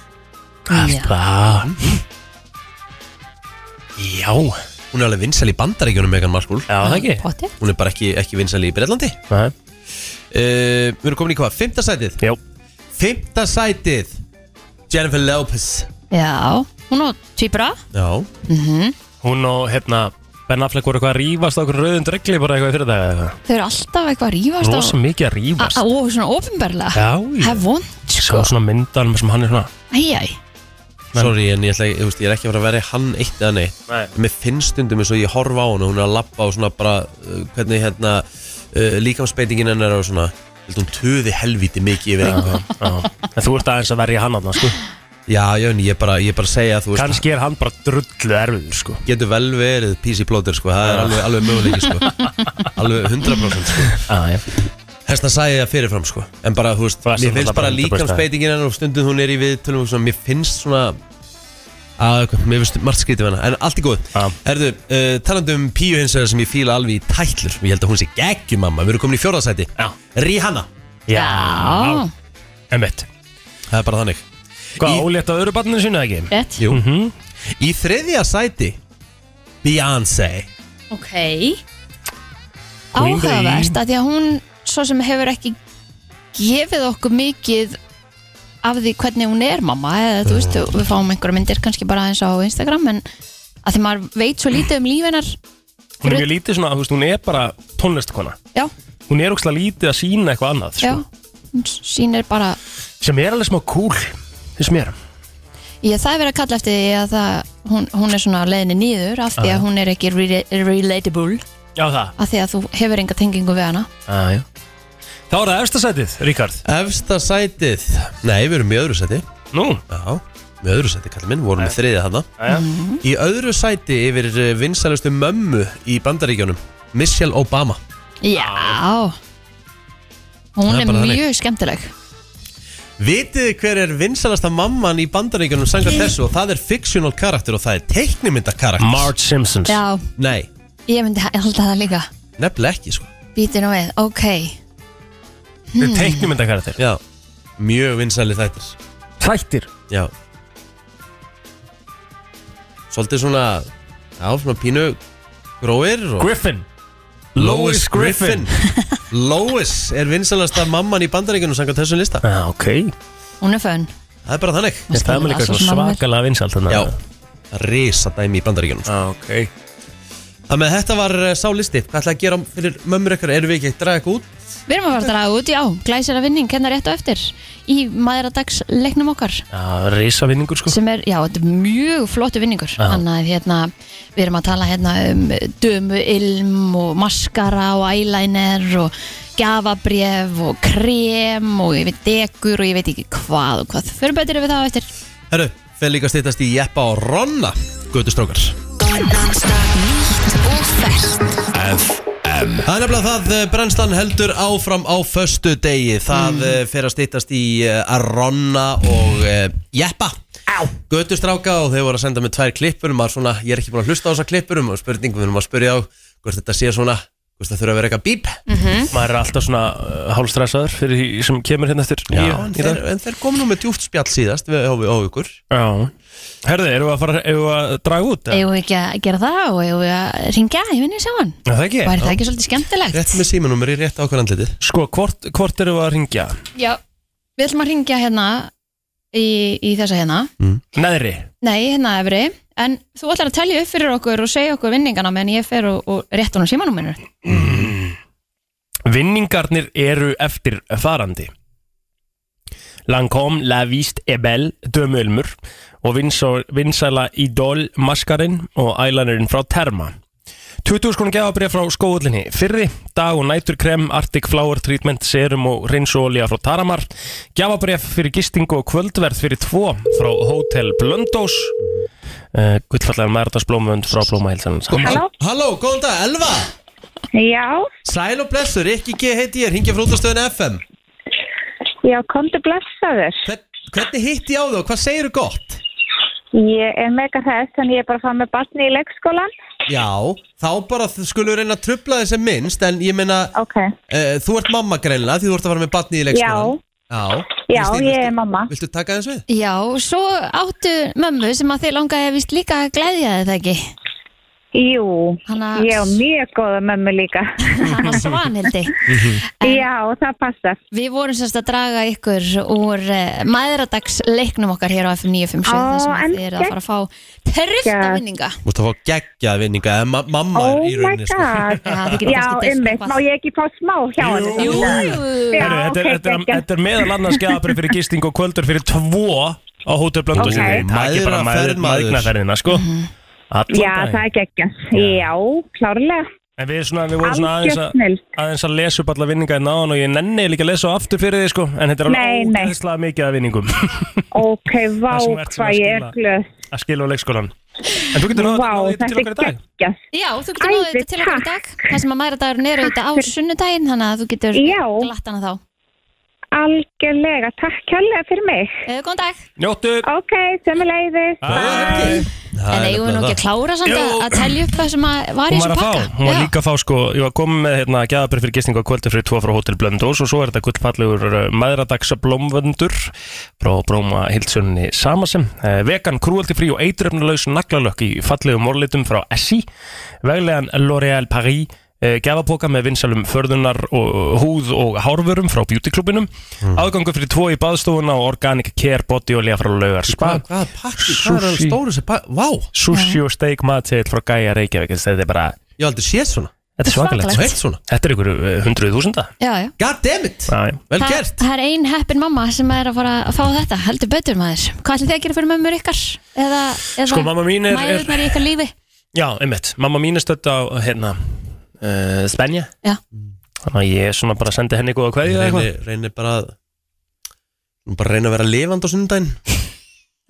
Alltaf Já
Hún er alveg vinsæl í bandaríkjunum Meghan Markle
Já, það ekki.
Pottþétt.
Hún er bara ekki, ekki vinsæl í Breitlandi
Nei
uh, Við erum komin í hvað? Fymta sætið?
Já
Fymta sætið Jennifer Lopez
Já. Hún á tvíbra.
Já
Mm
Hún og hérna Ben Affleck voru eitthvað að rífast á okkur rauðum dregli bara eitthvað fyrir dag eða
Þau eru alltaf eitthvað að rífast
eitthvað Rosa mikið að rífast
Og svona ofinberlega.
Já, já.
Það er vond.
Svo svona myndan sem hann er svona
Æjæj.
Sorry, en ég, ætla, ég, veist, ég er ekki að fara að vera hann eitt eða neitt
Nei.
Mér finnst stundum eins og ég horfa á hann og hún er að lappa og svona bara uh, hvernig hérna uh, líkamsbeitingin hennar og svona Held hún töði helviti mikið yfir
Já,
einhvern
En þú ert aðeins að verja hann aðna, sko
Já, já, en ég er bara, ég er bara að segja þú veist,
Kannski er hann bara drullu erfiður sko.
Getur vel verið písi plóter sko. Það er
Já.
alveg, alveg möguleiki sko. Alveg 100% sko. ah, Þess að sagði það fyrirfram sko. En bara, þú veist,
Fast
mér
náttúrulega
finnst bara um
bara 100%
líkamsbeitingin hennar Og stundum hún er í viðtölum og svona, Mér finnst svona að, Mér finnst margt skrítið hennar En allt er góð ah. Erðu, uh, talandi um píu hins vegar sem ég fíla alveg í tætlur Ég held að hún sé geggjumamma Við erum komin í fjórðasæti ah. Rihanna
Já.
Emmett
Það er bara þannig
Hvað, ólétt af öðru barninu sinni eða ekki? Mhm.
Rétt.
Jú Í þriðja sæti Beyoncé
Ok
Queen
Áhugavert
Bee.
að því að hún svo sem hefur ekki gefið okkur mikið af því hvernig hún er mamma eða þú veist, við fáum einhverja myndir kannski bara aðeins á Instagram en að því maður veit svo lítið um lífinar
Hún er mjög lítið svona, þú veist, hún er bara tónlistkona
Já.
Hún er ógslag lítið að sína eitthvað annað
já,
sko.
hún sýnir bara
Sem er alveg smá cool Þess mér
ég það er verið að kalla eftir því að það, hún, hún er svona á leiðinni nýður af því
Já.
að hún er ekki re relatable
Já, það
af því að þú hefur enga tengingu við hana
ah, Þá er það efsta sætið, Ríkard
Efsta sætið Nei, við erum í öðru sæti
Nú?
Já, við öðru sæti, kallar minn, vorum með þriðið hana
Jæja.
Í öðru sæti yfir eh, vinsælustu mömmu í bandaríkjónum Michelle Obama
já hún
Það er
er,
bara þannig.
mjög skemmtileg
Vitið þið hver er vinsælasta mamman í bandaríkjónum sangar þessu og það er fictional karakter og það er teiknimynda karakter
Marge Simpsons
já,
Nei,
Ég myndi ha- halda það líka
nefnilega ekki sko
Býti nú við, ok
Þetta er teiknumyndakarættir
Já, mjög vinsæli þættir
Þættir
Já Svolítið svona Já, svona pínu gróir og...
Griffin
Lois Griffin Lois er vinsalasta mamman í bandaríkunum samkvæmt þessum lista
ah, Ok
Hún er fönn
Það er bara þannig
Ég
Það er með líka
Svo
eitthvað
sem alveg.
svakalega vinsalt þarna.
Já, risa dæmi í bandaríkunum sko.
ah, Ok
Það með þetta var eh, sá listi Hvað ætlaði að gera fyrir mömmur ykkur? Erum við ekki að draga eitthvað út?
Við erum að fara að draga út, já, glæsir að vinning Kenna rétt á eftir í maðuradagsleiknum okkar
Já, risavinningur sko
sem er, já, þetta er mjög flottu vinningur
Já.
þannig að hérna, við erum að tala hérna um dömu ilm og maskara og eyeliner og gafabref og krem og ég veit degur og ég veit ekki hvað og hvað, fyrir betur við það á eftir
Herru, fyrir líka að stýttast í Jeppa og Ronna Götustrókar Það er nefnilega það, eh, brennslan heldur áfram á föstu degi Það mm. fer að stýttast í eh, Ronna og eh, Jeppa Götustráka og þau voru að senda mig tvær klippur maður svona, ég er ekki búin að hlusta á þessar klippur og spurningum við erum að spyrja á hvort þetta sé svona hvort það þurfa að vera eitthvað bíp
Maður er alltaf svona uh, hálstressaður fyrir því sem kemur hérna eftir
Já,
í-
en
í dag.
þeir, en þeir komu nú með djúft spjall síðast við, á, á ykkur
Já Herði, erum við að fara, erum við að draga út? eða?
Eigum við ekki að gera það og eigum við að ringja í vinning saman
Já, Það ekki?
Væri það ekki svolítið skemmtilegt?
Rétt með símanúmer í rétt ákvæðan andlitið
Sko, hvort, hvort erum við að ringja?
Já, við ætlum að ringja hérna í, í þessa hérna
Mm.
Neðri
Nei, hérna efri En þú ætlar að telja upp fyrir okkur og segja okkur vinningana meðan ég fer og, og rétt honum símanúminu
Vinningarnir eru eftir farandi Lancôme, La Viste, Ebel, Dömölmur og vinsó- vinsæla Idol, Maskarinn og Eyelinerinn frá Terma 20 skonum gefabrið frá skóðlinni fyrri, dag og næturkrem, Arctic Flower Treatment, serum og reynsóolía frá Taramar, gefabrið fyrir gistingu og kvöldverð fyrir tvo frá Hotel Blöndós uh, gullfallega mærdagsblómönd frá Blómahilsanans Halló
Sko, Halló, góðan dag, Elva
Já,
Sæl og blessur, Rikki G heiti ég, hringja frá útastöðun FM
já, komdu blessaður.
Hvern, Hvernig hitti ég á þú og hvað segirðu gott?
Ég er mega þess, en ég er bara að fara með barni í leikskólan.
Já, þá bara þ- skulum við reyna að trubla þessi minnst en ég meina,
Ok,
uh, þú ert mamma greinlega því þú ert að fara með batni í leikskólan Já,
já,
Kristín,
ég
viltu-
er mamma.
Viltu taka þessu við?
Já, svo áttu mömmu sem að þið langaði vist líka að gleðja þið það ekki
Jú,
Hanna,
ég er mjög góða mömmu líka.
hanna Svanhildi
já, það passar.
Við vorum semst að draga ykkur úr uh, maðuradagsleiknum okkar hér á FM 957
Ó,
þar sem að
en
þið eru að fara að fá tröfta
geggjað.
vinninga
Þú ert að fá geggjað vinninga eða ma mamma
Oh
er í
my
rauninni sko.
god.
Já, þið getur
Já,
kannski deilt
ummitt,
eitthvað.
má ég ekki fá smá hjá hann?
Jú, jú.
Já,
Heru, þetta, er,
ok,
þetta, er,
geggjað.
þetta er meðal annars geðabrið fyrir gisting og kvöldur fyrir tvo á Hotel Blöndu
Ok. Mhm.
Takk bara
Mæðraferð, maður.
maður Mægnaferðina sko Allan
Já, það
daginn.
er geggjast. Já, klárlega.
En við, svona, við vorum svona aðeins,
Algjör
að, aðeins að lesa upp alla vinninga í náðan og ég nenni líka að lesa á aftur fyrir þig sko en þetta er
Nei,
alveg
nei.
ógeðslega mikið af vinningum
Ok, vá,
sem þú ert sem
hvað
að
ég er
skila.
glöð.
að skilja á leikskólan En þú getur náðu
Vá,
náðu þetta til
þetta
okkar
er
í dag
geggjast.
Já, þú getur náðu þetta til okkur í dag Það sem að mæðradagurinn er auðvitað á sunnudaginn Þannig að þú getur
Já.
glatt hana þá
Algjörlega, takk kærlega fyrir mig.
Eh, Góðan dag
Njóttu
Ok, sömuleiðis.
Bye.
En eigum við nú ekki að klára samt að, að telja upp það sem að var í
Hún var
þessum
að
pakka
fá, hún var
Já.
líka að fá sko, ég var komið með hérna gæðabrið fyrir gistingu á kvöldi fyrir tvo frá Hotel Blöndós og svo er þetta gullfallegur maðuradags blómvöndur frá Bróma Hildsönni Samasem eh, vegan krúaldi frí og eitröfnulegs naglalökk í fallegum orlitum frá Essi veglegan L'Oréal Paris eh, gjafapoka með vinsalum förðunar og uh, húð og hárvörum frá beautyklubinum mm. aðgangu fyrir tvo í baðstofuna og organic care body olja frá laugar spa
Hvað pakki, hvað er hann stóru sem pakki? Vá!
sushi og steak matseil frá Gæja Reykjavík þetta er bara
Ég hef aldrei séð svona
Þetta er svakalegt
Svakalegt. Sveitt svona.
Þetta er ykkur hundruð þúsunda
Já, já
Goddammit
Vel
Það-
gert
Það er ein heppin mamma sem er að fara að fá þetta heldur betur maður Hvað ætlum þið að gera fyrir mömmur ykkar? Eða, eða
Sko, mamma mín er- er-
Mæðurnar í ykkar lífi
Já, einmitt Mamma mín er stödd á hérna uh, Spenja
Já.
Þannig að ég er svona bara að senda henni góða kveðju eða
Reyni,
eitthvað
reyni bara að Nú bara reyna að vera lifandi á sundaginn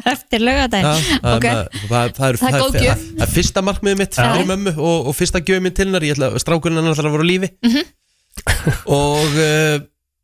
Eftir lögadaginn
það,
Ok.
uh,
það, það, það, er-
Það er góð
það,
gjöf.
það, það er fyrsta markmiðið mitt
Já.
fyrir mömmu og, og fyrsta gjöfum minn til hennar Ég ætla að strákurinn hennar ætlar að vera á lífi
Mhm.
Og uh,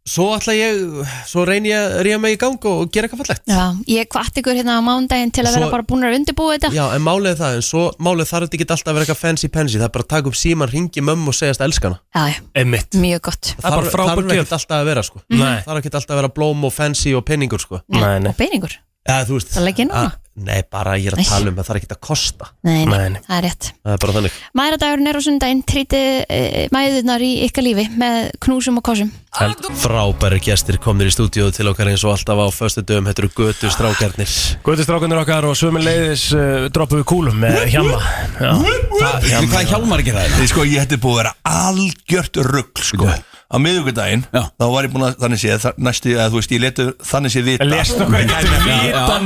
svo ætla ég Svo reyni ég að ríða mig í gang og, og gera eitthvað fallegt
Já, ég kvart ykkur hérna á mándaginn til að
Svo-
vera bara búin að undirbúa þetta
Já, en málið er það, en svo málið þarf þetta ekki alltaf að vera eitthvað fancy pansy Það er bara að taka upp síman, ringi mömmu og segjast elskana
Já, já,
Einmitt
mjög gott
Það þarf- þarf ekkert alltaf að vera sko
Nei.
Það er ekkert alltaf að vera blóm og fancy og penningur sko
Nei, nei.
Og beiningur,
ja, þú veist,
það legg ég núna
að- Nei, bara ég er að tala um að það er ekkert að kosta
Nei, nei,
nei.
það er rétt
Það er bara þannig
Mæðradagurinn er á sundaginn, trítið e, mæðurnar í ykkar lífi með knúsum og kosum
Held Frábæri gestir komnir í stúdíóð til okkar eins og alltaf á föstu dögum Þetta eru götu strákarnir
Guðið strákunnir okkar og svömmin leiðis uh, droppu við kúlum með hjama Já, það,
Veitir hvað hjálmar ekki það er? Sko, ég hætti búið að vera algjört rugg sko. Á miðvíkudaginn, þá var ég búin að þannig séð þa- næstu, eða þú veist, ég letu þannig séð vita
Lest okkur ekki vita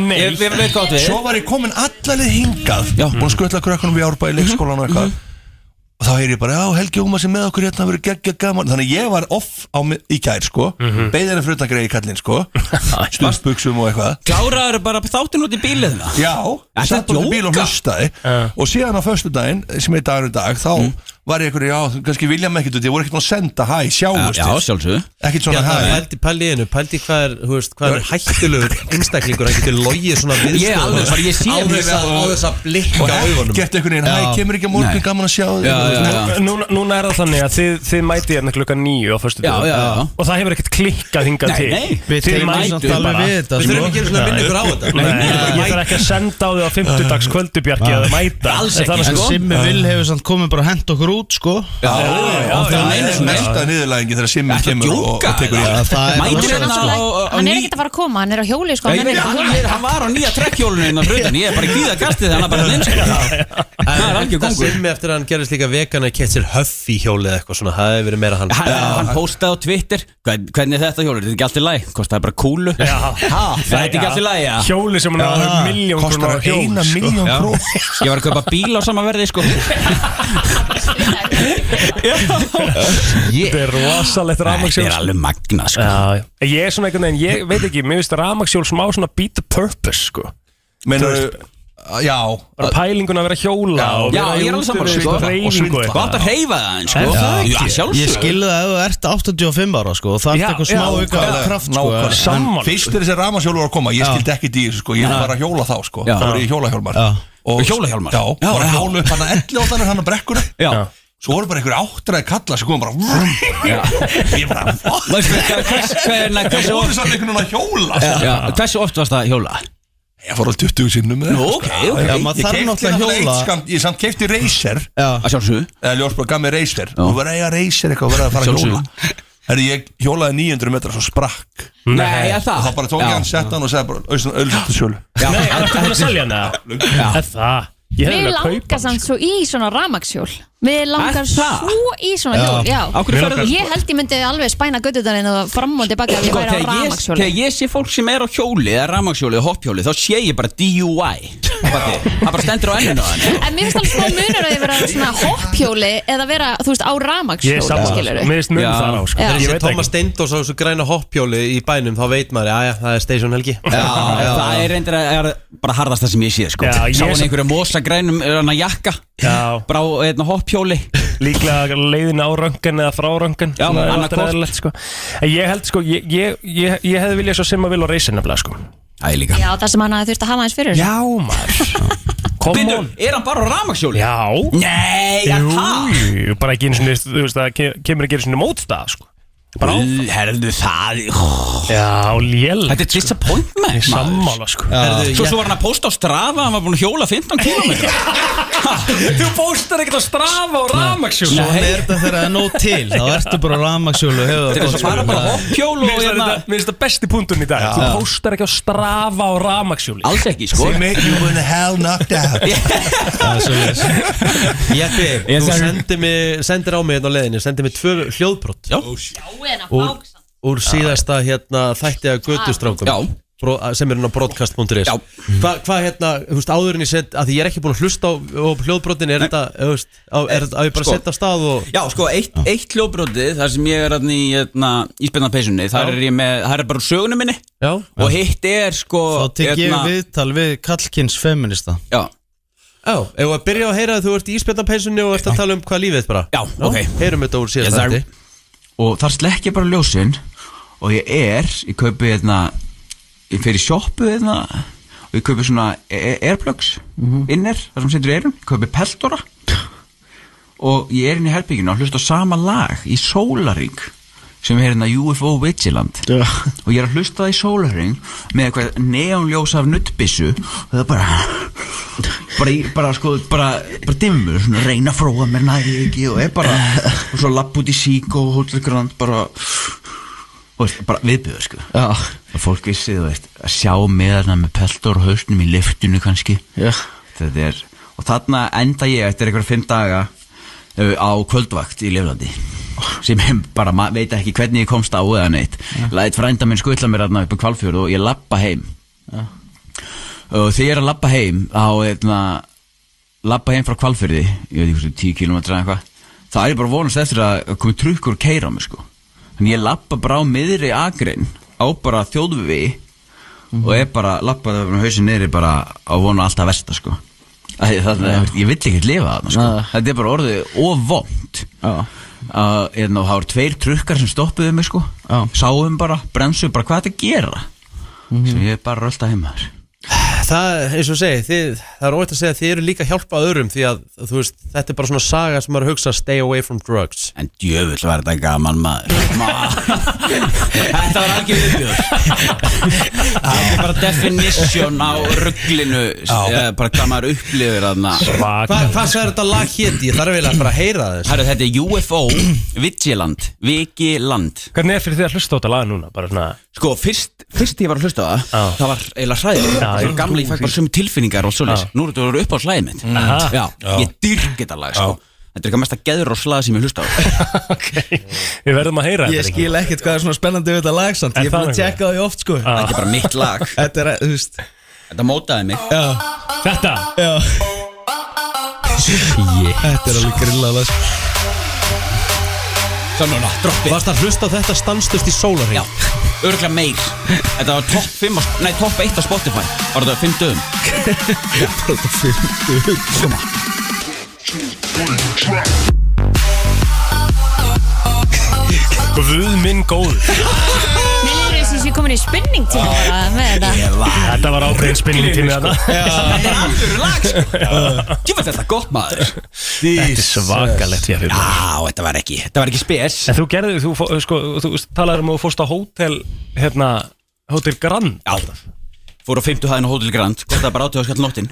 neitt.
Svo var ég komin allaleg hingað Búin að skutla krökkunum við árbæði
Mhm.
leikskólan og eitthvað Og þá heyri ég bara, já, Helgi Ómar sem með okkur hérna verið geggja gaman Þannig að ég var off á, mi- í gær, sko mm
Mhm.
-hmm. Beðina frutangreið í kallinn, sko Stundbuxum og eitthvað
Kláraður bara þáttin út í bíliðna
Já,
Ertu að
satt út í bíl og
djóka?
hlustaði Og síðan á föstudaginn, sem er dagur í dag Þá
Mhm.
var ég einhverju, já, kannski vilja mig ekkert út Ég voru ekkert að senda, hæ, sjáumst
Já, sjálfsögðu.
Ekkert svona,
Já, það er
hæ
Pældi pældi í hennu, pældi hvað er, þú veist, hvað er hættulegur einstaklingur að getur logið svona viðstöðu
Ég er alveg bara, ég sé
Á þess að- á þess að blikka augunum
Gert einhvern veginn, hæ,
Já.
kemur ekki á morgun,
Nei.
gaman að sjá þig
Nú- Núna, núna er það þannig að þið, þið mæti hérna klukka nýju á förstu
Já, já, já.
og það hefur ekkert klikkað hingað
Nei,
til
nei. Við
Þið
teljum
mætuð
samt alveg
bara.
við þetta, Við þurfum sko. ekki einu sinni að minna ykkur á þetta.
Nei,
Nei, Ah.
Ég ég þarf ekki að senda á þið á fimmtudags kvöldubjarki
Ah.
að mæta
Alls
En
ekki
þannig
En
sko-
Simmi Vil hefur samt komið bara að henda okkur út sko
Já,
Það er
sko.
meina svona.
Mesta niðurlæðingi þegar Simmi kemur og- og tekur í
það
hann
Mætir hérna á- á- á
Hann er
ný-
ekkert að fara að koma, hann er á hjóli sko,
Já,
hann
ég
er
veit,
ekkert að
hann,
koma.
er- hann var á nýja trekkhjólinu innan brutan Ég er bara í gríða kastið hann er bara neins Það er algjör
Það
kongur
sem eftir að hann gerist líka vegan að kett sér höffi hjóli eða eitthvað svona, það hefur verið meira hann
Hann, hann postaði á Twitter hvern- Hvernig er þetta hjólið, þetta er ekki allt í læg Kostaði bara kúlu ha, Það er
Já.
ekki allt í læg ja.
Hjóli sem hann á milljón krónu
Kostar
hjól,
eina
sko.
milljón
Já.
krónu Ég var að kaupa bíl á sama verði sko
Þetta er rosalegt
Ah,
rafmagnshjól
Þetta er alveg magna sko
Já, já. Ég er svona einhvern veginn, ég veit ekki, mér finnst rafmagnshjól smá svona beat the purpose sko
Menurðu- Já
Bara pælingun að vera að hjóla og
Já,
vera
ég er alveg
úti
saman
við
sko
eitthvað hreyfingu eitthvað.
Gott að reyfa það eins
Er
sko
það ekki?
Já, sjálfsög
Ég skil
það ef þú ert 85 ára sko
Já,
Það
já, nákvæmlega,
sko.
nákvæmlega. En Fyrst er þessi rafmagnshjólur að koma, ég skildi ekki dýr sko, ég var bara að hjóla þá sko,
Já.
þá var ég hjólahjálmar og hjólahjálmar? Já,
Já,
bara
já.
hjólu upp hann að 11 áttanar hann að brekkuna
Já.
Svo voru bara einhverju áttræði kallar sem komum bara Ég bara, what?
Veistu, hvað- hvers- hverna-
Það
hversu
voru
oft-
samt einhvern veginn að hjóla sko.
Já, hversu oft varst það að hjóla?
Ég fór á 20 sinnum með
Nú, ok, ok. Já, maður þarf náttúrulega að hjóla.
hérna Ég samt kefti Racer
Að sjálfsögðu
Eða ljósbróð gaf mér Racer Þú var að eiga Racer eitthvað og verið að fara að hjóla Herri, ég hjólaði 900 metra svo sprakk
Nei,
er það?
Og þá bara tók ég
Já.
hann, sett hann og sagði bara Austan, auðvitað sjölu
Nei, ertu búin að selja hann eða? Er Það, ég hefði
Við
verið að kaupa
langar samt svo í svona ramaxjól Við langar
Er það?
svo í svona
Já.
hjól Já.
Á hverju ferðu-
Ég held ég myndi alveg spæna göttuðarinn og fram og tilbaka ef ég
Sko,
væri á
þegar ég,
ramaxjóli
þegar ég sé fólk sem er á hjóli eða ramagsjóli eða hoppjóli þá sé ég bara DUI
Það bara stendur á enninu á henni
En mér finnst alveg smá munur að ég vera á svona hopphjóli eða vera, þú veist, á
Ég er
ramakshjóli,
sammála,
skilur
sko. Mér finnst munur þar á, sko. Ég
Þegar
veit
ég sé
það
Thomas Steindós á þessu græna hoppjóli í bænum þá veit maður, já já, það er Station Helgi
já, það er reyndir að er bara harðast það sem ég sé sko.
Já, ég
Sá
er
hann
sam-
einhverju mosagrænum er hann að jakka
Já.
Brá hérna, einna hoppjóli
Líklega leiðin á röngan eða frá röngan
Já,
Svona er
annað hvort.
eðlilegt, sko. En ég held sko Ég, ég, ég, ég hefði viljað svo simma vil á reysin nefnilega sko
Æ líka
Já, það sem hann hafði þurft að hafa aðeins fyrir
Já, maður Come on
Er hann bara á rafmagnsjóli?
Já
Nei,
jú, jú, bara ekki einu sinni Þú veist það ke- kemur ekki einu sinni mótstað sko Bara áfram
Herðu það
Já, lél
Þetta er sko- disappointment
Ég sammála, sko. Herðu,
Svo
ég-
svo var hann að posta á strafa Hann var búin að hjóla 15 km Þú postar ekkert á strafa og rafmagnsjóli
Svo er þetta þegar það er nóg til Þá ertu bara á rafmaksjólu
Þetta er svo bara
sko,
bara hoppjól og
Mér finnst þetta- mér finnst þetta besti punktun í dag
Já.
Þú póstar ekki á strafa á ramaksjóli
Ah. Alls ekki sko.
They make you in hell knocked out
Jeppi,
Ég
þú
sagði-
sendir, mig, sendir á mig hérna á leiðinu sendir mig tvö hljóðbrot
Já,
Oh,
en
Hérna,
að
úr, úr síðasta hérna, þætti að gödustrákum
Ah. Já
Bro, sem er hérna á broadcast.is Hvað hva, hérna, þú veist, áður en ég set að því ég er ekki búin að hlusta á, á hljóðbrotin er þetta, þú veist, á, er þetta að ég bara
Sko.
sko. setja af stað og
Já, sko, eitt, eitt hljóbrotið, þar sem ég er hann í, hérna, í spennarpeysunni, þar er ég með, þar er bara sögunum minni
Já
Og hitt er, sko,
Þá tek ég viðtal við kallkins feminista
Já
Já, ef að byrja að heyra að þú ert í íspjarnapeisunni og ert að tala um hvað lífið er bara
Já, ok
Heyrum þetta úr síðasta
Ég
þætti
þarf- Og þar slekk ég bara ljósin Og ég er, ég kaupi hérna Ég fer í sjoppu hérna Og ég kaupi svona e- airplugs Inner, þar sem setur í eirum Ég kaupi peltora Og ég er inn í herbygginu að hlusta á sama lag Í sólaring Sem er hérna UFO Vigilant Og ég er að hlusta það í sólaring Með eitthvað neonljósa af nuttbissu Og það er bara bara, í- bara sko, bara, bara dimmur svona, reyna að fróa mér næri ekki og er bara, og svo lapp út í sík og hóttur grönd bara og veist, bara viðbjöður sko
Já.
og fólk vissi, þú veist, að sjá meðarna með peltor og hausnum í liftinu kannski
Já.
þetta er og þarna enda ég eftir einhverja fimm daga uh, á kvöldvakt í Leflandi sem ég bara ma- veit ekki hvernig ég komst á eða neitt læt frænda minn skutla mér þarna upp á kvalfjörð og ég lappa heim og þegar ég er að lappa heim á eitna, lappa heim frá kvalfyrði ég veit ekki hversu 10 km eða eitthvað þá er ég bara að vonast eftir að komi trukkur og keira á mig sko þannig ég lappa bara á miðri agrein á bara þjóðvivi og er bara lappað öfnum hausin niðri bara á vonu alltaf versta sko Æ, þannig að ég vill ekkert lifa þarna sko þetta er bara orðið ofvont að hérna, það voru tveir trukkar sem stoppuðu mig sko sáum bara, bremsuðu bara hvað er þetta að gera sem ég er bara að rölda heima þar
Það, eins og ég segi, þið, það er óvægt að segja að þið eru líka að hjálpa öðrum því að þú veist, þetta er bara svona saga sem maður hugsa stay away from drugs
En djöfull var þetta gaman maður Þetta var algjör viðbjör Það er bara definition á rugglinu eh, bara hvað maður upplifir þarna
Hva, Hvað svo er þetta lag héti? Ég þarf eiginlega bara að heyra þess
Herru, þetta er UFO Vigiland Vigiland
Hvernig er fyrir þið að hlusta á þetta lag núna? Bara svona
Sko, fyrst, fyrst ég var að hlusta á það Það var eiginlega hræðið
Já,
Það
ég-
var gamla, ég fæk bara sömu tilfinningar og svoleiðis
Já. Mm.
Nú er þetta upp á slæðið mitt
Aha.
Já,
Já.
ég dyrk þetta lag sko. Þetta er eitthvað mesta geður og slæðið sem ég hlusta á
Við verðum að heyra
Ég
þetta,
skil ekkert hvað er svona spennandi við þetta lag samt
Er
Ég er
það
búin
nefnilega?
að tjekka það í oft sko
Ah.
Þetta er Ah. bara mitt lag
Þetta er, þú veist
Þetta mótaði mig
Já
Þetta?
Já Þetta er alveg grillað lag
Svo núna, droppi
Varst að hlusta á þetta stanslust í sólarheng?
Já, örgulega meir Þetta var topp 5 á, Nei, topp 1 á Spotify Var þetta 5 dögum
Þetta er fyrir
Koma
Guð minn góð
Mér er þess að ég komin í spinning tíma bara með þetta
Þetta var ákveðin spinning tími þarna
Þetta er alveg lag sko. Ég veit þetta gott maður
Þetta er svakalegt ég fyrir
Já, þetta var ekki Þetta var ekki spes
En þú gerði, þú, fó- sko, þú talaði um að þú fórst á hótel hérna, hótel Grand
Já, Fór á 50 hæðin á Hotel Grand Kostaði bara 80 skall nóttin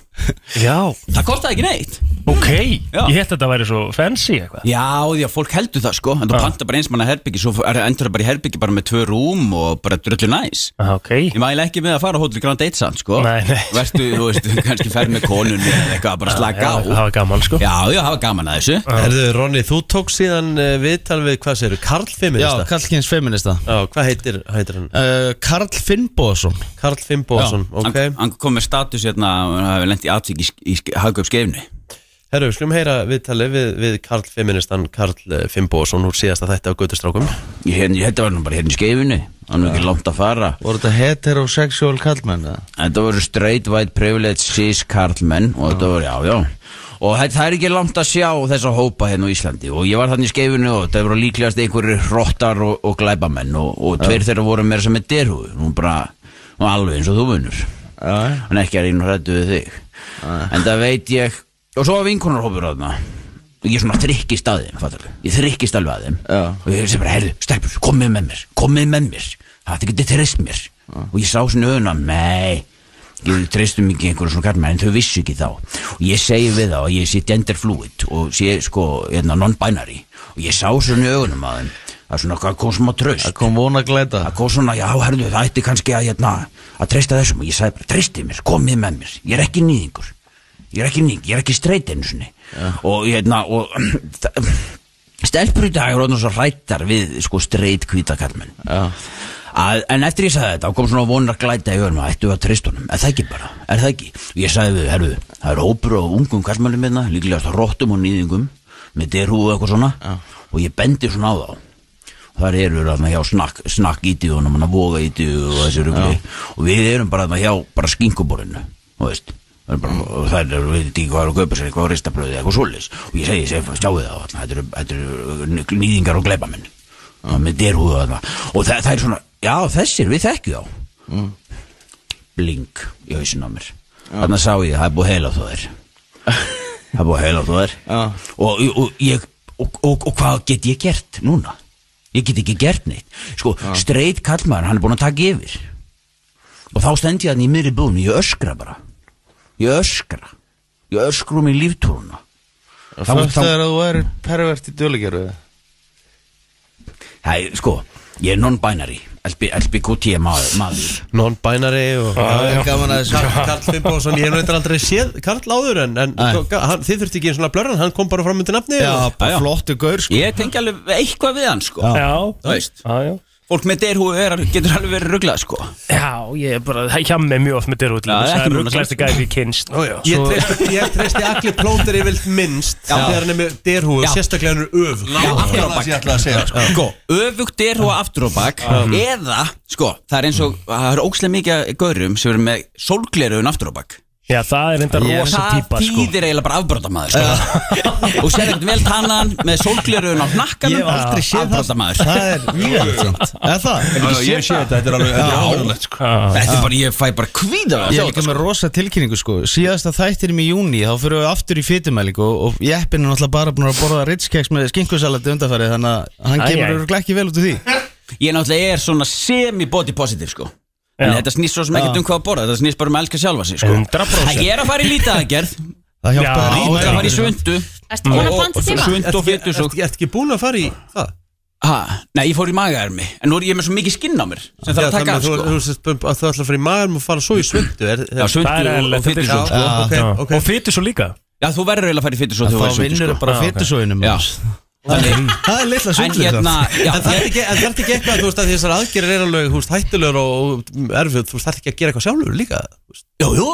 já
Það kostaði ekki neitt
Ok, ég hætti að þetta væri svo fancy eitthvað
Já, já, fólk heldur það sko En þú panta bara eins manna herbyggi Svo er- endur það bara í herbyggi bara með tvö rúm Og bara drullu næs
okay.
Ég mæla ekki með að fara á hótel Grand Eight samt sko
Nei, nei.
Vertu, þú veist, kannski ferð með konunni eða Eitthvað bara slaka á
Það var gaman sko
Já, já, það var gaman að þessu
Erðu, Ronny, þú tók síðan uh, viðtal við, hvað segir þú, Karl Feminista?
Já, Karl Kynns Feminista
Já, hvað heitir, heitir hann?
Uh, Karl Finnbóðsson
Karl Finnbóðsson,
Já,
ok
Hann, hann kom með status hérna að Hann hafi lent í atvik í, í, í hagaup skeifni
Herru, við skulum heyra viðtalið við, við Karl Feministan, Karl eh, Finnbóðsson úr síðasta þætti á Götustrákum
Ég hérna, þetta var nú bara hérna í skeifinu Hann var ekki langt að fara
Voru þetta heterosexual kallmenn eða?
Þetta voru straight white privilege cis karlmenn og þetta voru, já, já og það, það er ekki langt að sjá þessa hópa hérna á Íslandi og ég var þannig í skeifinu og það voru líklegast einhverjir hrottar og, og glæbamenn og, og tveir þeirra voru meira sem er derhúðu nú bara, nú alveg eins og þú munur en ekki er einu hrættu við þig en það veit ég og svo var vinkonarhópur á þarna og ég svona þrykkist að þeim, fattar ég þrykkist alveg að þeim já. og ég sem bara, herðu, stelpur, komið með mér komið með mér, það getur treyst mér og ég sá svona öðuna, mei ég treystum ekki einhverjum svona karlmenn en þau vissu ekki þá og ég segi við þá að ég sé gender fluid og sé sko, hérna, non-binary og ég sá svona öðunum að þeim það er svona, það kom svona tröst það
kom vona glæta
það kom svona, já, herðu, það ætti kannski að, hérna, að treysta þessum og ég sagði bara, treystið mér, komið með mér ég er ekki nýðingur ég er ekki nýðing, ég er ekki streit einu sinni og hérna og, það- stelpur í dag eru orðnar svo hrættar við sko streit kvítakallmenn Að, en eftir ég sagði þetta, þá kom svona vonar glæta í örnum, ættu að treyst honum, er það ekki bara, er það ekki? Og ég sagði við, herru, það er hópur á ungum kallmennum minna, líklegast róttum og nýðingum, með derhúðu og eitthvað svona, og ég bendi svona á þá, þar eru við hérna hjá snakk, snakk ítið og manna voga ítið og þessi rugli og við erum bara hérna hjá bara skinkuborinu og veist það er bara, og það er, við veit ekki hvað er að kaupa sér eitthvað á ristabröði eitthvað svolis og ég segi, ég segi, sjáu það þarna, þetta eru- þetta eru nýg- nýðingar og gleipamenn með derhúðu þarna og það, það er svona, já þessir, við þekkjum þá bling í hausinn á mér þarna sá ég, það er búið heila á þóðir það er búið heila á þóðir og, og, ég, og, og, og hvað get ég gert núna ég get ekki gert neitt sko, streit kallmaður, hann er búin að taka yfir og þá stend ég hann í miðri búinu ég öskra bara ég öskra, ég öskra um í líftúruna
Fötta er að þú er pervert í dölgeru
Hei, sko, ég er non-binary LB, LBQT maður, maður.
Non-binary og
Já, já.
Karl, Karl Finnbóðsson, ég hef náttúrulega aldrei séð Karl áður en, en hann, þið þurfti ekki einu svona blörran, hann kom bara fram undir nafni og-
flottu gaur
sko. Ég tengi alveg eitthvað við hann sko
Já.
Já.
Þú veist
já, já.
Fólk með derhú er, getur alveg verið ruglað sko
Já, ég er bara, það hjá mig mjög oft með derhúð
Já,
Það
ekki
er
núna,
rugglæsti
sko.
gæði við kynst
Ég
Svo-
treysti- ég treysti allir plóter yfirlt minnst þegar hann er með derhúðu,
Já.
sérstaklega hann er öf
Já, aftur á bak. Sko, öfugt er hún aftur á bak
Já.
Eða, sko, það er eins og Það er ógslega mikið af gaurum sem eru með sólgleruðun aftur á bak
Já, það er enda rosa típa
Það
sko
þýðir eiginlega bara afbrotamaður sko. Og sér ekkert vel tannan með sólgleruðun á hnakkanum
Ég hef aldrei séð það.
Afbrotamaður
Það er nýjulegt samt. Er það?
Já, já, ég hef séð þetta, þetta er alveg- þetta er alvarlegt, sko. Þetta er bara, ég fæ bara kvíða
Ég er líka með rosa tilkynningu sko Síðasta þættinum í júni Þá fyrir við aftur í fytumælingu Og, og jeppin er náttúrulega bara búin að borða ritskeks Með skinkusalati undanfæri Þannig að hann
Æ, æ.
kemur örgulega ekki vel út úr því
Ég náttúrulega er svona semi-body positive sko En
Já.
þetta snýst svo sem ekkert
Já.
um hvað að borða Þetta snýst bara um að elska sjálfa sig sko
100%
Það er að fara í lítadagerð
Það
hjálpaði lítið.
Já, Það er að fara í svundu
Ertu búin að panta tíma?
Svundu og
Ertu-
fytu svo
Ertu ekki búin að fara í það?
Ha, nei, ég fór í magaermi En nú er ég með svo mikið skinn á mér Sem þarf að taka af
þú,
sko
þú, þú, þú, þú ætlar að fara í maður og fara svo í svundu er,
Já, svuntu
Það er
og-
eðlilegt,
og fitu
þetta
svo,
er
sko.
já,
Já.
ok, ok.
Og fytu svo líka
Já, þú verður eiginlega að fara í fytu svo
Þá vinnurðu bara
Já, Ah, ok.
fitusoginu,
Já. Þannig-
Það er litla
En
En
hérna, já,
það er ekki, en þarf ekki eitthvað þú veist að þessar aðgerðir er alveg þú veist, hættulegur og og erfið þú veist þarf ekki að gera eitthvað sjálfur líka
Jú, jú,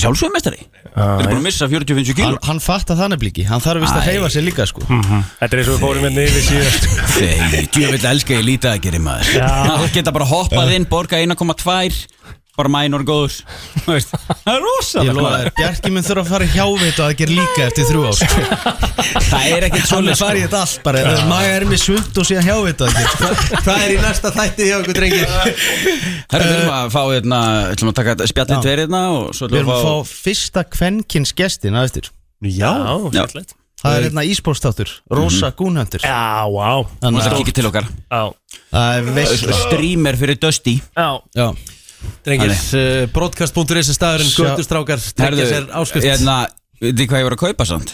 sjálfsögum mestari
Þetta
er búin að missa 40-50 kíl
Hann, hann fattar þannig blíki, hann þarf vist að
Æ.
hreyfa sig líka sko
Þetta er eins og við fórum hérna yfir síðast
Þegar, djöfitt elska ég lítið að gera maður
Já.
Það geta bara hoppað inn, borga 1,2 Bara mænur góður Þú veist, Það er rosa
Ég lofa þér, Bjarki minn þurfa að fara í hjávita að gera líka eftir þrjú ár sko.
Það er ekkert
Hann
svoleiðis,
er farið í
sko.
þetta allt bara,
Já.
maga er með svult og síðan hjávita að gera
Hvað er í næsta þætti hjá okkur drengir?
Herra, við erum að fá hérna, við ætlum að taka spjallin
Já.
tveir hérna og svo
Við
ætlum
erum
við
að fá fyrsta kvenkins gestin að eftir
Já,
Já.
skemmtilegt.
Það er hérna íspórstáttur, Rosa mm. Gúnhöndur
Já, vá
Hún ætlar Mhm. að kíkja til okkar
Það er veistla
Streamer fyrir Dusty
Já
Já
Drengir, uh, broadcast.is er staðurinn
Sjá-
Götustrákar, tryggja
Herðu,
sér áskrift Hmm.
hérna, Veit þið hvað ég var að kaupa samt?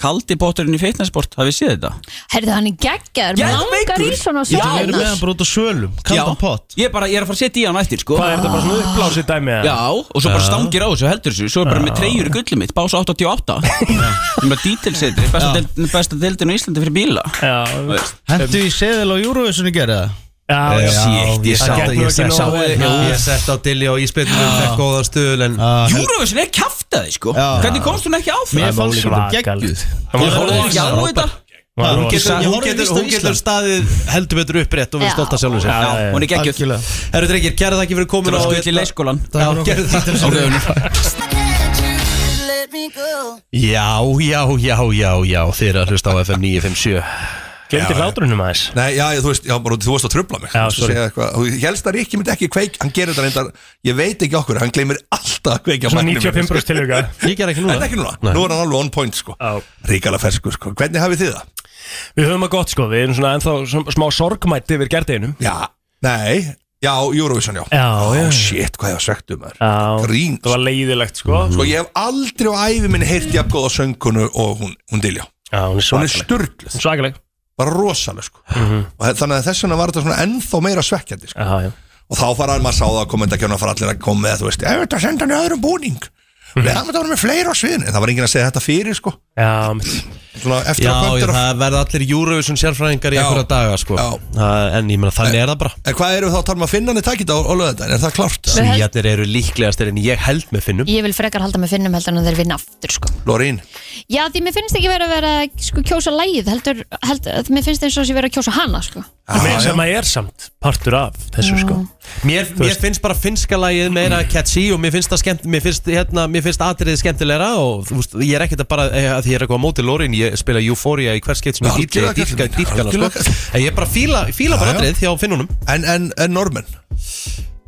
Kaldi potturinn í fitnessport, hafið þið séð þetta?
Herðu hann í geggjar,
Já,
langar í
veikur.
svona
Já, við erum
sóna
með hann
bara út á svölum,
Já, ég, bara, ég er að fara að setja í hann eftir sko.
Hvað er þetta bara svona uppblásið dæmi? eða?
Já, og svo bara stangir á þessu, heldur þessu Svo er bara með treyjur í gullið mitt, bása 88 Ég er bara dítilsetri, besta, deild, besta deildin á Íslandi fyrir bíla Já,
Hentu í seðil á Eurovision í gerða?
Já,
já,
sítt,
ég
ég
sá
sá
það,
ég
ég
sá
sá
það
það.
Ég sett á dilli og ég spilnum um þetta góða stuðul en
Eurovision er kjaftaði sko
Ah.
Hvernig komst hún ekki áfram?
Mér fannst hún geggjuð.
Ég horfði ekki á þetta
Ha, Hún getur, hún
Ég horfði víst á
getur, hún getur
Ísland.
staðið heldur betur upprétt og við
Já.
stolt að sjálfum sér
Já, já, já. Hún er geggjuð. Algjörlega.
Herru drengir, kæra það ekki fyrir komin
Þetta
á
var skull í leikskólan.
Já,
Takk fyrir
gerðu það
okkur.
Já, já, já, já, já Þið eru að hlusta á FM 957
Glemdi hlátrunum aðeins
Nei, já, þú veist, já, bara, þú veist að trubla mig
Já,
Þú veist að
sorry.
segja eitthvað. Þú helst að Ríkki myndi ekki kveik Hann gerir þetta reyndar, ég veit ekki okkur Hann gleymir alltaf að kveikja á
Svona
matnum.
95% tilvika.
Ég ger ekki núna.
En ekki núna,
Nei.
nú er hann alveg on point sko Ríkala ferskur sko, hvernig hafið þið það?
Við höfum að gott sko, við erum svona ennþá sm- smá sorgmætt yfir gerdeginum
Já, nei, já, Eurovision já
Já, já
Shit, hvað ég var svegt um þær
Grín Það var leiðilegt sko
Sko, ég hef aldrei á ævi minn heyrt jafn góða söngunu og hún, hún dilja
Já, hún er svakaleg.
sturgluð
Svakaleg Mhm.
Bara rosaleg sko Og þe- þannig að þess vegna var þetta svona ennþá meira svekkjandi sko.
já, já.
Og þá fara maður sá það að komenda ekki að fara allir að koma með þú veist, "Eh, ef þetta senda hann í öðrum búning
Mm.
Nei, það var með um fleira á sviðinu En það var enginn að segja þetta fyrir sko
Já,
Svona eftir
Já,
að
ég,
kvöntur
það verða allir Eurovision sérfræðingar í
Já.
einhverja daga sko. Það- En ég meina, þannig er það bara
En hvað eru þá að tala um að finna hann í takit á, á löðardaginn? Er það klárt?
Við höld-
Svíjarnir eru líklegastir en ég held með finnum
Ég vil frekar halda með finnum heldur en þeir vinna aftur sko.
Lorín
Já, því mér finnst ekki verið að vera að sko, kjósa lægið heldur, heldur, mér finnst eins og þess að vera að kjósa hana sko.
Mér sem að ég er samt partur af þessu sko
Mér, mér finnst bara finnska lagið meira catchy og mér finnst það skemmt Mér finnst, hérna, mér finnst atriðið skemmtilegra og þú veist, ég er ekkert að bara eh, að því ég er eitthvað á móti Lorin, ég spila Euphoria í hvers skeitt sem ég dýrka,
Algjörlega,
dýrka,
kallinn.
dýrka hana, sko.
Algjörlega.
En ég bara fíla, fíla bara
Já, já.
atriðið hjá finnunum
En, en, en normen?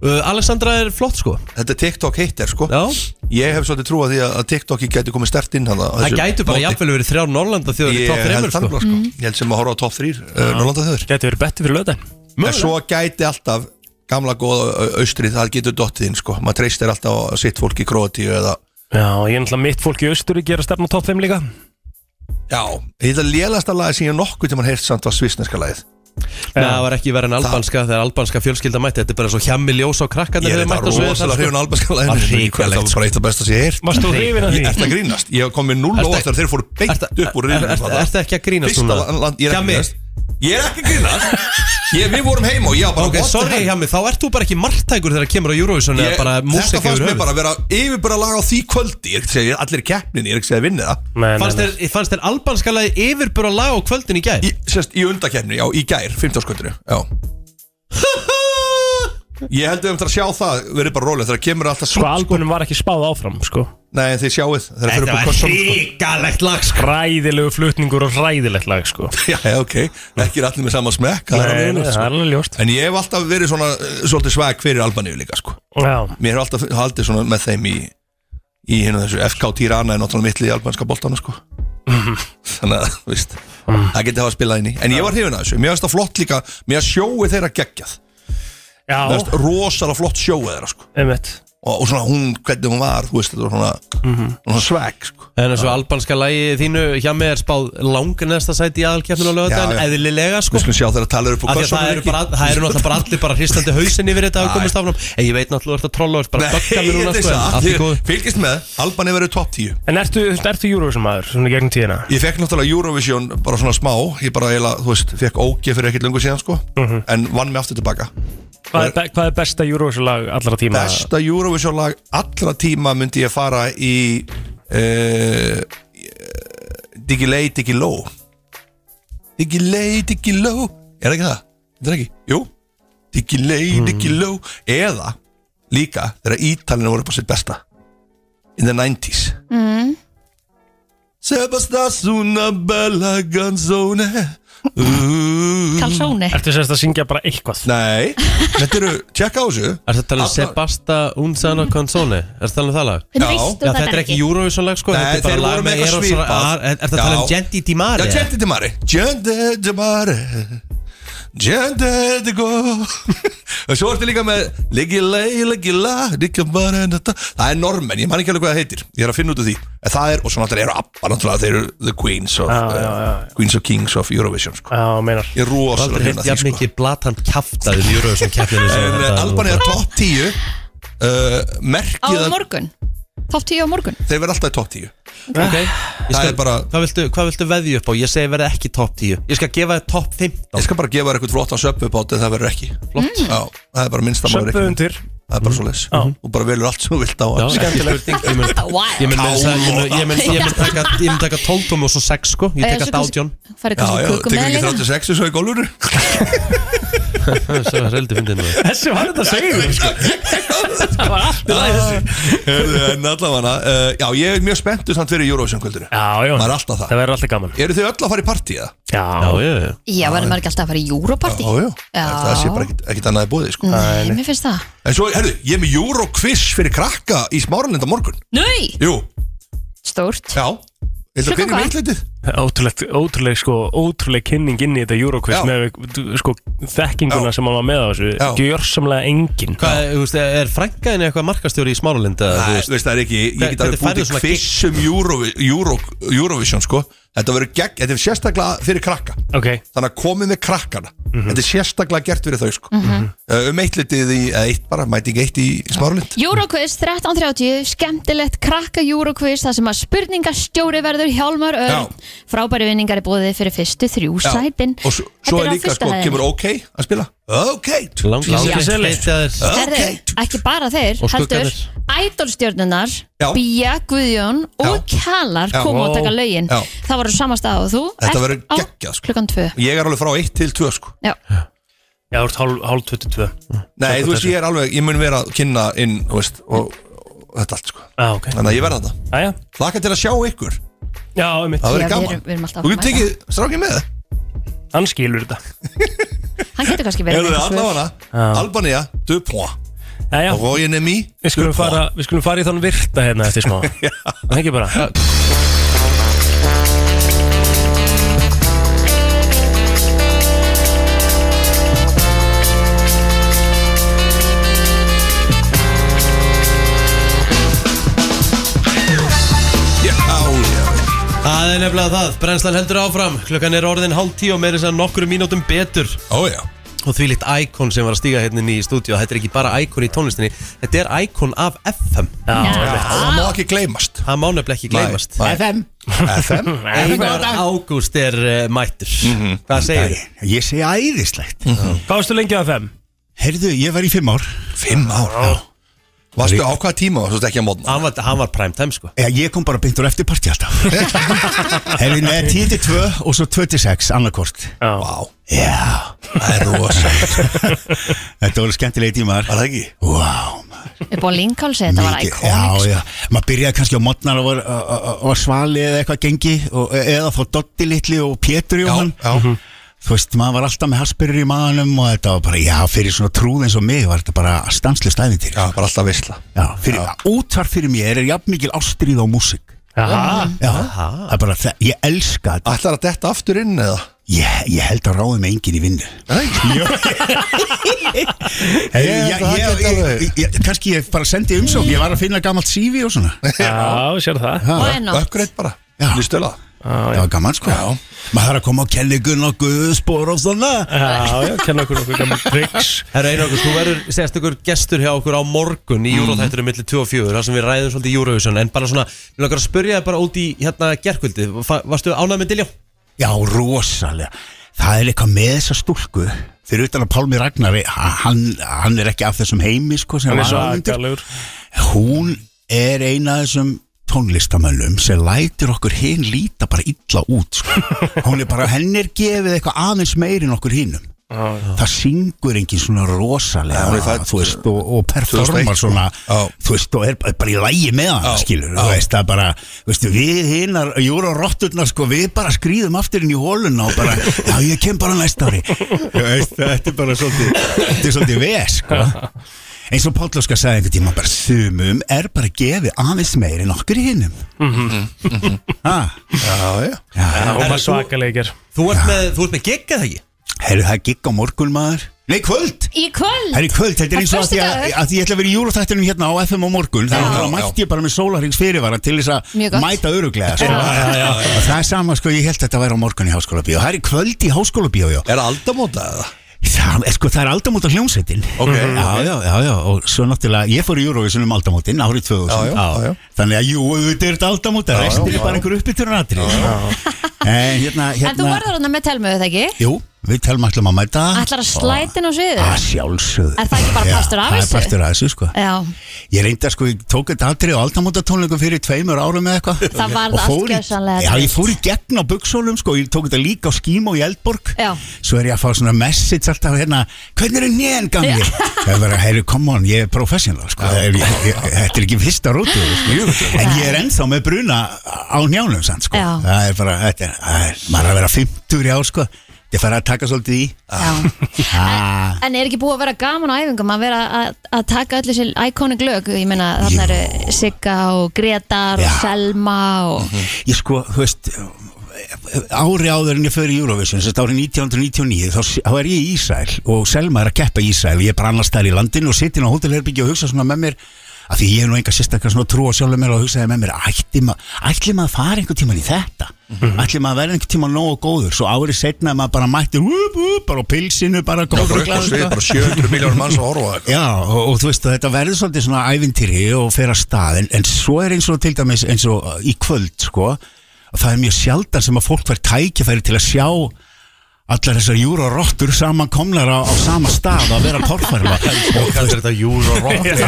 Uh, Alexandra er flott sko
Þetta er TikTok heitir sko
Já.
Ég hef svolítið trúið því að að TikToki gæti komið stert inn hana,
Það gætu bara jafnvel verið þrjár Norrlanda þjóður í
Ég
top 3
held það
sko.
sko. Ég held sem að horfa á top 3 uh, Norrlanda þjóður
Gæti verið betti fyrir löðan
En svo gæti alltaf gamla góða au- austrið Það getur dottið inn sko Maður treystir alltaf á sitt fólk í Kroatíu eða
Já, ég er náttúrulega mitt fólk í Austuríki er að stefna á top 5 líka
Já Þetta lélasta lagi sem ég nokkuð tímann heyrt samt var svisneska lagið
Nei, það var ekki verið en albanska þegar albanska fjölskylda mætti Þetta er bara svo hjammi ljós á krakkarnir
Ég er
þegar
þetta
mættu á sviðið,
rosalega
sko.
hrifin á albanska laginu
Það er
Það
hrikalegt sko.
var bara eitt af besta sem ég heyrt
Varst þú hrifin af því?
Ég ert að grínast Ég kom með 0
Ertu-
og þegar þeir fóru beint upp úr riðlinum
er-
þarna.
ertu ekki að grínast
Fyrsta
núna?
land- Ég er ekki að
Hjammi.
grínast Ég er ekki að grínast Ég- Við vorum heima og ég var bara
Ok,
what the
sorry
hell?
hjá mig, þá ert þú bara ekki margtækur þegar kemur á Eurovision eða
Ég-
bara músika
Þetta fannst mér bara að vera yfirbara lag á því kvöldi Ég er ekki að segja allir keppnin, ég er ekki að segja að vinna það
Fannst þér, fannst þér albanska lagi yfirbúra lag á kvöldin í gær?
Í, sérst, í undakeppni, já, í gær, 15 sköldinu Já Ég held að við um þetta að sjá það verið bara rólega þegar kemur alltaf
Sko
súrt
albunum var ekki spáð áfram sko
Nei, en þið sjáuð þegar fyrir upp á sko. kossan
hrikalegt lag sko
Ræðilegu flutningur og ræðilegt lag sko
Já, já, ok, ekki er allir með sama smekk það er alveg
Nei, nei,
ljóst,
það er
sko.
alveg ljóst
En ég hef alltaf verið svona eh, svolítið svag fyrir Albaníu líka sko.
Já,
Mér hef alltaf haldið svona með þeim í í hérna þessu FK Tirana er náttúrulega mittli í albanska boltana sko. þannig að, þú veist það geti hafa spilað inn í, en ég var hrifin að þessu mér finnst það flott líka, mér að sjói þeirra geggjað
Já.
mér finnst rosalega flott sjói þeirra sko.
einmitt
og, og svona hún, hvernig hún var, þú veist þetta var svona,
Mhm.
svona sveg sko.
En þessu albanska lagi þínu hjá mig er spáð lang næsta sæti í aðalkeppninu á
Já,
lögadaginn
já.
Eðlilega sko
við skulum sjá þeirra tala upp á
Af því að það eru, bara, það eru náttúrulega bara allir bara hristandi hausin yfir þetta að hafa komist áfram En ég veit náttúrulega að þetta trolla og er bara að bögga mér núna sko en Allt í góð
Ég- fylgist með, Albani verður topp 10
En ertu, ertu Eurovision maður, svona í gegnum tíðina?
Ég fekk náttúrulega Eurovision bara svona smá Ég bara eiginlega, þú veist, fekk ógeð fyrir ekkert lungu síðan sko
Mhm.
En vann mig aftur tilbaka
Hvað er, be hvað er besta Eurovision lag allra tíma?
Besta Eurovision lag allra tíma myndi ég fara í uh, Diggy Lay, Diggy Low Diggy Lay, Diggy Low Er það ekki það? Er það ekki? Jú Diggy Lay, Diggy Low Eða líka þegar Ítalina voru upp á sitt besta In the 90s
Mm.
Sebastas una bella canzone Mhm.
Kalsóni
Ertu sérst að syngja bara eitthvað?
Nei, þetta eru, tjekka á þessu
Er þetta talað um Sebasta Unzana Canzone? Er þetta talað um það lag?
Hvernig veist þú
Já,
þetta
þetta er ekki
ekki?
Eurovision lag sko
Nei,
Þetta er
þeir
bara
voru
lag
með
með
eitthvað
Eros
svipað.
Er þetta talað um
Já.
Genti Di Mari?
Já, Gente Di Mare Gente Di Mare Jendetico Og svo ertu líka með Ligila, ligila, ligila Það er normen, ég man ekki alveg hvað það heitir Ég er að finna út af því En það er, og svo náttúrulega eru abba Náttúrulega þeir eru the queens of
Já, já, já.
eh, Queens of kings of Eurovision sko.
Já, meinar
Ég er
Þú
rosalega
aldrei
hrifinn
heilt
af því, sko.
jafn mikið blatant kjaftaði í Eurovision keppninu sem
En
þetta-
Albania er topp 10 uh,
Á
Merkið að
morgun Top 10 á morgun
þeir verða alltaf í topp 10
Ok, ég
Það
skal,
er bara
hvað, viltu, hvað viltu veðja upp á? Ég segi verði ekki topp 10 Ég skal gefa þér topp 15
Ég skal bara gefa þér eitthvað flottan söpupátt en það verður ekki Flott
Mm.
Já, það er bara minnst að maður
Söppu
ekki
undir.
Það er bara svo leis Og bara velur allt sem þú vilt á
Já,
Ekki
skemmtilegt. Ég
spurning.
mun- Ég mun meira að segja- ég mun- ég mun- ég mun taka Ég mun taka 12 tómi og svo 6 sko Ég
Eh, svo
tek alltaf
kannski-
18
farið kannski Já, já, köku tekur með ekki líka.
36 og svo í gólfinu
Það er heldur fyndið nú
Þessi var þetta að segja Það sko. var allt í lagi þessu
Heyrðu, En allavega uh, Já, ég er mjög spenntu samt fyrir Eurovision kvöldinu
Já, já
Það er alltaf það
Það verður alltaf gaman
Eru þið öll að fara í partíða?
Já,
já, já
Já, verður maður ekki alltaf að fara í Europarty
Já, já. Það sé bara ekkit- ekkit annað í bóði sko.
Nei, mér finnst það
En svo, herðu, ég er með Euroquiz fyrir krakka í Smáralind á morgun
Nei,
Jú
stórt
Já Hildur,
Klukkan
hvernig er
hvað?
meitleitið?
Ótrúlegt, ótrúleg sko, ótrúleg kynning inn í þetta Euroquiz
Já.
með du- sko, þekkinguna sem hann var með á þessu gjörsamlega engin
Hvað, er, þú veist, eh, er frænkaðin eitthvað markastjóri í Smáralinda?
Nei, þú veist, það er ekki, ég get alveg búið til quiz um Euro, Euro, Eurovision sko. Þetta verður gegn, þetta er sérstaklega fyrir krakka
okay.
Þannig að komið með krakkana Þetta er sérstaklega gert fyrir þau sko.
Mm. Mhm.
uh, Um eitt litið í, eða eitt bara, mæti ekki eitt í smárulind
Euroquiz 13.30, skemmtilegt krakka Euroquiz þar sem að spurningastjóri verður Hjálmar Örn frábæri vinningar er bóðið fyrir fyrstu þrjú
Já.
sætin
Og svo, svo
Þetta
er
á
líka,
fyrsta
sko,
hæðinni.
kemur OK að spila OK
Lang-
Já.
lang- leitaðir.
Herðu, ekki bara þeir,
Og
heldur
skuggarnir.
Ædolstjörnunar,
Já.
Bía, Guðjón og Kjalar
Já.
koma og taka
Ó.
lögin
Já.
Það voru samastað og þú
Þetta
ert
verður
á
geggjað, sko.
Klukkan tvö
Ég er alveg frá 1 til 2 sko.
Já,
Já, þú ert hálf, hálf 22
Mm. Nei, þú veist, ég er alveg, ég mun vera að kynna inn þú veist, og, og þetta allt sko.
ah, okay.
Þannig að ég verða þetta
Æja,
Laka til að sjá ykkur
já, um mitt
Það verður
Já, við
gaman
erum- við erum alltaf að
Þú getur
mæta.
tekið strákið með
Hann skilur þetta
hann getur kannski verið
Eru
með
þið
eitthvað svör.
allavega Albania, du point
Já, já.
Róin er mý
Við skulum, fara, við skulum fara í þann virta hérna eftir smá Það ekki bara
Já, já
Það er nefnilega það, brennslan heldur áfram Klukkan er orðin hálf tíu og meira þess að nokkru mínútum betur
Ó já
Og því litt íkon sem var að stíga hérna inn í stúdíu Þetta er ekki bara íkon í tónlistinni Þetta er íkon af FM
Já, einmitt.
Það má ekki gleymast
Það má nefnilega ekki gleymast
Nei, nei. FM
Einar Ágúst er uh, mættur
Mhm.
Hvað segir þið?
Ég segi æðislegt
Hvað varstu lengi að FM?
Herðu, ég var í fimm ár
Fimm ár já.
Ah.
Varstu á hvaða tíma Svo ekki að mótna
Hann var, hann var primetime sko
Já, Ég kom bara beint úr eftir partí alltaf Herðu, neða, 10 til 2 og svo 2 til 6, annarkort
Já,
Vá
Já,
það er rosa
þetta voru skemmtilegi tímar
Var það ekki?
Vá,
Við erum búin að linkálsi, þetta var sko.
mikið-
íkónik
Já, já, maður byrjaði kannski á modnar og var, og- og- og var svali eða eitthvað gengi og, eða þá Doddi litli og Pétur Jóhann
Já, já
Þú veist, maður var alltaf með haspyrir í maðanum og þetta var bara, já, fyrir svona trúð eins og mig var þetta bara stanslist æfintýri
Já, bara alltaf visla
Já, fyrir, útvar fyrir mér er jafn mikil ástrið á músík
Aha.
Já, það er bara það, ég elska þetta
Ætlar að detta aftur inn eða?
Ég, ég held að ráði mig enginn í vinnu
Nei
Jó. Hey,
Ég
ég,
held að
ég,
geta alveg.
ég, ég, Kannski ég bara sendi umsókn Ég var að finna gamalt CV og svona
já sér það
Ha,
Why not?
Ökkurreitt bara
Já.
Nýr stöla
Það var gaman sko já. Maður þarf að koma á kenningun og guðspor og svona
Já, já, kenna okkur okkur gammal tricks
Herra Einar Ágúst, þú verður sérstakur gestur hjá okkur á morgun
Mhm.
í Euroþætturum millir 2 og 4 þar sem við ræðum svolítið Eurovision en bara svona, við langar að spyrja þig bara út í hérna gerkvöldi Varstu ánægð með Diljá?
Já, rosalega Það er eitthvað með þessa stúlku Fyrir utan að Pálmi Ragnari Hann, hann er ekki af þessum heimi sko, sem
Hann er
var áður.
svakalegur
Hún er eina af þessum tónlistamönnum sem lætir okkur hinn líta bara illa út sko. hún er bara, henn er gefið eitthvað aðeins meir en okkur hinnum það syngur engin svona rosalega
hún er fædd-
þú veist, og, eh, og
2001,
performar
sko.
svona
Já.
þú veist, og er bara bara í lægi með hann skilur, þú veist, það bara þú veist, við hinnar, júra og rotturnar sko, við bara skrýðum aftur inn í hóluna og bara, já, ég kem bara næsta ári Þú veist, þetta er bara svolítið þetta er svolítið ves, sko eins og Pállóska sagði einhvern tíma bara sumum er bara gefið aðeins meir en okkur hinnum ha,
Mhm.
Já, já
já,
Já, hún var svakalegir
Þú ert með, þú ert með gig eða ekki?
Herru, það er gigg á morgun maður Nei, kvöld
Í kvöld
Það er kvöld, þetta er eins og að því að,
föstudagur.
að því ég ætla að vera í júlutættinum hérna á FM á morgun Þannig að mætti ég bara með sólarings fyrirvara til þess
Mjög
að
gott.
mæta öruglega sko. Og Það er sama, sko, ég held að þetta væri á morgun í háskóla bíó Það er í kvöld í háskóla bíó, já
Er aldamóta eða?
Það, sko, það er aldamóta hljómsveitin
Ok,
já,
ok.
já, já, já, og svo náttúrulega Ég fór í Eurovision um aldamótin árið 2000
Já, já, já, já.
Þannig að jú, þetta er þetta aldamóta
Já, já,
Restir er
já.
bara einhver uppbytturunatri En hérna,
En þú
hérna Ah.
varður hann með telmu þetta ekki?
Jú, við telma allum að mæta
Ætlar að slætin á sviðu?
Að sjálfsögðu
Er það ekki bara
Já,
partur af
Það
þessu?
er partur af þessu sko
Já,
Ég reyndi að sko, ég tók þetta atrið á aldamótatónleikum fyrir tveimur árum eða eitthvað
það varð
Og
allt
fór í-
gjössanlega
Já, ég fór í gegn á buksólum sko, ég tók þetta líka á skím og í Eldborg
Já.
Svo er ég að fá svona message alltaf hérna Hvernig eru nén gamlir? Það er bara, heyru, come on, ég er professional sko ég, ég, ég, Þetta er ekki fyrsta rótu sko. En ég er ennþá með bruna á njánum sann sko
Já.
Það er bara, þetta er, það er, maður er að vera 50 í ár sko Þetta er farið að taka svolítið í Ah. Já
En er ekki búið að vera gaman á æfingum að vera að, að taka öll þessi iconic lög Ég meina þarna eru Sigga og Gretar og Selma og
Ég sko, þú veist ári áður en ég fyrir Eurovision þess að árið 1999 þá, þá er ég í Ísæl og Selma er að keppa í Ísæl og ég er bara annars staðar í landinu og sitt inn á hótelherbyggja og hugsa svona með mér af því ég er nú enga sérstakar svona trú á sjálfum mér og hugsaði með mér ætli, ma ætli maður að fara einhver tíman í þetta
Mhm.
ætli maður að vera einhver tíman nógu góður svo árið setna er maður bara mættir upp, upp, bara á pilsinu bara góður og
bara upp á
glaður,
svið,
sko.
bara 700 milljónir manns að horfa á þetta.
Já, og, og þú veist að þetta verður svolítið svona ævintýri og fer að stað en, en svo er eins og til dæmis eins og uh, í kvöld sko, og það er mjög sjaldan sem að fólk verður tækifæri til að sjá allar þessar júrarottur saman komlar á, á sama stað að vera torfærma og
Hvað er þetta júrarottur?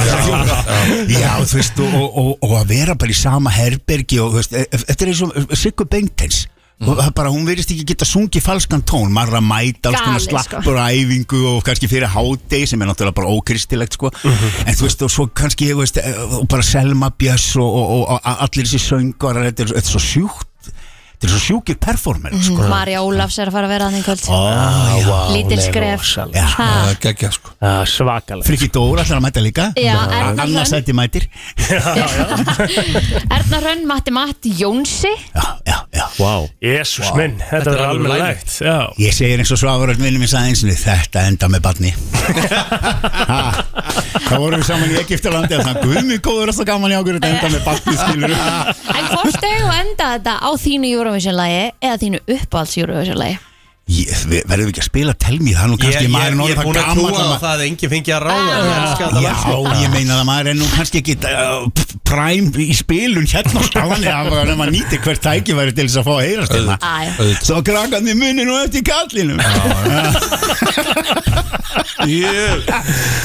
Já, þú veist, og, og, og, og að vera bara í sama herbergi og, þú veist, e- e- þetta er eins og Siggu Bengtens
Mm.
og það er bara, hún verist ekki geta sungið falskan tón, maður er að mæta alls konar
Galið, sko.
slappur á æfingu og kannski fyrir hádegi sem er náttúrulega bara ókristilegt sko.
Mhm.
en þú veist, og svo kannski þú veist, e- og bara Selma Björs og, og, og, og allir þessi söngar þetta er, þetta er svo sjúkt þetta er svo sjúkir performer sko.
Mm,
Marja Mhm. Ólafs er að fara að vera hann í kvöld
Ah,
Ó, já.
Lítil skref
Já.
Ha.
geggja sko
Svakalega
Friki Dóra ætlar að mæta líka
Já, Erna
Annars
Hrönn.
ætti mætir
Erna Hrönn, Matti Matti, Jónsi
wow.
Jésús minn, þetta er almennilegt Já,
Ég segir eins og Svavaröld vinnum minn sagði einsinni Þetta enda með barni Þá vorum við saman í Egiptalandi og það guðmi góður að það gaman í okkur Þetta enda með barni skilur
En hvort eigum við að enda þetta á þínu Eurovision-lægi eða þínu uppáhalds Eurovision-lægi?
ég, við, Verðum við ekki að spila telmi Það er nú kannski maður
ég
orðið
er búin að trúa
gamall
á
maður-
það að enginn fengi að
Ah.
ráða Ég elska þetta lag, sko.
Já, ég meina það maður er nú kannski ekki uh, p- prime í spilun hérna á staðan eða ef maður nýtir hvert tækifæri til þess að fá að heyrast
Á, Ah, já.
hérna Svo krakkandi munir nú eftir kallinum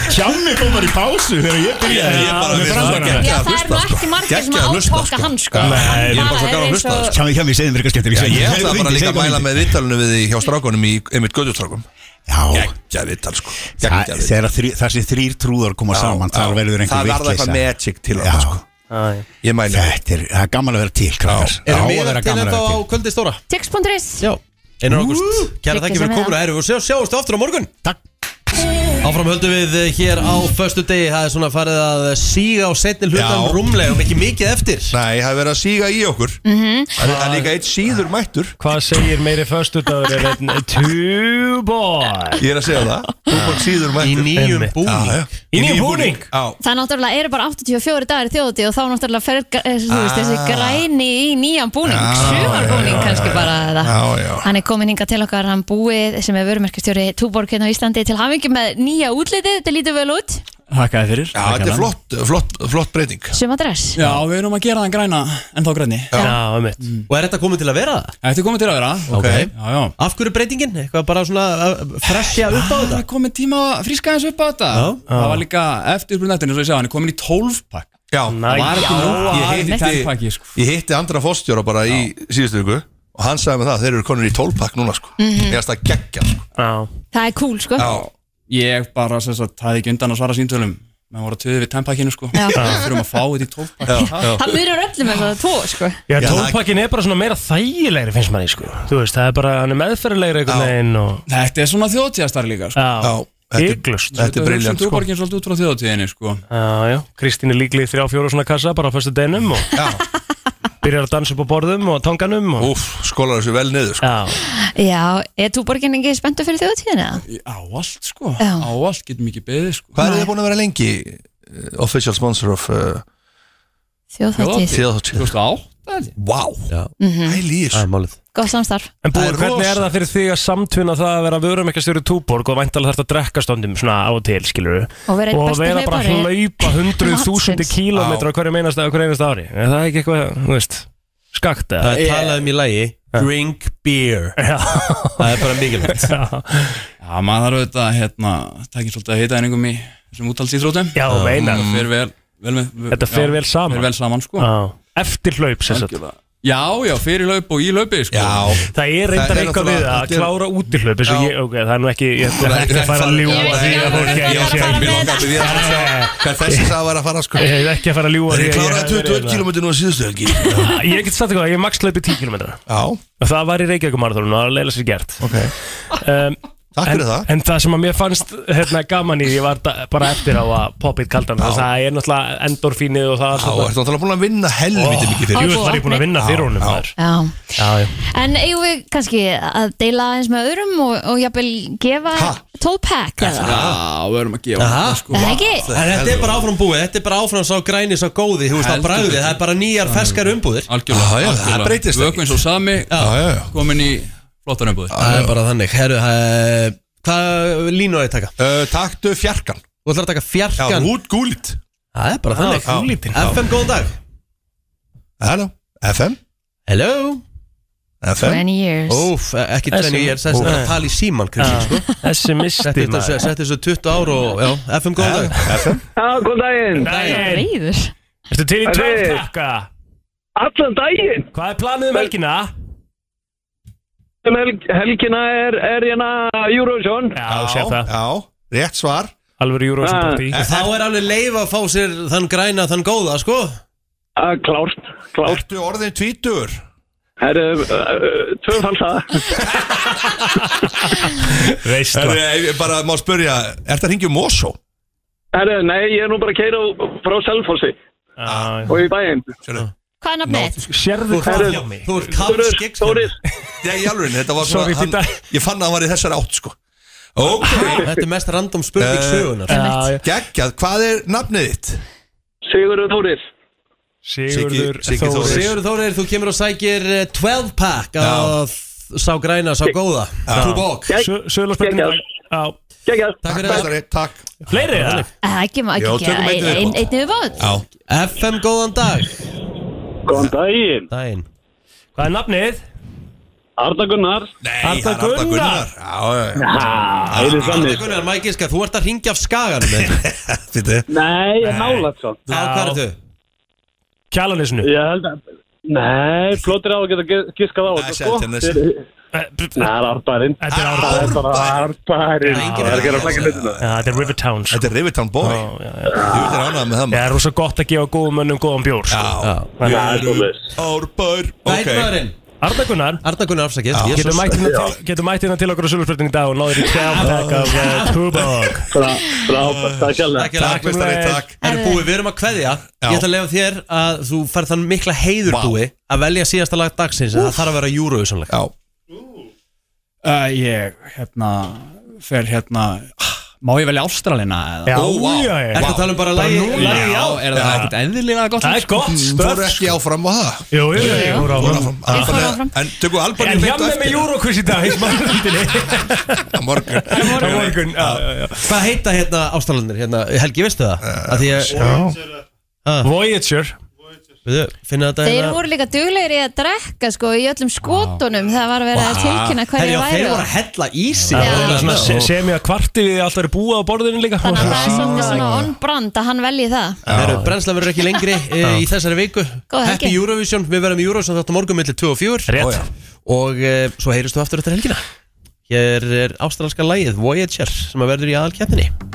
Hjálmi kom bara í pásu þegar ég byrjaði
Ég bara- við erum bara
Já, það er nú ekki margir sem að átóka hann sko Hann bara er eins og-
Hjálmi, hjálmi, segðu mér eitthvað skemmtilegt
Já,
segðu
ég
mér-
ætla
segðu mér-
bara líka að
segðu mér-
mæla með vittalunum við því hjá strákunum í einmitt gödutrákum
Já
Gekkja vittal sko
Þa-
Gekkja vittal
Þegar þrý- þessi þrýr trúðar koma
Já,
saman þá
já.
verður einhver
Það verður
vitleysa.
eitthvað magic til þarna,
Já.
sko. Ég mæli
Þetta er það er gaman að vera til krakkar
Erum
Já,
við
að vera
að
gaman
til þetta
að vera
á
til
kvöldið stóra?
Tix.is
Já Einar
Ú,
ágúst Kæra
tryggja
þakki
sem
fyrir
er
komuna
það.
Erum við sjá, sjáumst aftur á morgun
Takk
Áfram höldum við eh, hér á föstu degi Það er svona farið að síga á setni hlutan
Já.
rúmlega og ekki mikið eftir
Nei, það er verið að síga í okkur
sko.
Það er- það er líka eitt síður mættur
Hvað segir meiri föstudagur er einn Tuboy
Ég er að segja það Þú er bara síður mættur
Í nýjum
Einmitt.
búning.
Já, já.
Í nýjum búning?
Já
Það náttúrulega eru bara 84 dagar í þjóðutíð og þá náttúrulega fer eh, þú veist, þessi
Ah.
græni í nýjan búning
Já,
Ah.
sumarbúning kannski bara það
Já, já.
Hann er komin hinga til okkar, hann búið sem er vörumerkastjóri Túborg hérna á Íslandi til hafingi með nýja útlitið, þetta lítur vel út
Hakkaði fyrir
Já, þetta er flott, flott, flott breyting
Sumadress
Já, við erum að gera þann græna en þá grænni
Já, um mitt Og er þetta komið til að vera það?
Mm. Þetta er komið til að vera
Ok.
já, já.
Af hverju breytingin? Eitthvað bara svona að freshja upp á
Það
þetta?
er komið tíma að fríska þessu upp á þetta
Já.
Ah. Það var líka eftir uppið nættinu, svo ég segja, hann er komin í 12 pakk
Já,
Það var ekki nóg að
ég
hafa í 10 pakki
hitti,
sko.
ég hitti andra fóstjóra bara í síðustu viku og hann sagði með það að þeir eru konur í tólpakk núna sko.
Mhm.
ég ætla að gegja sko.
Það er cool sko
Ég bara, sem sagt, hafði ekki undan að svara símtölum Menn voru að töðu við 10 pakkinu, sko
Já.
Við þurfum að fá þetta í 12 pakki
Það myrur öllum eins og það tvo sko
Já, tólpakkin er bara svona meira þægilegri finnst maður í sko Þú veist, það er bara, hann er meðferðilegri einhvern veginn og
Þetta er svona þjóðtíðastar líka sko.
Já, þetta er- Hiklaust. þetta er brilliant, sko.
Þú borgin svolítið út frá þjóðtíðinni sko.
Já, já, Kristín er líklega í þrjá fjóra svona kassa bara á fyrstu deginum og
Já
byrjar að dansa upp á borðum og tanganum og...
Úf, skólar þessu vel niður
sko.
Já, er túborgin ekki spenntu fyrir þjóðtíðina?
Á allt sko,
Já.
á allt getum ekki beðið sko Hvað er þið búin að vera lengi eh, official sponsor of uh,
Þjóðhátíð.
Þjóðhátíð 2008 Vá,
Mhm.
hæli í
Það er málið
Góð samstarf
En búin, hvernig er það fyrir þig að samtvinna það að vera vörum eitthvað stjóri túborg og væntalega þarf að drekka stöndum svona á og til, skilur
Og vera einn besti
bara að
hlaupari
hlaupa hundruð þúsundi
landsins.
kílómetra hverju einasta, á hverju einasta ári Er það ekki eitthvað, þú veist, skakt eða?
Það er talað um í lægi Drink beer Það er bara mikilvægt
Já, maður þarf auðvitað hérna, takin svolítið að heita einingum í þessum úttalsýþrótum
Já, meinar.
Þetta fer vel, vel, með,
Þetta fer vel saman.
Fer vel saman, sko
Já. Eftir hlaup, sem sagt
Algjörlega. Já, já, fyrir laup og í laupi, sko
Já
Það
Það
er reyndar
er
eitthvað við
náttúrulega-
að klára útihlaup eins og
Já.
ég, ok, það er nú ekki, ég
Nei,
ætla ekki
nei,
að fara að
það-
ljúga því að fólki
Ég var að fara með það Ég var að sjá hvað þessi sá var að fara sko
Ég hef ekki að fara að ljúga
Þeir
því að ég
kláraði
hef verið
21
hérna.
km nú að síðustu helgi
Já, Ah, Ég get sagt eitthvað, ég max hlaupi 10 km og það var í Reykjavíkumarathónun og það var leila sér gert okay. um,
Takk fyrir
en,
það.
En það sem að mér fannst hérna, gaman í því var da, bara eftir á að poppið kaldan þess að það er náttúrulega endorfínið og það
Já, ertu náttúrulega búin að vinna helviti mikið fyrir
Jú, það var ég búin að vinna fyrir honum
Já,
þar
Já,
Já, já
en eigum við kannski að deila eins með öðrum og, og jafnvel gefa 12 pack eða?
Já, við erum að gefa
Aha.
sko.
Það ekki?
En þetta er bara áfram búið, þetta er bara áfram sá græni, sá góði, þú veist, það
Heldur
bræði,
betur.
það er bara nýjar ferskar umbúðir
Algjörlega,
Já, já, það breytist
Vökun svo sami, komin í flottan umbúði
Það er bara þannig, herru, hæ- hvað línu á ég að taka?
Uh, taktu fjarkan
Þú ætlar að taka fjarkan
Já, út gúlit
Það er bara
Já,
þannig
já. Gúlítinn.
FM, góðan dag
Hello, FM
Hello
FM
20 years.
Óf, e, ekki
Þessi-
20 years, þessi er að tala í síman,
Já.
Kristi,
Þessi
sko
misti
Setti þessu- setti þessu 20 ár og, já, FM, góðan dag
FM
Já, góð daginn
Reyður
Ertu til í
Herri.
12 takka?
Allan daginn
Hvað er planið um helgina?
Um helg, helgina er, er hérna Eurovision Ah.
Já, sé það
Já, rétt svar
Alveg
Eurovision partí.
Og Þá er alveg leif að fá sér þann græna, þann góða, sko
Ah, Klárt, klárt
Ertu orðin tvítur?
Herru, uh, tvöfald það
Veist
það Bara má spyrja, ert það hringjum um Mosó?
Herru, nei, ég er nú bara að keira frá Selfossi Og í bæinn
Hvað er nafnið?
Sérðu
hvað hjá mig?
Þú ert
Þórir, Þórir
Já, í alveg, þetta var
Sorry,
svona hann,
Didda.
Ég fann að hann var í þessari átt, sko Ok
Ah,
Eh,
Þetta er mest random spurning sögunar
Geggjað, hvað er nafnið þitt?
Sigurður Þórir
Sigurður
Siggi- Siggi
Þórir.
Þórir.
Sigurður Þórir, þú kemur og sækir eh, 12 pack af sá græna, sá góða Túborg.
Söðlarspöldin
Takk fyrir það
Takk
Fleiri það?
Það ekki, maður
Já,
ekki
tökum einn
gera
viðbót.
einn viðbót
Já.
FM, góðan dag
Góðan daginn
Daginn
Hvað er nafnið?
Arda Gunnar
Nei,
Arda
það er Arda
Gunnar.
Gunnar Já, já, já.
Ha,
Arda
heyrðu þannig.
Gunnar, maður gíska, þú ert að ringja af skaganum
Þetta
Nei, ég sko. nálaðt svo
Á, hvað er þau?
Kjalanisnu
Ég held að Nei, flottir á að geta gi- giskað á þetta sko
sjálftennis.
Þeir-
Eh,
Nei, það er arbærin
Þetta er
Það er bara arbærin Það er ekki að flækja hlutina
Já, Þetta er Rivertown sko.
Þetta er Rivertown Boy Þú veit er ánægð með það
Það er rosa gott að gefa góðum mönnum góðan bjór sko.
maður
Já.
Árbær
Hvað er maðurinn?
Arda Gunnar
Arda Gunnar, afsakið
Já.
Jesus.
Getur mætt hérna til- getur mætt hérna til okkur á Sölvspöldin í dag og náður í kjálpæk af eh, Tuborg
Frábært, takk hjálpa
Takk, takk, meistari, takk. Herru búi, við erum að kveðja Ég ætla að lefa þér að þú færð þann mikla heiður búi að velja síðasta lag dagsins en það þarf að vera júruvísanleg
Já
uh, Ég, hérna, fer hérna ah, Má ég velja Ástralina eða?
Já, Ó, vá. já, já.
Ertu að tala um bara
Bara
lagið-
núna?
lagið, já.
Er það ekkert eðlilega gott?
Það er gott
Fóru
stöf sko.
ekki áfram á það
Jú, jú, jú, jú,
Fóru
áfram.
áfram. Ah, Albanía- En tökum Albaníu
En
beint á
hjá með
eftir.
með Euroquiz í dag í smálandinni
Á morgun
Á morgun já, já, já.
Hvað heita hérna ástralandir? Hérna, Helgi, veistu það? Uh, ég, Ah.
Voyager
Veitu, finna þetta hérna?
Þeir voru líka duglegir í að drekka sko í öllum skotunum þegar var verið að tilkynna hverju
Herri, já, Þeir
væru
voru að hella í sig
Það
Já.
er svona se- semja kvarti við alltaf er búa á borðinu líka
Þannig að það er svolítið svona on brand að hann velji það
Herru, brennsla verður ekki lengri e, í þessari viku
Góða helgi.
Happy Eurovision, við verðum í Eurovision þáttum morgun millir 2 og 4
Rétt.
Ó, já. Og e, svo heyristu aftur þetta helgina Hér er ástralanska lægið Voyager sem að verður í aðalkeppninni